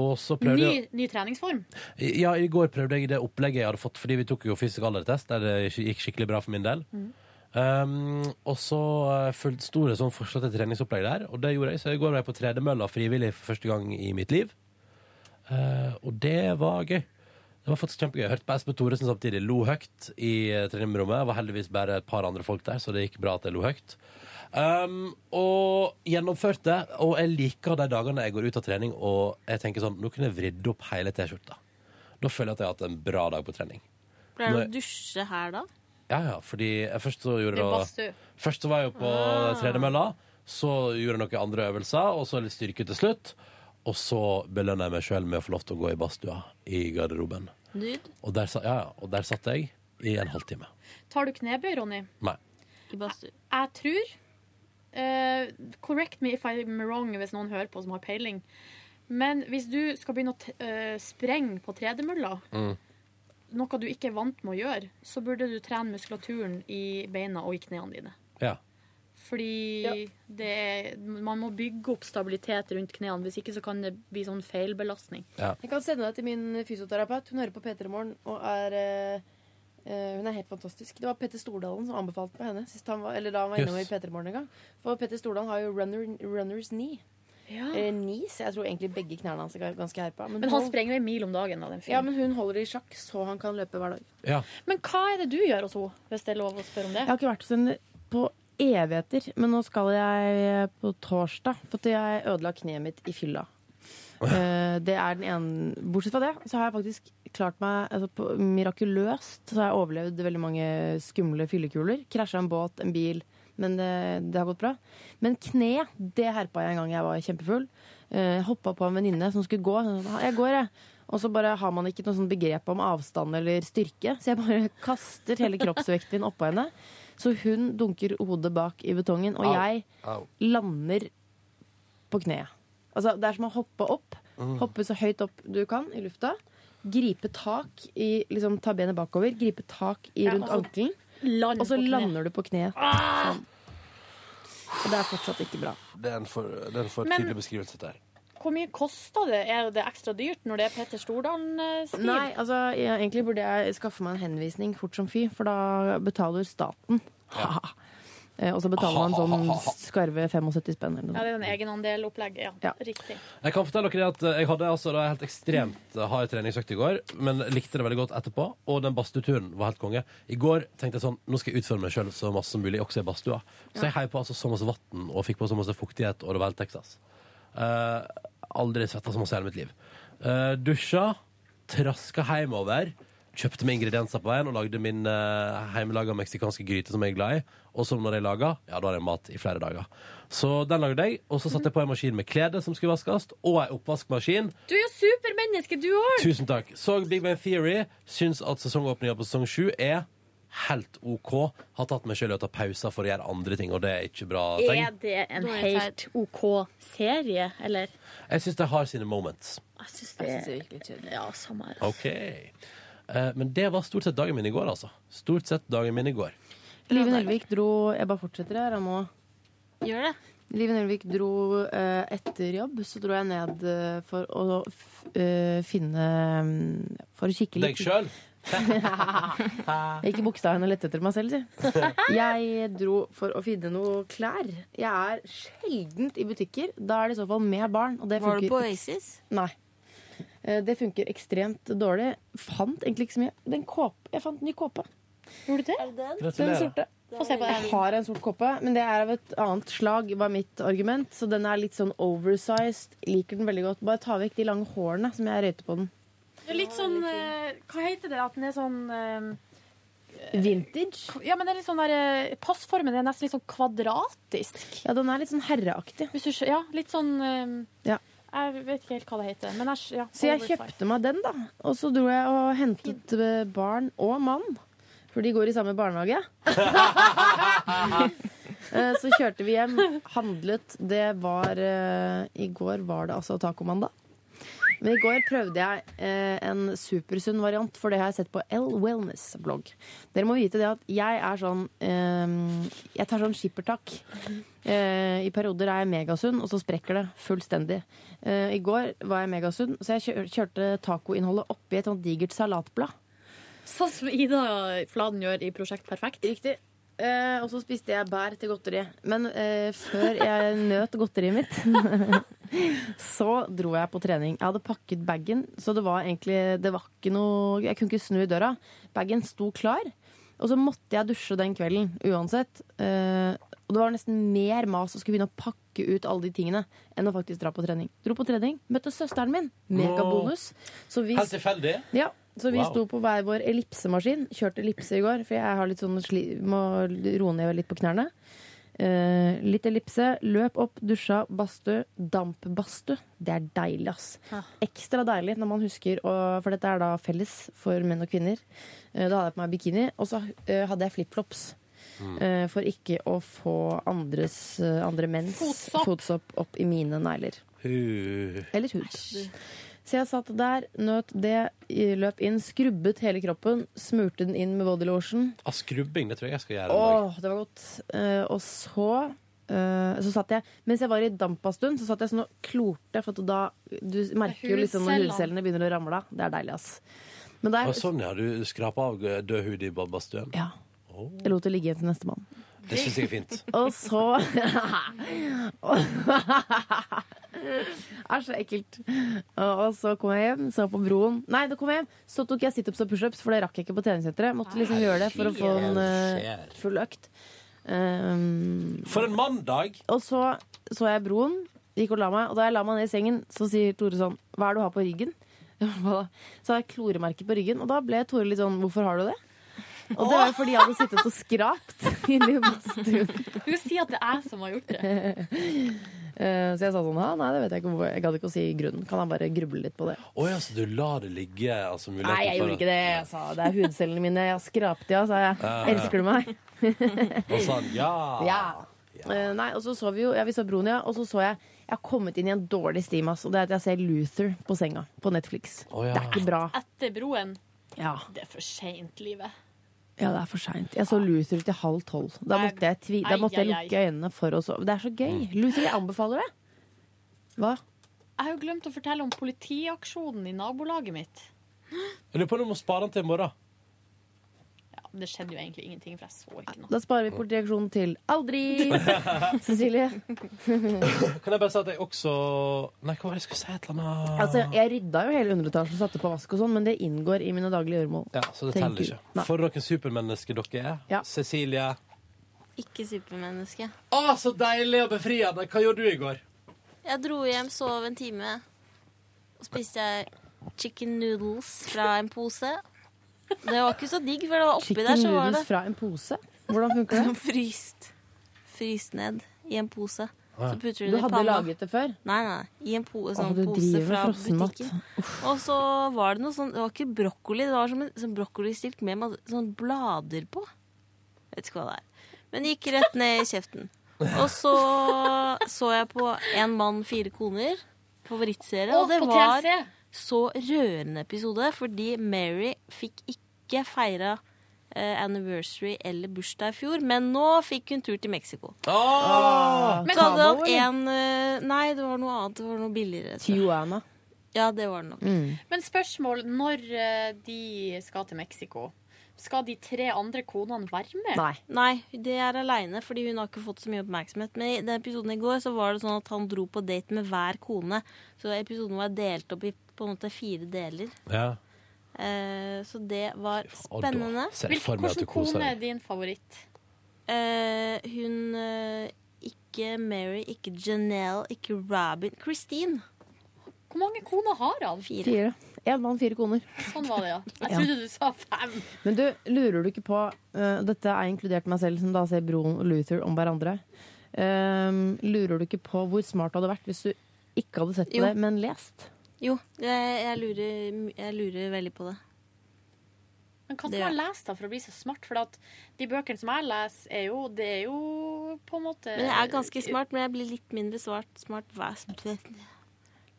A: Og så prøvde
B: Ny,
A: jeg...
B: ny treningsform.
A: Ja, i går prøvde jeg det opplegget jeg hadde fått, fordi vi tok jo fysisk aldertest, der det ikke- gikk skikkelig bra for min del.
B: Mm.
A: Um, og så eh, fulg- sto det sånn forslag til treningsopplegg der, og det gjorde jeg. Så i går var jeg på tredemølla frivillig for første gang i mitt liv. Eh, og det var gøy. Det var faktisk kjempegøy. Jeg hørte på Espen Thoresen samtidig. Lo høyt i eh, treningsrommet. Det var heldigvis bare et par andre folk der, så det gikk bra at jeg lo høyt. Um, og gjennomførte. Og jeg liker de dagene jeg går ut av trening og jeg tenker sånn Nå kunne jeg vridd opp hele T-skjorta. Da føler jeg at jeg har hatt en bra dag på trening.
V: Pleier du
A: Når-
V: å dusje her da?
A: Ja, ja, fordi jeg først så gjorde
V: I
A: da-
V: badstue.
A: Først så var jeg jo på
V: Ah.
A: tredemølla, så gjorde jeg noen andre øvelser, og så litt styrke til slutt. Og så belønna jeg meg sjøl med å få lov til å gå i badstua i garderoben.
B: Nyd.
A: Og der, sa- ja, ja, og der satt jeg i en halvtime.
B: Tar du knebøy, Ronny?
A: Nei.
B: Jeg tror eh, Correct me if I'm wrong hvis noen hører på som har peiling. Men hvis du skal begynne å t eh, sprenge på tredemølla,
A: Mm.
B: noe du ikke er vant med å gjøre, så burde du trene muskulaturen i beina og i knærne dine.
A: Ja.
B: Fordi det er, man må bygge opp stabilitet rundt knærne, hvis ikke så kan det bli sånn feilbelastning.
C: Jeg kan sende deg til min fysioterapeut. Hun hører på P3 Morgen og er eh, eh, hun er helt fantastisk. Det var Petter Stordalen som anbefalte meg henne sist han var, eller da han var innom
D: Jøss.
C: i P3 Morgen en gang. For Petter Stordalen har jo runner, runners knee.
B: Ja.
C: Eller knees. Jeg tror egentlig begge knærne hans er ganske herpa.
B: Men han
C: hun-
B: sprenger jo en mil om dagen. Da, den fyren.
C: ja, men hun holder det i sjakk, så han kan løpe hver dag.
A: Ja.
B: Men hva er det du gjør hos henne, hvis det er lov å spørre om det?
C: Jeg har ikke vært hos henne på evigheter, men nå skal jeg på torsdag. For at jeg ødela kneet mitt i fylla. Eh, Det er den ene Bortsett fra det, så har jeg faktisk klart meg altså, på, mirakuløst. Så har jeg overlevd veldig mange skumle fyllekuler. Krasja en båt, en bil. Men det, det har gått bra. Men kneet, det herpa jeg en gang jeg var kjempefull. Uh, Hoppa på en venninne som skulle gå. Hun sa, Jeg går, jeg. Og så bare har man ikke noe sånn begrep om avstand eller styrke, så jeg bare (laughs) kaster hele kroppsvekten min oppå henne. Så hun dunker hodet bak i betongen, og
A: Au.
C: jeg
A: Au.
C: lander på kneet. Altså, det er som å hoppe opp.
L: Mm.
C: Hoppe så høyt opp du kan i lufta. Gripe tak i liksom, Ta benet bakover, gripe tak i
E: Ja,
C: rundt
E: og så
C: ankelen.
E: land
C: Og så
E: på Ah, kne.
C: lander du på kneet. Sånn. Og det er fortsatt ikke bra.
A: Det er en for, det er en for
E: Men-
A: tydelig beskrivelse der.
E: Hvor mye kosta det? Er det ekstra dyrt når det er Petter
B: eh,
E: Stordalen-stil?
C: Nei, altså, jeg, egentlig burde jeg skaffe meg en henvisning fort som fy, for da betaler staten. (laughs) Eh, Og så betaler man sånn skarve 75 spenn eller
E: Ja,
C: noe.
E: det er en egenandel-opplegg. Ja, riktig.
A: Jeg kan fortelle dere at jeg hadde altså da helt ekstremt hard treningsøkt i går, men likte det veldig godt etterpå. Og den badstuturen var helt konge. I går tenkte jeg sånn Nå skal jeg utfordre meg sjøl så masse som mulig, også i badstua. Så jeg heiv på altså så masse vann og fikk på så masse fuktighet, og det var helt Texas. Eh, aldri svetta så masse i hele mitt liv. Eh, dusja, traska hjemover. Kjøpte meg ingredienser på veien og lagde min uh, hjemmelaga meksikanske gryte som jeg er glad i. Og som når jeg lager, ja, da har jeg mat i flere dager. Så den lagde jeg, og så satte jeg på en maskin med klede som skulle vaskes, og ei oppvaskmaskin.
E: Du er jo supermenneske, du òg!
A: Tusen takk. Så Big Bang Theory syns at sesongåpninga på sesong sju er helt OK. Har tatt meg sjøl i å ta pauser for å gjøre andre ting, og det er ikke bra
E: Er
A: tegn.
E: det en
A: Nå er jeg
E: helt OK serie, eller?
A: Jeg syns de har sine moments.
E: Jeg syns det, er virkelig kjedelig. Ja, samme her.
A: OK. Eh, Men det var stort sett dagen min i går, altså. Stort sett dagen min i går.
C: Live Nelvik dro Jeg bare fortsetter her, jeg må
B: Gjør det.
C: Live Nelvik dro eh, etter jobb, så dro jeg ned eh, for å f eh, finne mm, For å kikke
A: Deg
C: litt.
A: sjøl?
C: Ikke buksa henne lett etter meg
B: (laughs)
C: selv, si. Jeg dro for å finne noe klær. Jeg er sjeldent i butikker. Da er det i så fall med barn. Og det
R: Var du
C: funker
R: på
C: ek-
R: Oasis?
C: Nei. Eh, Det funker ekstremt dårlig. Fant egentlig ikke så mye. Den kåp, jeg fant en ny kåpe.
E: Gjorde du det?
C: Den
E: Gratulerer.
C: sorte.
E: Få se på den.
C: Jeg har en sort kåpe, men det er av et annet slag, var mitt argument. Så den er litt sånn oversized. Liker den veldig godt. Bare ta vekk de lange hårene som jeg røyter på den.
E: Det er litt sånn eh, Hva heter det? At den er sånn eh,
C: Vintage?
E: Ja, men det er litt sånn der, eh, passformen er nesten litt sånn kvadratisk.
C: Ja, den er litt sånn herreaktig.
E: Hvis du, skjø- ja, litt sånn eh,
C: Ja.
E: Jeg vet ikke helt hva det heter. Men jeg, ja,
C: Så jeg
E: oversize.
C: kjøpte meg den, da. Og så dro jeg og hentet eh, barn og mann, for de går i samme barnehage. (laughs) Eh, så kjørte vi hjem, handlet. Det var eh, I går var det altså tacomandag. Men i går prøvde jeg eh, en supersunn variant, for det har jeg sett på L Wellness-blogg. Dere må vite det at jeg er sånn eh, Jeg tar sånn skippertak. Eh, I perioder er jeg megasunn, og så sprekker det fullstendig. Eh, I går var jeg megasunn, så jeg kjør kjørte tacoinnholdet oppi et sånt digert salatblad.
E: Sånn som Ida Fladen gjør i Prosjekt Perfekt.
C: Riktig. Eh, og så spiste jeg bær til godteri. Men eh, før jeg nøt godteriet mitt, (laughs) så dro jeg på trening. Jeg hadde pakket bagen, så det var egentlig det var ikke noe Jeg kunne ikke snu i døra. Bagen sto klar. Og så måtte jeg dusje den kvelden uansett. Eh, og det var nesten mer mas å skulle begynne å pakke ut alle de tingene enn å faktisk dra på trening. Dro på trening, møtte søsteren min. Megabonus. Så vi
A: Helt tilfeldig?
C: ja, så vi
A: Wow.
C: sto på hver vår ellipsemaskin. Kjørte ellipse i går, for jeg har litt sånn sli må roe ned litt på knærne. Eh, litt ellipse. Løp opp, dusja, badstue. Dampbadstue. Det er deilig, ass. Ekstra deilig når man husker å For dette er da felles for menn og kvinner. Eh, da hadde jeg på meg bikini, og så eh, hadde jeg flipflops.
L: Mm.
C: Eh, for ikke å få andres, eh, andre menns
L: Fotsopp.
C: fotsopp opp i mine negler.
A: Hu.
C: Eller hud. Så jeg satt der, nøt det, løp inn, skrubbet hele kroppen, smurte den inn med bodylotion.
A: Ah, skrubbing, det tror jeg jeg skal gjøre. en dag.
C: Åh, det var godt. Eh, og så eh, så satt jeg, Mens jeg var i dampastund, så satt jeg sånn og klorte. For at da, du merker jo liksom når
L: Hudcellene.
C: hudcellene begynner å ramle av. Det er deilig, ass. Men der,
A: Å, sånn, ja. Du skraper av eh, død hud i badstuen?
C: Ja. Jeg lot det ligge igjen til nestemann.
A: Det syns jeg er fint.
C: Og så (laughs)
A: (laughs)
C: er så ekkelt. (laughs) Og så kom jeg hjem, så på broen Nei, da kom jeg hjem, så tok jeg situps og pushups, for det rakk jeg ikke på treningssenteret. Måtte liksom gjøre det for å få en eh, full økt. Um,
A: For en mandag!
C: Og så så jeg broen, gikk og la meg. Og da jeg la meg ned i sengen, så sier Tore sånn Hva er det du har på ryggen? (laughs) Hva da? Så har jeg kloremerker på ryggen. Og da ble Tore litt sånn Hvorfor har du det? Og det var jo fordi jeg hadde sittet og skrapt (laughs) inne i badstuen.
E: (laughs) Hun sier at det er jeg som har gjort det.
C: (laughs) Eh, Så jeg sa sånn «Hæ? Nei, det vet jeg ikke hvorfor. Jeg gadd ikke å si grunnen. Kan jeg bare gruble litt på det?
A: Å ja, så du lar det ligge? Altså, muligheten
C: Nei, jeg
A: for
C: gjorde ikke det. Jeg sa det er hudcellene mine. Jeg har skrapt de av, sa jeg.
A: Ja, ja.
C: Elsker du meg?
A: Og sånn, ja.
C: (laughs) Ja. Eh, Nei, og så så vi jo Ja, vi så broen, ja. Og så så jeg Jeg har kommet inn i en dårlig stim, ass, og det er at jeg ser Luther på senga på Netflix.
A: Å, ja.
C: Det er ikke bra.
B: Etter broen.
C: Ja.
B: Det er for seint, livet.
C: Ja, det er for seint. Jeg så Luther til halv tolv. Da måtte jeg, tvi da
B: Ai,
C: måtte
B: ai,
C: jeg
B: ai.
C: lukke øynene for å sove. Det er så gøy. Luther, jeg anbefaler det.
A: Mm.
C: Hva?
B: Jeg har jo glemt å fortelle om politiaksjonen i nabolaget mitt.
A: Jeg lurer på om du må spare den til i morgen.
B: Ja, men det skjedde jo egentlig ingenting, for jeg så ikke noe.
C: Da sparer vi politiaksjonen til
A: (laughs)
C: aldri. Cecilie.
A: Mm. Kan jeg bare si at jeg også Nei, hva var det jeg skulle si? Et eller annet
C: altså, jeg rydda jo hele underetasjen, satte på vask og sånn, men det inngår i mine daglige gjøremål.
A: Ja, så det
C: Tenker-
A: teller ikke.
C: Nei.
A: For noen supermennesker dere er. Cecilie.
V: Ikke supermenneske.
A: Å, så deilig og befriende! Hva gjorde du i går?
V: Jeg dro hjem, sov en time. Og spiste jeg chicken noodles fra en pose. Det var ikke så digg, for det var oppi der,
C: Chicken
V: så var det
C: noodles
V: (laughs)
C: fra en pose. Hvordan funker det?
V: fryst. Fryst ned i en pose.
C: Ja.
V: Så putter du,
C: Du
V: det i
C: hadde
V: panna.
C: laget det før?
V: Nei, nei. I en po sånn
C: du
V: pose
C: driver med
V: fra
C: frossenmat.
V: butikken. Og så var det noe sånn Det var ikke brokkoli, det var som en sånn brokkolistilk med masse sånn blader på. Vet ikke hva det er. Men det gikk rett ned i kjeften. Og så så jeg på En mann, fire koner, favorittserie,
B: Å,
V: og det
B: på
V: var
B: TLC.
V: så rørende episode, fordi Mary fikk ikke feira eh, anniversary eller bursdag i fjor, men nå fikk hun tur til Mexico.
C: Ah.
V: Men
C: Cabo,
V: så hadde han
C: eller?
V: en eh, Nei, det var noe annet. Det var noe billigere. så-
C: Tijuana.
V: Ja, det var det nok.
C: Mm.
B: Men spørsmål når eh, de skal til Mexico. Skal de tre andre konene være med?
V: Nei, det er aleine, fordi hun har ikke fått så mye oppmerksomhet. Men i den episoden i går så var det sånn at han dro på date med hver kone. Så episoden var delt opp i på en måte fire deler.
A: Ja.
V: Eh, så det var
A: da
V: spennende.
A: ser jeg for meg at du
B: Hvilken
A: koser
B: kone
A: deg.
B: er din favoritt?
V: Eh, hun eh, Ikke Mary, ikke Janelle, ikke Robin. Christine.
B: Hvor mange koner har han?
C: Fire. En mann, fire koner.
B: Sånn var det, ja. Jeg
C: (laughs) Ja.
B: trodde du sa fem.
C: Men du, lurer du ikke på eh, Dette er inkludert meg selv, som da ser broren og Luther om hverandre. Ehm, lurer du ikke på hvor smart du hadde vært hvis du ikke hadde sett på
V: Jo.
C: det, men lest?
V: Jo, jeg, jeg, lurer, jeg lurer veldig på det.
B: Men hva
V: Det-
B: skal man lese da for å bli så smart? For at de bøkene som jeg leser, er jo, det er jo på en måte
V: Men jeg er ganske smart, men jeg blir litt mindre svart, smart hver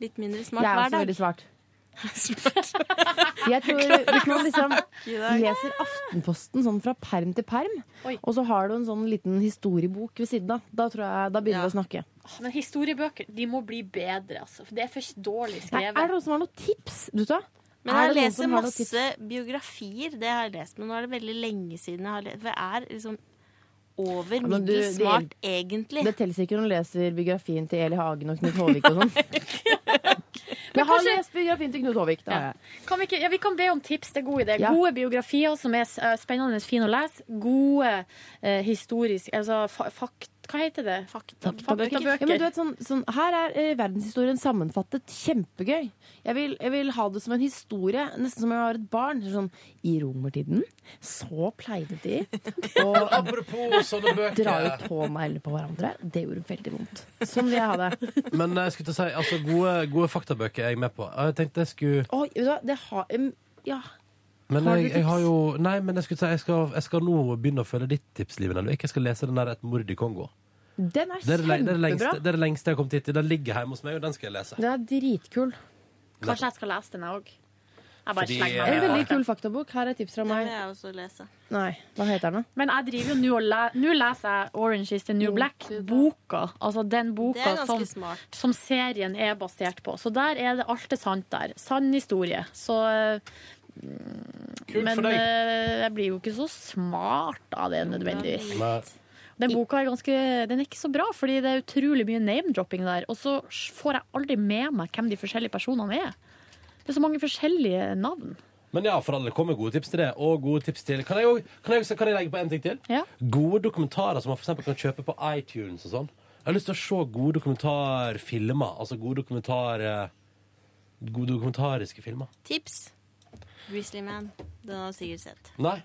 V: Litt mindre smart
C: jeg er
V: hver
C: også
V: dag.
C: veldig svart.
V: (laughs)
C: Jeg tror Hvis man liksom leser Aftenposten sånn fra perm til perm, og så har du en sånn liten historiebok ved siden av, da, tror jeg, da begynner du å snakke.
B: Ah, Men historiebøker de må bli bedre, altså. For det er for dårlig
C: Nei, er
B: skrevet.
C: det noen som har noen tips? Du vet hva?
V: Men
C: Er
V: jeg
C: det noen som
V: leser
C: har noen tips?
V: masse biografier, det har jeg lest, men nå er det veldig lenge siden jeg har lest. For jeg er liksom over
C: Ja, men du-
V: middels
C: det-
V: smart, egentlig.
C: Det teller ikke når du leser biografien til Eli Hagen og Knut Håvik og sånn.
B: Men
C: Jeg har
B: kanskje-
C: lest biografien til Knut Håvik. Da. har jeg.
B: Kan vi, ikke, ja, vi kan be om tips. Det er god idé.
C: Ja.
B: Gode biografier som er s- eh, spennende og fine å lese. Gode eh, historiske Altså fa fakt... Hva heter det?
V: Faktabøker.
C: Ja, men du vet, sånn, sånn, her er eh, verdenshistorien sammenfattet. Kjempegøy. Jeg vil, jeg vil ha det som en historie, nesten som jeg har et barn. Sånn, I romertiden så pleide de å
A: (laughs) Apropos sånne bøker.
C: dra ut tånegler på hverandre. Det gjorde veldig vondt. Sånn vil jeg ha det.
A: Men jeg skulle til å si, altså, gode, gode faktabøker er jeg med på. Jeg tenkte jeg skulle
C: Oi, vet du hva, det har em, Ja.
A: Men
C: Har du
A: jeg, jeg
C: tips?
A: har jo Nei, men jeg skulle si jeg skal, jeg skal nå begynne å følge ditt tips, Liven Elvik. Jeg skal lese den der Et mord i Kongo.
C: Den er
A: Det er det, le- det, er det, lengste,
C: kjempebra.
A: det er det lengste jeg har kommet hit til. Den ligger hjemme hos meg, og den skal jeg lese.
C: Den er dritkul.
B: Kanskje jeg skal lese den, jeg òg. Jeg bare
A: Fordi-
B: slenger
C: En
B: meg
C: veldig
B: med.
C: kul faktabok. Her er tips fra meg. Nei, hva heter den, da?
B: Men jeg driver jo nå og le Nå leser jeg 'Orange is the New Black'-boka. Altså den
V: Det er
B: boka
V: ganske
B: som,
V: smart.
B: som serien er basert på. Så der er det alt er sant der. Sann historie. Så eh,
A: Kult
B: Men
A: for deg.
B: eh, jeg blir jo ikke så smart av det nødvendigvis. Den boka er ganske Den er ikke så bra, fordi det er utrolig mye name-dropping der. Og så får jeg aldri med meg hvem de forskjellige personene er. Det er så mange forskjellige navn.
A: Men ja, for alle kommer gode tips til det. Og gode tips til Kan jeg, jo- kan jeg, kan jeg legge på en ting til? Gode dokumentarer som man for eksempel kan kjøpe på iTunes og sånn. Jeg har lyst til å se gode dokumentarfilmer. Altså gode dokumentar... eh, Gode dokumentariske filmer.
V: Tips. Grizzly Man. Den har du sikkert sett.
A: Nei,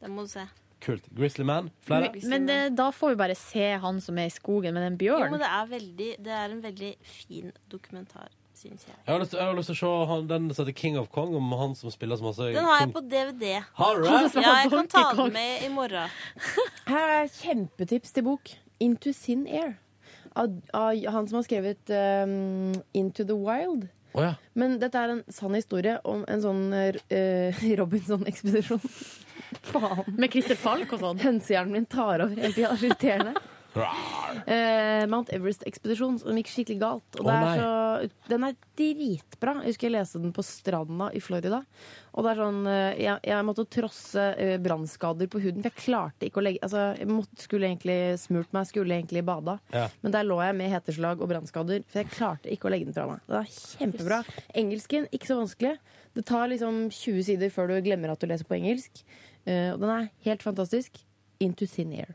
V: Den må du se.
A: kult. Grizzly Man. Flere?
B: Men eh, da får vi bare se han som er i skogen med den
V: Jo,
B: bjørnen.
V: men det er, veldig, det er en veldig fin dokumentar, syns jeg.
A: Jeg har, lyst, jeg har lyst til å se han, den som heter King of Kong, om han som spiller så masse
V: Den har jeg
A: King-
V: på DVD.
A: Har du det? Han som
V: Ja, jeg
A: spiller
V: kan ta
A: Donkey Kong.
V: den med i morgen.
C: Her er kjempetips til bok. Into Thin Air. av, av han som har skrevet eh, Into the Wild.
A: Å ja.
C: Men dette er en sann historie om en sånn eh, (laughs) Robinson-ekspedisjon. Faen.
B: Med Christer Falk og sånn?
C: Hønsehjernen min tar over hele tida. Det er så irriterende. Eh, Mount Everest-ekspedisjon som gikk skikkelig galt. Og
L: Å,
C: det er
L: nei.
C: så, den er dritbra. Jeg husker jeg leste den på stranda i Florida. Og det er sånn, eh, jeg, jeg måtte trosse eh, brannskader på huden, for jeg klarte ikke å legge altså, Jeg måtte, skulle egentlig smurt meg, skulle egentlig bada.
L: Ja.
C: Men der lå jeg med heteslag og brannskader, for jeg klarte ikke å legge den fra meg. Det er kjempebra. Engelsken, ikke så vanskelig. Det tar liksom 20 sider før du glemmer at du leser på engelsk. Eh, og den er helt fantastisk. Into thin air.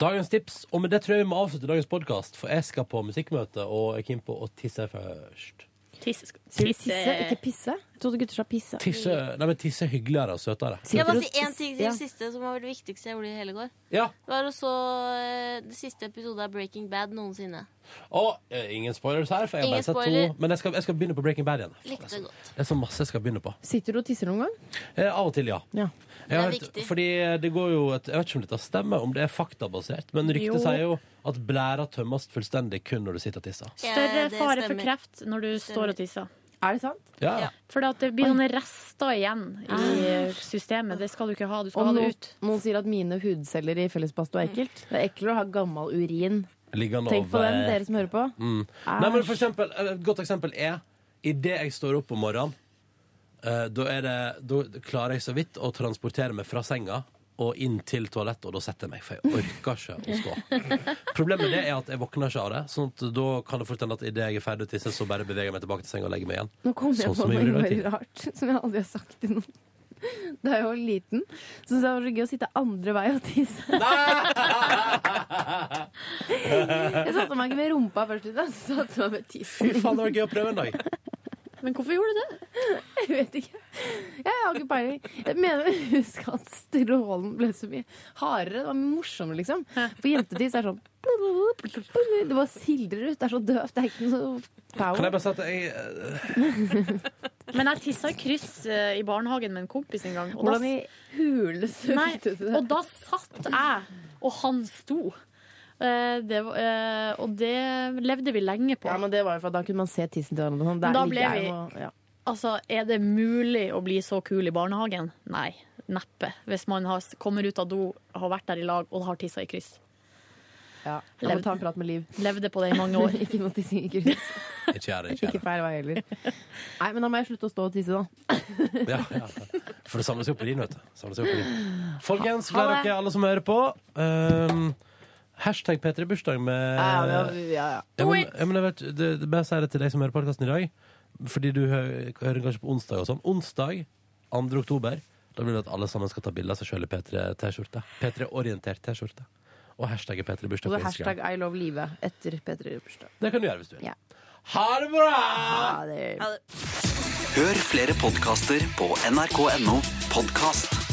A: Dagens tips. Og med det tror jeg vi må avslutte dagens podkast, for jeg skal på musikkmøte og er keen på å tisse først.
B: Tisse.
C: Sier du tisse, ikke pisse? Jeg trodde gutter sa pisse.
A: Tisse, nei, men tisse er hyggeligere og søtere.
C: Sitter
V: Jeg bare
C: og
V: si en
C: tis-
V: ting til
C: ja.
V: siste, som var det viktigste jeg gjorde i hele går.
A: Ja.
V: Det var også eh, det siste episode av Breaking Bad noensinne.
A: Og eh, ingen spoilers her, for jeg har
V: Ingen
A: bare sett
V: spoiler.
A: to. Men jeg skal, jeg skal begynne på Breaking Bad igjen.
V: Likte det godt.
A: Det er så masse jeg skal begynne på.
C: Sitter du og tisser noen gang?
A: Eh, av og til, ja.
C: Ja. Det
A: Jeg har
C: er
A: hørt-
C: viktig.
A: Fordi eh, det går jo et, Jeg vet ikke om dette stemmer, om det er faktabasert, men ryktet
B: Jo.
A: sier jo at blæra tømmes fullstendig kun når du sitter og tisser.
B: Større
V: Ja, Eh, det
B: fare for
V: stemmer.
B: kreft når du står og tisser.
C: Er det sant?
A: Ja.
B: For det blir noen rester igjen
V: Ah.
B: i systemet. Det skal du ikke ha. Du skal
C: Og
B: ha det
C: noen,
B: ut. Mm.
C: noen sier at mine hudceller i fellesbadstua er ekkelt. Det er ekkelt å ha gammel urin.
A: Liggende
C: Tenk på
A: over-
C: den, dere som hører på.
A: eh, Mm. Nei, men for eksempel, eh, Et godt eksempel er idet jeg står opp om morgenen, eh, da, er det, da klarer jeg så vidt å transportere meg fra senga og inn til toalettet, og da setter jeg meg, for jeg orker ikke å
C: (laughs)
A: stå. Problemet med det er at jeg våkner ikke av det, sånn at da kan det fort hende at idet jeg er ferdig å tisse, så bare beveger jeg meg tilbake til senga og legger meg igjen.
C: Nå kom jeg på
A: Sånn som
C: noe
A: gjorde i dag
C: innmari
A: tidlig.
C: rart som jeg aldri har sagt til noen. Da jeg var liten, syntes jeg det var så gøy å sitte andre vei og tisse. (laughs) Jeg satte meg ikke med rumpa først ut, jeg satte meg med
A: Fy
C: tissen.
A: faen, det var gøy å prøve en dag.
B: Men hvorfor gjorde du det?
C: (laughs) Jeg vet ikke. Jeg har ikke peiling. Jeg mener husk at strålen ble så mye hardere. Det var mye morsommere, liksom. For jentetiss er sånn Det bare sildrer ut. Det er så døvt. Det er ikke noe så
A: Kan jeg
C: power.
A: bare si at jeg eh,
B: Men jeg tissa i kryss eh, i barnehagen med en kompis en gang. og da
C: Hvordan i huleste (laughs)
B: Nei,
C: fikk du til det?
B: Og da satt jeg, og han sto. Eh, det, var- eh, og det levde vi lenge på.
C: Ja, men det var jo for at Da kunne man se tissen til hverandre. og Sånn. Der
B: Da
C: ligger
B: ble
C: jeg
B: vi-
C: og- ja.
B: Altså, er det mulig å bli så kul i barnehagen? Nei, neppe. Hvis man har, kommer ut av do, har vært der i lag og har tissa i kryss.
C: Ja. Jeg må ta en prat med Liv.
B: Levde på det i mange år.
C: (laughs) ikke noe tissing i kryss.
A: Ikke gjør det, ikke
C: Ikke
A: gjør det.
C: feil vei heller. Nei, men da må jeg slutte å stå og tisse, da.
A: Ja, ja. For det samles jo på din, vet du. Samles jo på
C: (sighs)
A: din. Folkens,
C: Ha- ha
A: gleder
C: det.
A: dere, alle som hører på. Ehm, hashtag P3 bursdag med
C: Ja, ja, ja, ja.
A: Ja, men, ja, men jeg vet, det, det bare sier det til deg som hører podkasten i dag, fordi du hører, hører kanskje på onsdag og sånn. Onsdag 2. oktober. Da vil vi at alle sammen skal ta bilde av seg sjøl i P3-T-skjorte. P3-orientert T-skjorte. Og hashtagget P3
C: Og
A: bursdag
C: så
A: på Instagram.
C: hashtag I love livet etter Petter Bursdag.
A: Det kan du gjøre hvis du vil.
C: Ja.
A: Ha det bra!
C: Ha det.
W: Hør flere podkaster på nrk.no podkast.